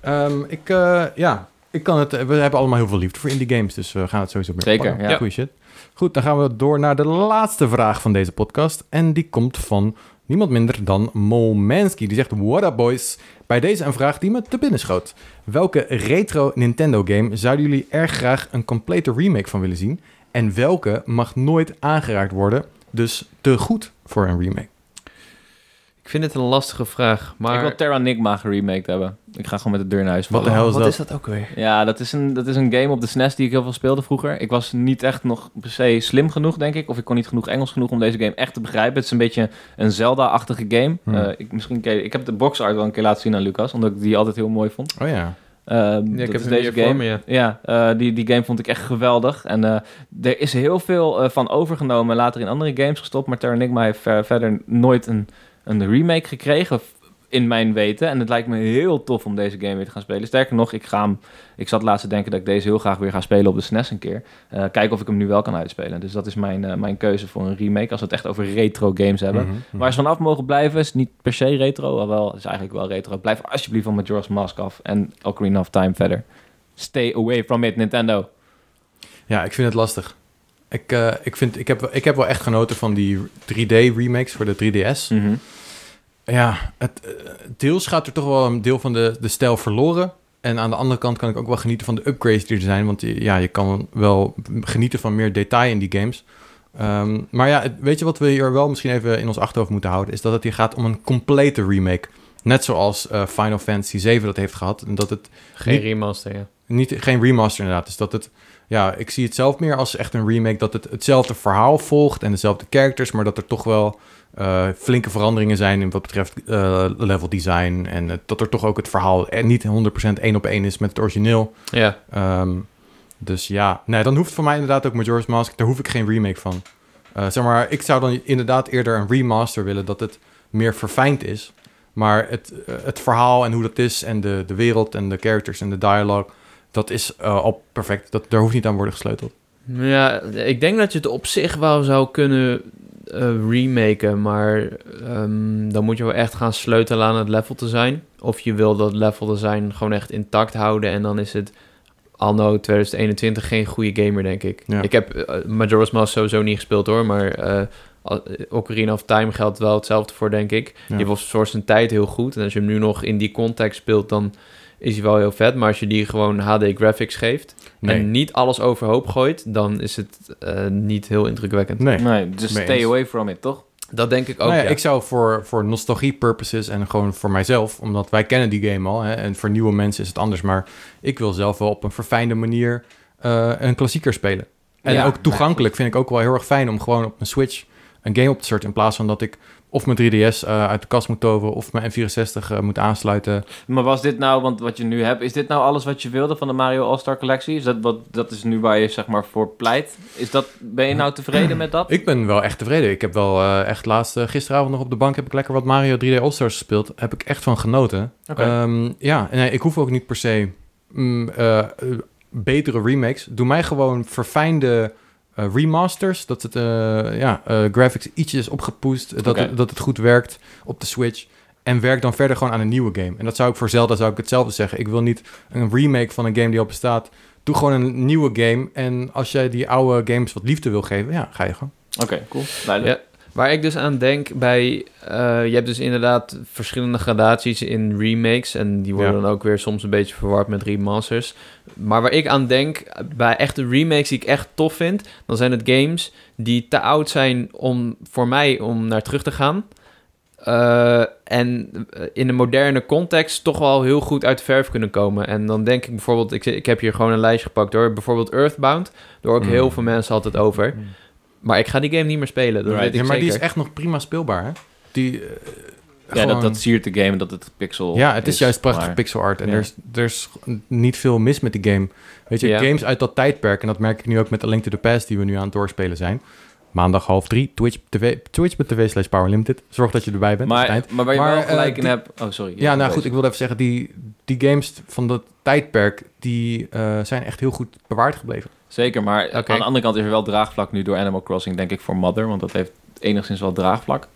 Ehm, ik, eh, ja, ik kan het, we hebben allemaal heel veel liefde voor indie games, dus we gaan het sowieso meer
Zeker,
pakken.
ja.
Goeie shit. Goed, dan gaan we door naar de laatste vraag van deze podcast. En die komt van niemand minder dan Molmansky. Die zegt, what up boys? Bij deze een vraag die me te binnen schoot. Welke retro Nintendo game zouden jullie erg graag een complete remake van willen zien? En welke mag nooit aangeraakt worden, dus te goed voor een remake?
Ik vind het een lastige vraag, maar...
Ik wil Terranigma geremaked hebben. Ik ga gewoon met de deur naar huis
Wat de
vallen.
hel is
Oh, wat
dat?
is dat ook weer?
Ja, dat is, een, dat is een game op de SNES die ik heel veel speelde vroeger. Ik was niet echt nog per se slim genoeg, denk ik. Of ik kon niet genoeg Engels genoeg om deze game echt te begrijpen. Het is een beetje een Zelda-achtige game.
Hmm.
Eh, ik, misschien ken je- ik heb de box art wel een keer laten zien aan Lucas, omdat ik die altijd heel mooi vond.
Oh ja.
Ehm, dat
Ja, ik heb
is
hem hier voor me, ja.
ja, eh, die, die game vond ik echt geweldig. En eh, er is heel veel eh, van overgenomen en later in andere games gestopt. Maar Terranigma heeft eh, verder nooit een, een remake gekregen, f- in mijn weten. En het lijkt me heel tof om deze game weer te gaan spelen. Sterker nog, ik, ga hem, ik zat laatst te denken dat ik deze heel graag weer ga spelen op de SNES een keer. Eh, kijken of ik hem nu wel kan uitspelen. Dus dat is mijn, eh, mijn keuze voor een remake, als we het echt over retro games hebben.
Mhm, mhm.
Waar ze vanaf mogen blijven is niet per se retro, al wel, is eigenlijk wel retro. Blijf alsjeblieft van Majora's Mask af en Ocarina of Time verder. Stay away from it, Nintendo.
Ja, ik vind het lastig. Ik, eh, ik, vind, ik, heb, ik heb wel echt genoten van die 3D-remakes voor de 3DS. ja, het, eh, deels gaat er toch wel een deel van de, de stijl verloren. En aan de andere kant kan ik ook wel genieten van de upgrades die er zijn. Want je- ja, je kan wel genieten van meer detail in die games. Ehm, maar ja, het- weet je wat we hier wel misschien even in ons achterhoofd moeten houden? Is dat het hier gaat om een complete remake. Net zoals eh, Final Fantasy VII dat heeft gehad. En dat het
Geen
Niet-
remaster, ja.
niet, geen remaster inderdaad. Dus dat het, ja, ik zie het zelf meer als echt een remake. Dat het hetzelfde verhaal volgt en dezelfde characters. Maar dat er toch wel eh, flinke veranderingen zijn in wat betreft eh, level design. En eh, dat er toch ook het verhaal en niet 100% één op één is met het origineel.
Ja,
Ehm, dus ja, nee, dan hoeft voor mij inderdaad ook Majora's Mask. Daar hoef ik geen remake van. Eh, zeg maar, ik zou dan inderdaad eerder een remaster willen dat het meer verfijnd is. Maar het, eh, het verhaal en hoe dat is en de, de wereld en de characters en de dialogue, dat is eh, al perfect. Dat, daar hoeft niet aan worden gesleuteld.
ja ik denk dat je het op zich wel zou kunnen eh, remaken, maar ehm, dan moet je wel echt gaan sleutelen aan het level design. Of je wil dat level design gewoon echt intact houden en dan is het anno 2021 geen goede gamer, denk ik.
Ja.
Ik heb eh, Majora's Mask sowieso niet gespeeld hoor, maar eh, al- Ocarina of Time geldt wel hetzelfde voor, denk ik.
Ja.
Die was voor zijn tijd heel goed en als je hem nu nog in die context speelt, dan is hij wel heel vet. Maar als je die gewoon HD graphics geeft,
Nee,
en niet alles overhoop gooit, dan is het eh, niet heel indrukwekkend.
nee.
Nee, just
Mee
stay
eens.
away from it, toch?
Dat denk ik ook.
nou ja,
ja.
Ik zou voor, voor nostalgie purposes en gewoon voor mijzelf, omdat wij kennen die game al. Hè, en voor nieuwe mensen is het anders. Maar ik wil zelf wel op een verfijnde manier eh, een klassieker spelen. En
Ja,
ook toegankelijk vind ik ook wel heel erg fijn om gewoon op mijn Switch een game op te starten. In plaats van dat ik of mijn 3DS eh, uit de kast moet toveren of mijn N64 eh, moet aansluiten.
Maar was dit nou, want wat je nu hebt, is dit nou alles wat je wilde van de Mario All-Star collectie? Is dat, wat, dat is nu waar je zeg maar voor pleit. Is dat, ben je nou tevreden met dat?
Ik ben wel echt tevreden. Ik heb wel eh, echt laatst eh, gisteravond nog op de bank heb ik lekker wat Mario 3D All-Stars gespeeld. Heb ik echt van genoten.
Oké.
Ehm, ja, nee, ik hoef ook niet per se mm, eh, eh, betere remakes. Doe mij gewoon verfijnde eh, remasters. Dat het eh, ja, eh, graphics ietsje is opgepoest. eh, Dat,
Oké.
het, dat het goed werkt op de Switch. En werk dan verder gewoon aan een nieuwe game. En dat zou ik voor Zelda zou ik hetzelfde zeggen. Ik wil niet een remake van een game die al bestaat. Doe gewoon een nieuwe game. En als jij die oude games wat liefde wil geven, ja, ga je gewoon.
Oké, cool. Duidelijk.
Waar ik dus aan denk bij... eh, je hebt dus inderdaad verschillende gradaties in remakes... en die worden
Ja.
dan ook weer soms een beetje verward met remasters. Maar waar ik aan denk, bij echte remakes die ik echt tof vind... dan zijn het games die te oud zijn om, voor mij om naar terug te gaan... Eh, en in een moderne context toch wel heel goed uit de verf kunnen komen. En dan denk ik bijvoorbeeld... Ik, ik heb hier gewoon een lijstje gepakt hoor. Bijvoorbeeld Earthbound. Daar hoor ik
Mm.
heel veel mensen altijd over...
Mm.
Maar ik ga die game niet meer spelen, dat
Right.
weet ik
Ja, maar
zeker.
die is echt nog prima speelbaar, hè? Die, eh,
Ja,
gewoon-
dat, dat siert de game dat het pixel
Ja, het is, juist prachtig
maar-
pixel art. En
Ja.
er, is, er is niet veel mis met die game. Weet je,
Ja.
games uit dat tijdperk... en dat merk ik nu ook met A Link to the Past... die we nu aan het doorspelen zijn. Maandag half drie, Twitch TV, twitch.tv slash Power Limited. Zorg dat je erbij bent. op het eind.
Maar, maar waar je
Maar,
wel
eh,
gelijk in
die-
hebt... Oh, sorry.
ja, nou goed,
Ik...
ik wilde even zeggen... die, die games van dat tijdperk... die eh, zijn echt heel goed bewaard gebleven.
Zeker, maar
Oké.
aan de andere kant is er wel draagvlak nu door Animal Crossing, denk ik, voor Mother. Want dat heeft enigszins wel draagvlak.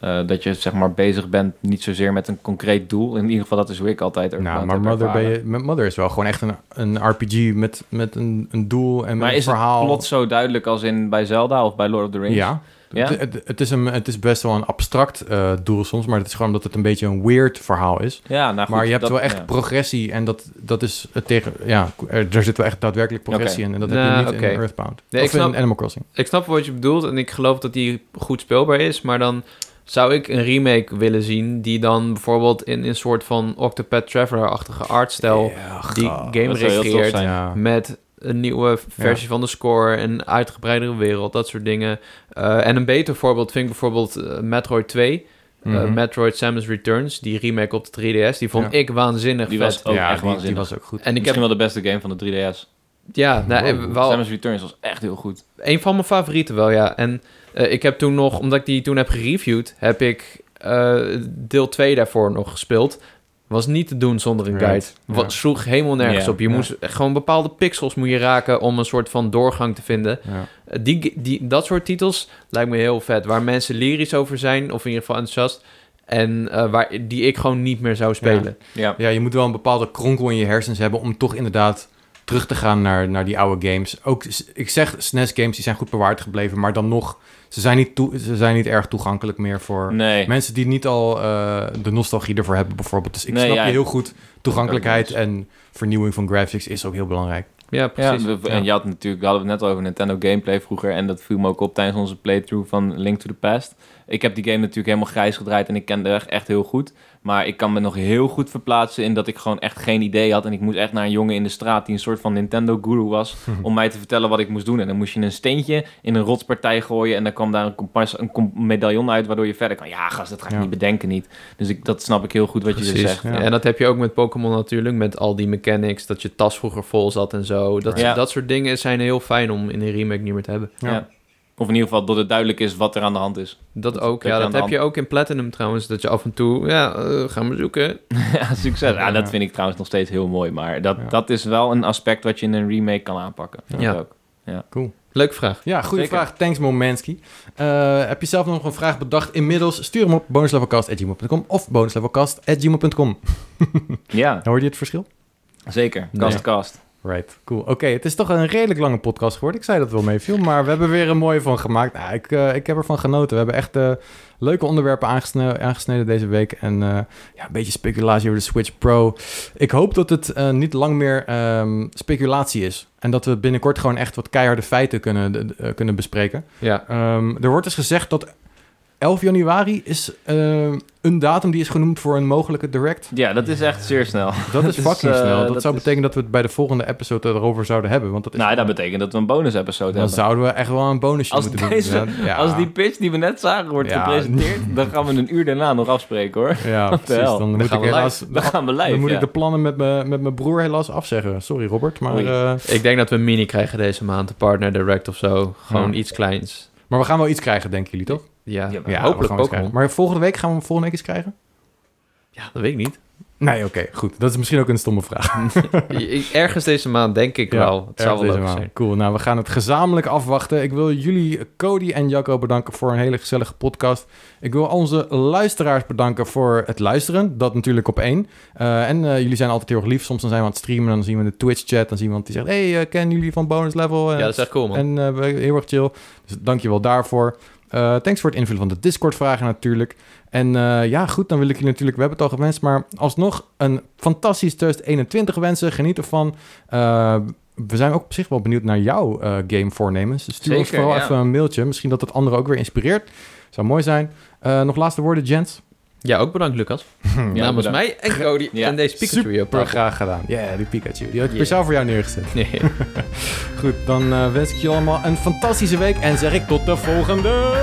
Eh, dat je zeg maar bezig bent niet zozeer met een concreet doel. In ieder geval, dat is hoe ik altijd
nou,
Earthbound
maar
heb
Mother, ben
ervaren.
je, met Mother is wel gewoon echt een, een RPG... met, met een, een doel en met
Maar
een
is het
verhaal.
plot zo duidelijk als in bij Zelda of bij Lord of the Rings?
Ja.
Ja?
Het, het- het is een, het is best wel een abstract eh, doel soms, maar het is gewoon omdat het een beetje een weird verhaal is.
Ja, nou goed,
maar je hebt
dat-
wel echt
ja.
progressie en dat, dat is het tegen. Ja, er, er zit wel echt daadwerkelijk progressie in
Oké.
en dat
Nou,
heb je niet
oké.
in Earthbound.
Nee,
of
ik snap-
in Animal Crossing.
Ik snap wat je bedoelt en ik geloof dat die goed speelbaar is, maar dan zou ik een remake willen zien die dan bijvoorbeeld in een soort van Octopath Traveler-achtige artstijl die game
dat zou heel tof
recreëert
zijn.
Ja.
met een nieuwe versie van de score, een uitgebreidere wereld, dat soort dingen. Eh, en een beter voorbeeld vind ik bijvoorbeeld eh, Metroid 2, eh,
Mhm.
Metroid Samus Returns, die remake op de 3DS, die vond
Ja.
ik waanzinnig
Die
vet.
was ook
ja,
echt
die, die
waanzinnig.
was ook goed.
En ik heb,
Misschien wel de beste game van de 3DS.
ja, nou, eh,
Wow.
wel,
Samus Returns was echt heel goed.
een van mijn favorieten wel, ja. En eh, ik heb toen nog, omdat ik die toen heb gereviewd, heb ik eh, deel 2 daarvoor nog gespeeld. Was niet te doen zonder een
Right,
guide.
ja.
Wat sloeg helemaal nergens
Ja,
op. Je
ja.
moest gewoon bepaalde pixels moet je raken om een soort van doorgang te vinden.
Ja.
Eh, Die, die, dat soort titels lijkt me heel vet. Waar mensen lyrisch over zijn, of in ieder geval enthousiast. En eh, waar, die ik gewoon niet meer zou spelen.
Ja.
ja, je moet wel een bepaalde kronkel in je hersens hebben om toch inderdaad terug te gaan naar, naar die oude games. Ook, s- ik zeg SNES-games, die zijn goed bewaard gebleven, maar dan nog, ze zijn niet, toe, ze zijn niet erg toegankelijk meer voor
Nee.
mensen die niet al eh, de nostalgie ervoor hebben, bijvoorbeeld. Dus ik
Nee,
snap
ja,
je heel
ik-
goed. Toegankelijkheid en vernieuwing van graphics is ook heel belangrijk.
Ja,
Ja,
precies.
we- en je had natuurlijk, we hadden het net al over Nintendo gameplay vroeger. En dat viel me ook op tijdens onze playthrough van Link to the Past. Ik heb die game natuurlijk helemaal grijs gedraaid en ik kende haar echt heel goed. Maar ik kan me nog heel goed verplaatsen in dat ik gewoon echt geen idee had. En ik moest echt naar een jongen in de straat die een soort van Nintendo guru was. om mij te vertellen wat ik moest doen. En dan moest je een steentje in een rotspartij gooien. En dan kwam daar een, kompas, een kom- medaillon uit waardoor je verder kan. Ja, gast, dat ga ik
Ja.
niet bedenken niet. Dus ik, dat snap ik heel goed wat je er
Precies,
zegt.
ja.
En dat heb je ook met Pokémon natuurlijk, met al die mechanics, dat je tas vroeger vol zat en zo. Dat,
Ja.
dat soort dingen zijn heel fijn om in een remake niet meer te hebben.
Ja.
Ja. Of in ieder geval dat het duidelijk is wat er aan de hand is.
Dat,
Dat heb
ook,
je
ja.
aan
Dat
de
heb
hand.
je ook in Platinum trouwens, dat je af en toe, ja, eh, gaan we zoeken.
Ja, succes. Ja,
Ja.
dat vind ik trouwens nog steeds heel mooi. Maar dat,
Ja.
dat is wel een aspect wat je in een remake kan aanpakken.
Ja.
Dat ook.
Leuke vraag.
Ja, goede
Zeker.
vraag. Thanks, Momenski. Eh, heb je zelf nog een vraag bedacht? Inmiddels stuur hem op bonuslevelcast.gmail.com of bonuslevelcast.gmail.com.
ja,
Hoor je het verschil?
zeker.
Ja.
Cast, cast.
Right, cool. Oké, het is toch een redelijk lange podcast geworden. Ik zei dat het wel meeviel, maar we hebben er weer een mooie van gemaakt. Nou, ik, eh, ik heb ervan genoten. We hebben echt eh, leuke onderwerpen aangesne- aangesneden deze week. En eh, ja, een beetje speculatie over de Switch Pro. Ik hoop dat het eh, niet lang meer ehm, speculatie is. En dat we binnenkort gewoon echt wat keiharde feiten kunnen, de- de- eh, kunnen bespreken.
Ja,
Ehm, er wordt dus gezegd dat 11 januari is ehm, een datum die is genoemd voor een mogelijke direct.
Ja, dat is echt zeer snel.
Dat is
is,
fucking
eh,
snel. Dat,
dat
zou
is-
betekenen dat we het bij de volgende episode erover zouden hebben. Want dat is
nou, dat betekent dat we een bonus episode
dan
hebben.
zouden we echt wel een bonusje
Als
moeten
deze-
doen. inderdaad. Ja.
Als die pitch die we net zagen wordt
Ja.
gepresenteerd, dan gaan we een uur daarna nog afspreken hoor.
Ja, precies.
hel?
Dan, moet ik
gaan we
helaas...
Dan gaan we live.
Dan moet
ja.
ik de plannen met, me, met mijn broer helaas afzeggen. Sorry Robert, maar,
Oei.
eh,
ik denk dat we een mini krijgen deze maand, een partner direct of zo. Gewoon
Ja.
iets kleins.
maar we gaan wel iets krijgen, denken jullie toch?
Ja,
Ja,
we gaan
hopelijk
iets
Pokémon.
krijgen. Maar volgende week gaan we hem volgende week iets krijgen?
Ja, dat weet ik niet.
Nee, oké, goed. Dat is misschien ook een stomme vraag.
Ik- Ergens deze maand denk ik
Ja,
wel. Het zou
Erg
wel
deze
leuk
maand.
zijn.
Cool. Nou, we gaan het gezamenlijk afwachten. Ik wil jullie, Cody en Jacco, bedanken voor een hele gezellige podcast. Ik wil onze luisteraars bedanken voor het luisteren. Dat natuurlijk op één. Eh, en eh, jullie zijn altijd heel erg lief. Soms dan zijn we aan het streamen. Dan zien we de Twitch-chat. Dan zien we iemand die zegt: Hey, eh, kennen jullie van bonus level?
Ja,
En-
dat is echt cool man.
en eh, we- heel erg chill. Dus dankjewel daarvoor. Eh, thanks voor het invullen van de Discord-vragen natuurlijk. En eh, ja, goed, dan wil ik jullie natuurlijk... We hebben het al gewenst, maar alsnog een fantastisch 2021 wensen. Geniet ervan. Eh, we zijn ook op zich wel benieuwd naar jouw eh, game-voornemens. Dus stuur ons
Zeker,
vooral
ja.
even een mailtje. Misschien dat het anderen ook weer inspireert. Zou mooi zijn. Eh, nog laatste woorden, Jens?
Ja, ook bedankt Lucas.
Ja,
Namens
bedankt.
mij en Cody
Ja.
en deze Pikachu hier op
Super
tafel.
graag gedaan. Ja, die Pikachu. Die had ik
Ja.
speciaal voor jou neergezet.
Nee.
Goed, dan eh, wens ik je allemaal een fantastische week. En zeg ik tot de volgende...